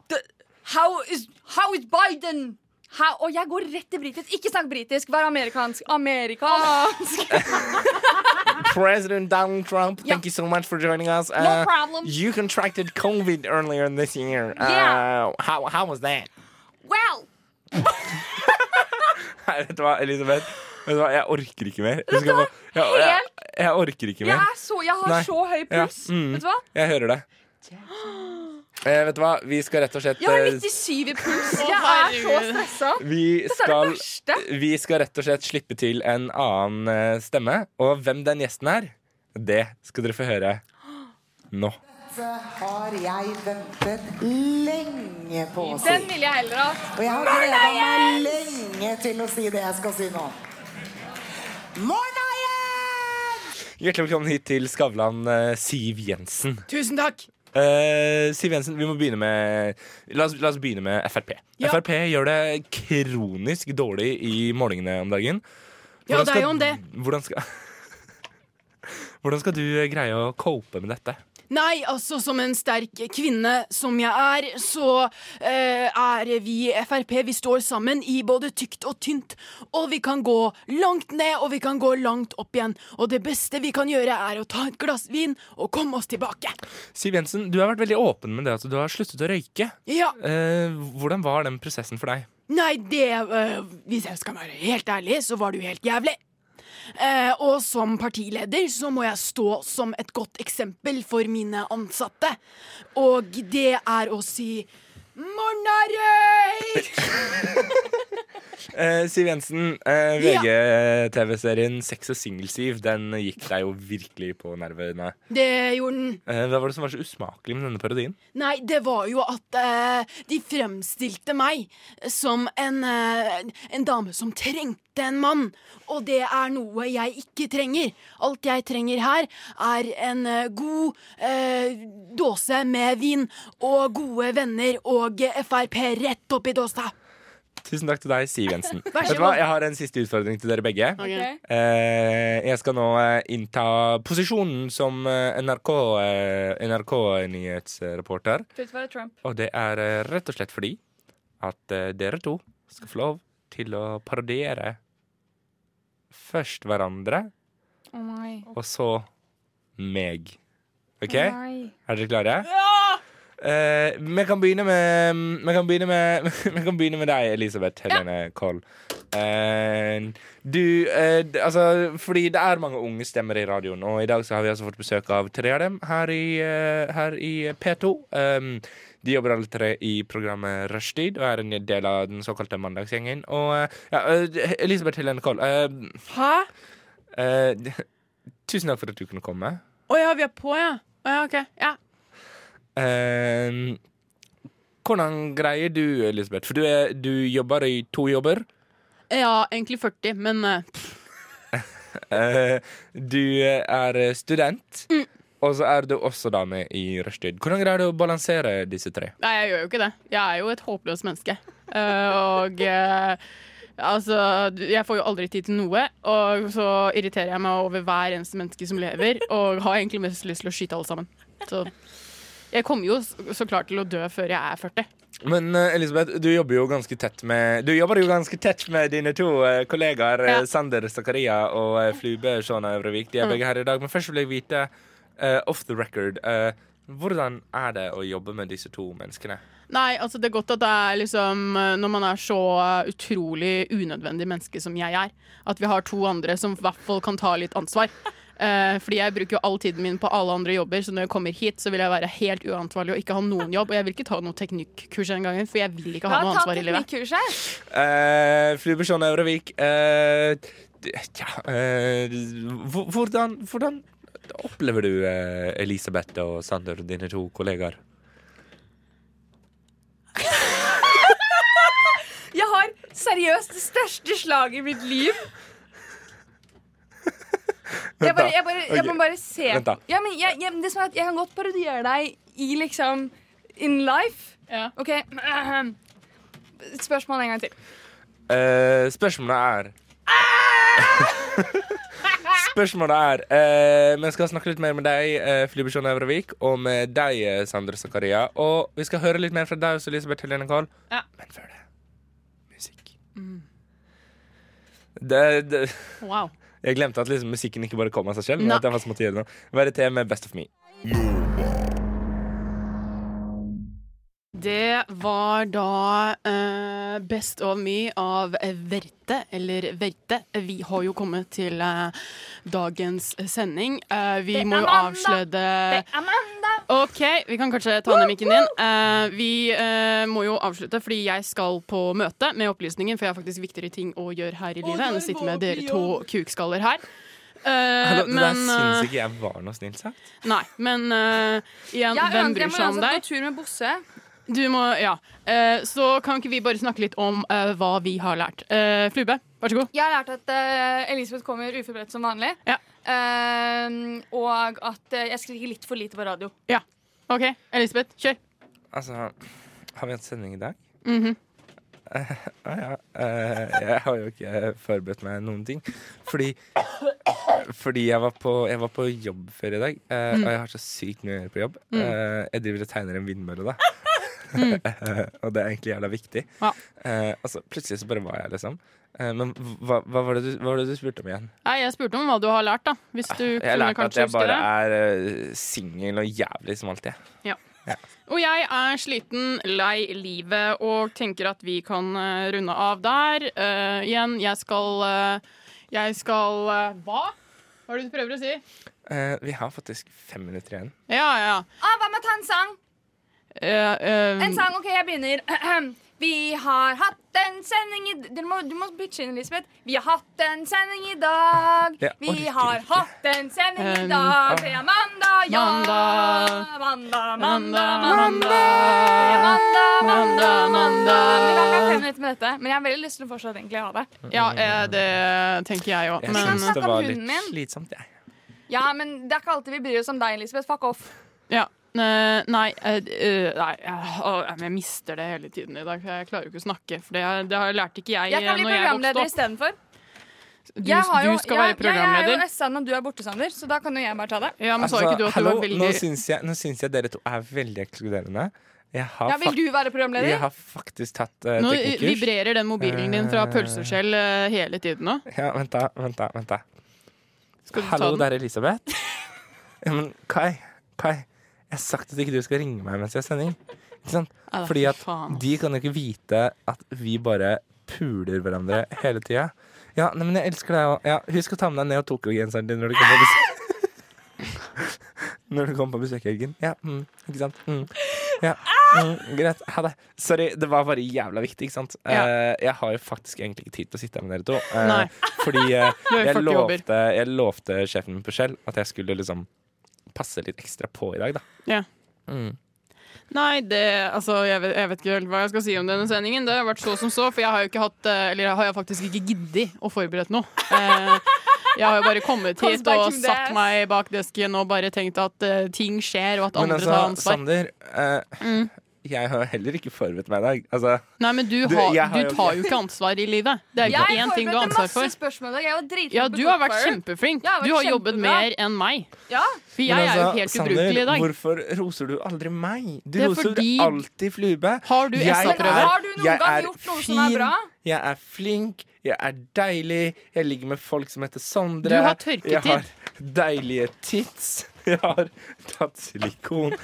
Speaker 21: the, how is how is Biden?
Speaker 7: Hæ? Og jeg går rett til britisk. Ikke snakk britisk, vær amerikansk. Amerikansk!
Speaker 6: President Donald Trump,
Speaker 7: Yeah.
Speaker 6: thank you so much for joining us. Eh,
Speaker 7: No problem.
Speaker 6: You contracted COVID earlier this year.
Speaker 7: Yeah.
Speaker 6: Uh, how, how was that?
Speaker 7: Well!
Speaker 6: Vet du hva, Elisabeth? Vet du hva, jeg orker ikke mer. Du skal få- jeg, jeg, jeg orker ikke
Speaker 7: Jeg,
Speaker 6: mer.
Speaker 7: er så, jeg har
Speaker 6: Nei.
Speaker 7: så høy puls.
Speaker 6: Ja, mm.
Speaker 7: Vet du hva?
Speaker 6: Jeg hører det. Eh, vet du hva, vi skal rett og slett
Speaker 7: Jeg har
Speaker 6: eh,
Speaker 7: 97 i puls.
Speaker 20: Å,
Speaker 7: Jeg er så
Speaker 20: herregud.
Speaker 7: stressa.
Speaker 6: Vi
Speaker 7: Dette er
Speaker 6: skal,
Speaker 7: det verste.
Speaker 6: vi skal rett og slett slippe til en annen eh, stemme. Og hvem den gjesten er, det skal dere få høre nå.
Speaker 22: Dette har jeg ventet lenge på å si.
Speaker 7: Den ville jeg heller ha.
Speaker 22: Og jeg har gleda meg lenge til å si det jeg skal si nå. Morna,
Speaker 6: Hjertelig velkommen hit til Skavlan, eh, Siv Jensen.
Speaker 5: Tusen takk.
Speaker 6: Eh, Siv Jensen, vi må begynne med La oss, la oss begynne med Frp.
Speaker 5: Ja.
Speaker 6: Frp gjør det kronisk dårlig i målingene om dagen.
Speaker 5: Ja,
Speaker 6: Hvordan
Speaker 5: det er
Speaker 6: skal-
Speaker 5: jo om det.
Speaker 6: Hvordan skal, hvordan skal du greie å cope med dette?
Speaker 5: Nei, altså som en sterk kvinne som jeg er, så eh, er vi i Frp. Vi står sammen i både tykt og tynt. Og vi kan gå langt ned, og vi kan gå langt opp igjen. Og det beste vi kan gjøre, er å ta et glass vin og komme oss tilbake.
Speaker 6: Siv Jensen, du har vært veldig åpen med det at du har sluttet å røyke.
Speaker 5: Ja.
Speaker 6: Eh, hvordan var den prosessen for deg?
Speaker 14: øh,
Speaker 5: Nei, det eh, Hvis jeg skal være helt ærlig, så var det jo helt jævlig.
Speaker 14: Eh, og som partileder så må jeg stå som et godt eksempel for mine ansatte. Og det er å si Mornarøy!
Speaker 6: Eh, Siv Jensen, eh, VG-TV-serien Sex og singel-Siv, den gikk deg jo virkelig på nervene.
Speaker 14: Det gjorde den.
Speaker 6: Eh, hva var det som var så usmakelig med denne parodien?
Speaker 14: Nei, det var jo at eh, de fremstilte meg som en, eh, en dame som trengte en mann. Og det er noe jeg ikke trenger. Alt jeg trenger her, er en eh, god eh, dåse med vin og gode venner og eh, Frp rett oppi dåsa.
Speaker 6: Tusen takk til deg, Siv Jensen.
Speaker 14: Vær så
Speaker 6: Vet du hva?
Speaker 14: god.
Speaker 6: Jeg har en siste utfordring til dere begge.
Speaker 14: Ok.
Speaker 6: Eh, jeg skal nå eh, innta posisjonen som eh, NRK, eh, NRK-nyhetsreporter.
Speaker 23: Slutt å være Trump.
Speaker 6: Og det er eh, rett og slett fordi at eh, dere to skal få lov til å parodiere først hverandre,
Speaker 23: Å nei.
Speaker 6: og så meg. OK?
Speaker 23: Nei.
Speaker 6: Er dere klare? Eh, Vi kan begynne med Vi kan begynne med, vi kan begynne med deg, Elisabeth Helene Koll. Eh, du eh, d- Altså, fordi det er mange unge stemmer i radioen, og i dag så har vi altså fått besøk av tre av dem her i, eh, her i P2. Eh, de jobber alle tre i programmet Rushtid og er en del av den såkalte Mandagsgjengen. Og eh, ja, eh, Elisabeth Helene Koll eh,
Speaker 5: Hæ?
Speaker 6: eh, d- Tusen takk for at du kunne komme.
Speaker 5: Å ja, vi er på, ja. Å ja, OK. Ja.
Speaker 6: Eh, hvordan greier du, Elisabeth? For du, er, du jobber i to jobber.
Speaker 5: ja, egentlig 40, men eh, pff,
Speaker 6: Eh, du er student,
Speaker 5: Mm.
Speaker 6: og så er du også da med i rushtid. Hvordan greier du å balansere disse tre?
Speaker 5: Nei, jeg gjør jo ikke det. Jeg er jo et håpløst menneske. Eh, og eh, altså du- Jeg får jo aldri tid til noe, og så irriterer jeg meg over hver eneste menneske som lever, og har egentlig mest lyst til å skyte alle sammen. Så jeg kommer jo s- så klart til å dø før jeg er 40.
Speaker 6: Men eh, Elisabeth, du jobber jo ganske tett med Du jobber jo ganske tett med dine to eh, kollegaer eh,
Speaker 5: Ja.
Speaker 6: Sander Zakaria og eh, Flube Shona Øvrevik. De er
Speaker 5: Mm.
Speaker 6: begge her i dag. Men først vil jeg vite, eh, off the record, eh, hvordan er det å jobbe med disse to menneskene?
Speaker 5: Nei, altså det er godt at det er liksom eh, Når man er så eh, utrolig unødvendig menneske som jeg er, at vi har to andre som i hvert fall kan ta litt ansvar. Eh, fordi jeg bruker jo all tiden min på alle andre jobber, så når jeg kommer hit, så vil jeg være helt uansvarlig og ikke ha noen jobb. Og jeg vil ikke ta noe teknikkurs en gang, for jeg vil ikke ha noe ansvar i livet.
Speaker 6: Uh, Flube Shona Øvrevik, eh, d- ja, eh, hvor- hvordan, hvordan opplever du eh, Elisabeth og Sander, dine to kollegaer?
Speaker 7: Jeg har seriøst det største slaget i mitt liv. Jeg, bare, jeg, bare, jeg må
Speaker 24: Ok.
Speaker 7: bare se
Speaker 24: Vent da.
Speaker 7: Ja, men jeg, jeg, det som er at jeg kan godt parodiere deg i liksom In life. OK. Et Spørsmål en gang til.
Speaker 6: Eh, spørsmålet er
Speaker 7: Ah!
Speaker 6: Spørsmålet er eh, Vi skal snakke litt mer med deg, uh, Flube Shona Øvrevik, og med deg, eh, Sander Zakaria. Og vi skal høre litt mer fra deg også, Elisabeth Helene Kahl.
Speaker 5: Ja.
Speaker 6: Men før det musikk.
Speaker 7: Mm.
Speaker 6: Det, det,
Speaker 5: Wow.
Speaker 6: Jeg glemte at liksom, musikken ikke bare kom av seg selv.
Speaker 5: Nei.
Speaker 6: Men at jeg faktisk måtte gjøre noe. Verité med Best of Me.
Speaker 5: Det var da eh, Best of me av Verte, eller Verte. Vi har jo kommet til eh, dagens sending. Eh, vi
Speaker 24: Det er
Speaker 5: må jo
Speaker 24: mandag.
Speaker 5: avsløre
Speaker 24: Det er
Speaker 5: OK, vi kan kanskje ta ned mikken din. Eh, vi eh, må jo avslutte, fordi jeg skal på møte med opplysningen, for jeg har faktisk viktigere ting å gjøre her i livet enn å sitte med dere to kukskaller her. Eh,
Speaker 6: Hallo, det der
Speaker 5: men
Speaker 6: syns
Speaker 5: eh,
Speaker 6: ikke jeg var noe snilt sagt.
Speaker 5: Nei, men eh, igjen,
Speaker 7: Jeg
Speaker 5: hvem
Speaker 7: aner, jeg
Speaker 5: bryr
Speaker 7: må
Speaker 5: seg om
Speaker 7: uansett
Speaker 5: deg?
Speaker 7: gå tur med Bosse.
Speaker 5: Du må, ja. Eh, så kan ikke vi bare snakke litt om eh, hva vi har lært? Eh, Flube, vær så god.
Speaker 7: Jeg har lært at eh, Elisabeth kommer uforberedt som vanlig. Eh, og at eh, jeg skriker litt for lite på radio.
Speaker 5: Ja. OK, Elisabeth, kjør.
Speaker 6: Altså, har vi hatt sending i dag?
Speaker 5: Mhm.
Speaker 6: Eh, ah, ja. Eh, jeg har jo ikke forberedt meg noen ting. Fordi, fordi jeg, var på, jeg var på jobb før i dag, eh,
Speaker 25: Mm.
Speaker 6: og jeg har så sykt mye å gjøre på jobb.
Speaker 25: Mm.
Speaker 6: Eh, jeg driver og tegner en vindmølle, da.
Speaker 25: Mm.
Speaker 6: og det er egentlig jævla viktig.
Speaker 5: Ja.
Speaker 6: Eh, altså, plutselig så bare var jeg, liksom. Eh, men hva, hva, var det du, hva var det du spurte om igjen?
Speaker 5: Nei, jeg spurte om hva du har lært, da. Hvis du
Speaker 6: Jeg
Speaker 5: kunne
Speaker 6: lærte at
Speaker 5: kanskje
Speaker 6: jeg
Speaker 5: huske
Speaker 6: bare
Speaker 5: det.
Speaker 6: er uh, singel og jævlig som alltid.
Speaker 5: Ja. Og jeg er sliten, lei livet og tenker at vi kan eh, runde av der. Eh, igjen, jeg skal eh, Jeg skal eh, Hva? Hva er det du prøver å si?
Speaker 6: Eh, vi har faktisk fem minutter igjen.
Speaker 5: Ja, ja.
Speaker 7: Ah, hva med å ta en sang?
Speaker 5: Eh, eh,
Speaker 7: En sang, ok, jeg begynner. Vi har hatt en sending i Du må, du må bitche inn, Elisabeth. Vi har hatt en sending i dag.
Speaker 5: Jeg
Speaker 7: Vi
Speaker 5: orker
Speaker 7: har hatt en sending i
Speaker 5: Um,
Speaker 7: dag.
Speaker 5: ah.
Speaker 7: Det er mandag, ja.
Speaker 5: Mandag.
Speaker 7: Mandag,
Speaker 5: mandag,
Speaker 7: mandag. Ja, mandag, mandag, mandag. Vi kan være fem minutter med dette, men jeg har veldig lyst til å fortsatt egentlig ha det.
Speaker 5: Ja, eh, det tenker jeg òg.
Speaker 7: Jeg synes det var litt Hunden min.
Speaker 6: slitsomt, jeg.
Speaker 7: Ja, men det er ikke alltid vi bryr oss om deg, Elisabeth. Fuck off.
Speaker 5: Ja. eh, Nei, eh, eh, nei eh, å, eh, men jeg mister det hele tiden i dag. for Jeg klarer jo ikke å snakke, for det, det har- lærte ikke jeg,
Speaker 7: Jeg
Speaker 5: eh,
Speaker 7: kan bli
Speaker 5: når jeg vokste
Speaker 7: programleder
Speaker 5: opp.
Speaker 7: istedenfor.
Speaker 5: Du,
Speaker 7: Jeg har jo-
Speaker 5: du skal
Speaker 7: jeg-
Speaker 5: være
Speaker 7: Jeg
Speaker 5: programleder.
Speaker 7: er jo SN, og du er borte, Sander, så da kan jo jeg bare ta det.
Speaker 5: Ja, men sa ikke du at du
Speaker 6: Altså, hallo,
Speaker 5: var veldig
Speaker 6: nå, syns jeg, nå syns jeg dere to er veldig ekskluderende. Jeg har,
Speaker 7: Ja, vil
Speaker 6: fak-
Speaker 7: du være programleder?
Speaker 6: Jeg har faktisk tatt uh,
Speaker 5: Nå
Speaker 6: teknikkurs.
Speaker 5: vibrerer den mobilen din fra
Speaker 6: Eh,
Speaker 5: pølseskjell eh, hele tiden nå.
Speaker 6: Ja, vent da, vent da, vent da.
Speaker 5: Skal du ta
Speaker 6: Hallo,
Speaker 5: den?
Speaker 6: det er Elisabeth. ja, men Kai, Kai. Jeg har sagt at ikke du skal ringe meg mens jeg har sending. Ikke sant?
Speaker 5: Ja, da,
Speaker 6: Fordi at
Speaker 5: faen.
Speaker 6: de kan jo ikke vite at vi bare puler hverandre hele tida. Ja, nei, men jeg elsker deg òg. Ja, husk å ta med deg ned og genseren din når du kommer på besøk. Når du kommer på besøk i helgen. Ja, mm, ikke sant? Mm. Ja, mm, greit. Ha det. Sorry, det var bare jævla viktig, ikke sant?
Speaker 5: Ja.
Speaker 6: Eh, jeg har jo faktisk egentlig ikke tid til å sitte her med dere to. Eh,
Speaker 5: Nei.
Speaker 6: Fordi eh,
Speaker 5: Du har jo
Speaker 6: jeg
Speaker 5: 40 jobber.
Speaker 6: lovte, jeg lovte sjefen min på Shell at jeg skulle liksom passe litt ekstra på i dag, da.
Speaker 5: Ja. Nei, det Altså, jeg vet, jeg vet ikke helt hva jeg skal si om denne sendingen. Det har vært så som så, for jeg har jo ikke hatt eh, Eller jeg har jo faktisk ikke giddet å forberede noe. Eh, Jeg har jo bare kommet
Speaker 26: Comes
Speaker 5: hit
Speaker 26: back
Speaker 5: og
Speaker 26: in the
Speaker 5: satt
Speaker 26: ass.
Speaker 5: meg bak desken og bare tenkt at eh, ting skjer, og at
Speaker 6: Men
Speaker 5: andre
Speaker 6: altså,
Speaker 5: tar ansvar.
Speaker 6: Sander, eh,
Speaker 5: Mm.
Speaker 6: jeg har heller ikke forberedt meg i dag. Altså,
Speaker 5: Nei, men du,
Speaker 6: Du,
Speaker 5: har,
Speaker 6: jeg har
Speaker 5: du
Speaker 6: jo
Speaker 5: tar
Speaker 6: ikke-
Speaker 5: jo ikke ansvar i livet. Det er jo
Speaker 7: Jeg
Speaker 5: ikke én ting du har
Speaker 7: forberedte
Speaker 5: ansvar
Speaker 7: masse
Speaker 5: for.
Speaker 7: spørsmål i dag. Jeg var dritflink
Speaker 5: Ja,
Speaker 7: på
Speaker 5: du har vært
Speaker 7: Cookfire.
Speaker 5: kjempeflink.
Speaker 7: Jeg har vært
Speaker 5: Du har jobbet
Speaker 7: kjempebra.
Speaker 5: mer enn meg.
Speaker 7: Ja.
Speaker 5: For jeg
Speaker 6: men
Speaker 5: er jo
Speaker 6: altså,
Speaker 5: helt
Speaker 6: Sander,
Speaker 5: ubrukelig i dag.
Speaker 6: Hvorfor roser du aldri meg? Du
Speaker 5: Det er
Speaker 6: roser
Speaker 5: fordi-
Speaker 6: alltid Flube.
Speaker 5: Har du SA-prøve?
Speaker 7: Har du noen
Speaker 6: jeg
Speaker 7: gang
Speaker 6: er
Speaker 7: gjort noe som er
Speaker 6: fin,
Speaker 7: bra?
Speaker 6: Jeg er flink, jeg er deilig, jeg ligger med folk som heter Sondre.
Speaker 5: Du har tørketid.
Speaker 6: Jeg har deilige tits. Jeg har tatt silikon.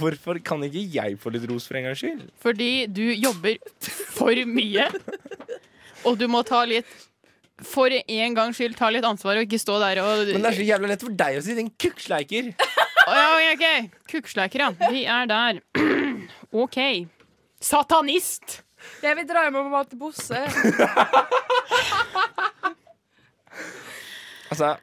Speaker 6: Hvorfor kan ikke jeg få litt ros for en gangs skyld?
Speaker 5: Fordi du jobber for mye, og du må ta litt For en gangs skyld ta litt ansvar og ikke stå der og
Speaker 6: Men det er så jævla lett for deg å si, din kukksleiker.
Speaker 5: Å, ja, ok, ok. Kukksleiker, ja. Vi er der. OK. Satanist!
Speaker 7: Jeg vil dra hjem og mate Bosse.
Speaker 6: Altså,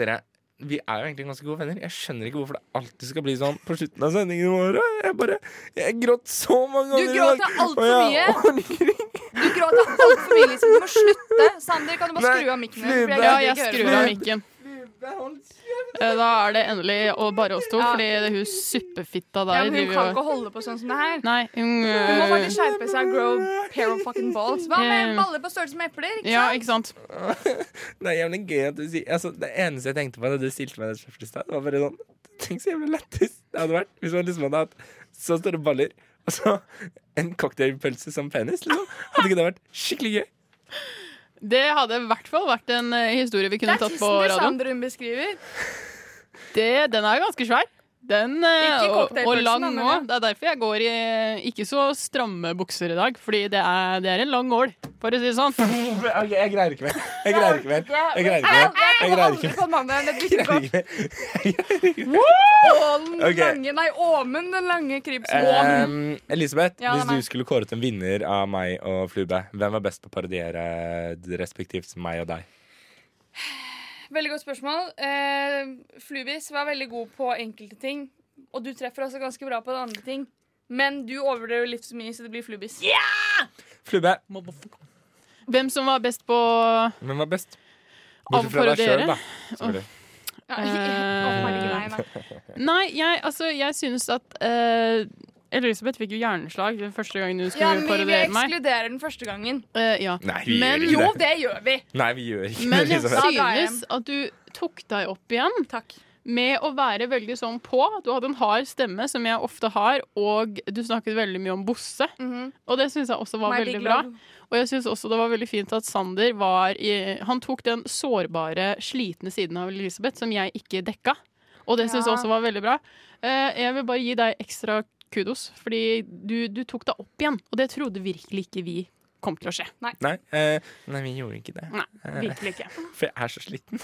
Speaker 6: dere vi er jo egentlig ganske gode venner. Jeg skjønner ikke hvorfor det alltid skal bli sånn på slutten av sendingene våre. Jeg bare, jeg gråt så mange
Speaker 7: Du
Speaker 6: ganger
Speaker 7: gråter alt for mye. Du gråter alt for mye, liksom. Du må slutte. Sander, kan du bare
Speaker 5: Nei,
Speaker 7: skru av mikken? din, for jeg
Speaker 5: Ja,
Speaker 7: gidder
Speaker 5: jeg
Speaker 7: ikke høre
Speaker 5: skrur
Speaker 7: på
Speaker 5: av
Speaker 7: deg.
Speaker 5: mikken. Eh, Da er det endelig og bare oss to, fordi det hun suppefitta
Speaker 7: Ja,
Speaker 5: der
Speaker 7: men hun
Speaker 5: driver
Speaker 7: kan
Speaker 5: jo-
Speaker 7: ikke holde på sånn som det her.
Speaker 5: Nei, hun eh,
Speaker 7: Hun må faktisk skjerpe seg og grow pair of fucking balls. Hva med
Speaker 6: Eh.
Speaker 7: baller på størrelse med epler? Ikke
Speaker 5: Ja,
Speaker 7: sant?
Speaker 5: ikke sant?
Speaker 6: Det er jævlig gøy at du sier altså, Det eneste jeg tenkte på da du stilte meg det spørsmålet i stad, det var bare sånn Tenk så jævlig lættis det hadde vært hvis man liksom hadde hatt så store baller og så en cocktailpølse som penis. Liksom. Hadde ikke det vært skikkelig gøy?
Speaker 5: Det hadde i hvert fall vært en eh, historie vi
Speaker 7: Det
Speaker 5: kunne
Speaker 7: er
Speaker 5: tatt på
Speaker 7: tissen til
Speaker 5: radioen.
Speaker 7: Sander hun beskriver.
Speaker 5: Det, den er ganske svær. Den, eh,
Speaker 7: Ikke
Speaker 5: og, og
Speaker 7: cocktailpølsen,
Speaker 5: lang
Speaker 7: da, men
Speaker 5: òg. Det er derfor jeg går i eh, ikke så stramme bukser i dag. Fordi det er, det er en lang ål, for å si det sånn.
Speaker 6: Ok, jeg greier ikke mer. Jeg greier ikke mer. Jeg greier ikke mer. Jeg greier ikke mer. Jeg greier ikke mer.
Speaker 7: Ålen den
Speaker 6: Ok.
Speaker 7: lange, nei, Åmen den lange krypsen.
Speaker 6: Um, Elisabeth,
Speaker 7: Ja, det er
Speaker 6: hvis du
Speaker 7: meg.
Speaker 6: skulle kåret en vinner av meg og Flube, hvem var best på å parodiere respektivt meg og deg?
Speaker 7: Veldig godt spørsmål. Eh, Flubis var veldig god på enkelte ting. Og du treffer også ganske bra på andre ting. Men du overdrev litt for mye, så det blir Flubis.
Speaker 6: Flube,
Speaker 5: Hvem som var best på
Speaker 6: hvem var best?
Speaker 5: Av
Speaker 6: Bortsett fra deg
Speaker 5: parodiere?
Speaker 6: sjøl, da. selvfølgelig.
Speaker 7: Ja,
Speaker 5: Eh,
Speaker 7: å, herregud, nei, nei.
Speaker 5: Nei, jeg, altså, jeg synes at eh, Elisabeth fikk jo hjerneslag den første gangen
Speaker 7: Ja,
Speaker 5: hun skulle
Speaker 7: men vi
Speaker 5: parodiere meg.
Speaker 7: ekskluderer den første gangen.
Speaker 5: Eh, ja.
Speaker 6: Nei, vi
Speaker 5: Men-
Speaker 6: gjør ikke
Speaker 7: Jo,
Speaker 6: det.
Speaker 7: det gjør vi.
Speaker 6: Nei, vi gjør ikke
Speaker 5: Men
Speaker 6: det.
Speaker 5: jeg
Speaker 6: Elisabeth.
Speaker 5: synes at du tok deg opp igjen med å være veldig sånn på. Du hadde en hard stemme, som jeg ofte har, og du snakket veldig mye om Bosse.
Speaker 7: Mhm.
Speaker 5: Og det syns jeg også var
Speaker 26: My
Speaker 5: veldig
Speaker 26: big
Speaker 5: bra.
Speaker 26: love.
Speaker 5: Og jeg syns også det var veldig fint at Sander var i Han tok den sårbare, slitne siden av Elisabeth som jeg ikke dekka. og det syns jeg
Speaker 27: Ja.
Speaker 5: også var veldig bra. Eh, Jeg vil bare gi deg ekstra kudos, fordi du, du tok deg opp igjen, og det trodde virkelig ikke vi kom til å skje.
Speaker 6: Nei, eh, nei, vi gjorde ikke det.
Speaker 5: Nei, virkelig ikke.
Speaker 6: Eh, For jeg er så sliten.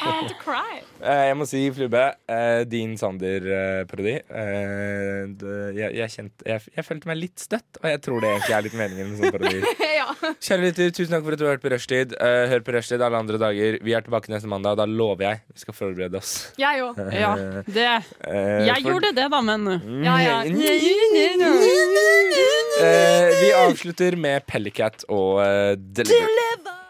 Speaker 5: want to cry.
Speaker 6: Eh, jeg må si, Flube, eh, din Sander-parodi eh, det- jeg, jeg, kjente- jeg, jeg følte meg litt støtt, og jeg tror det egentlig er litt meningen med sånn sånne parodier.
Speaker 7: ja.
Speaker 6: Kjære lytter, tusen takk for at du har hørt på Rushtid. Eh, hør på Rushtid alle andre dager. Vi er tilbake neste mandag. Da lover jeg. Vi skal forberede oss.
Speaker 5: Jeg òg. Ja, det.
Speaker 6: Eh,
Speaker 27: Jeg
Speaker 6: for-
Speaker 27: gjorde det, da, men
Speaker 6: Ja, ja. Eh, vi avslutter med Pellicat og eh, Deliver.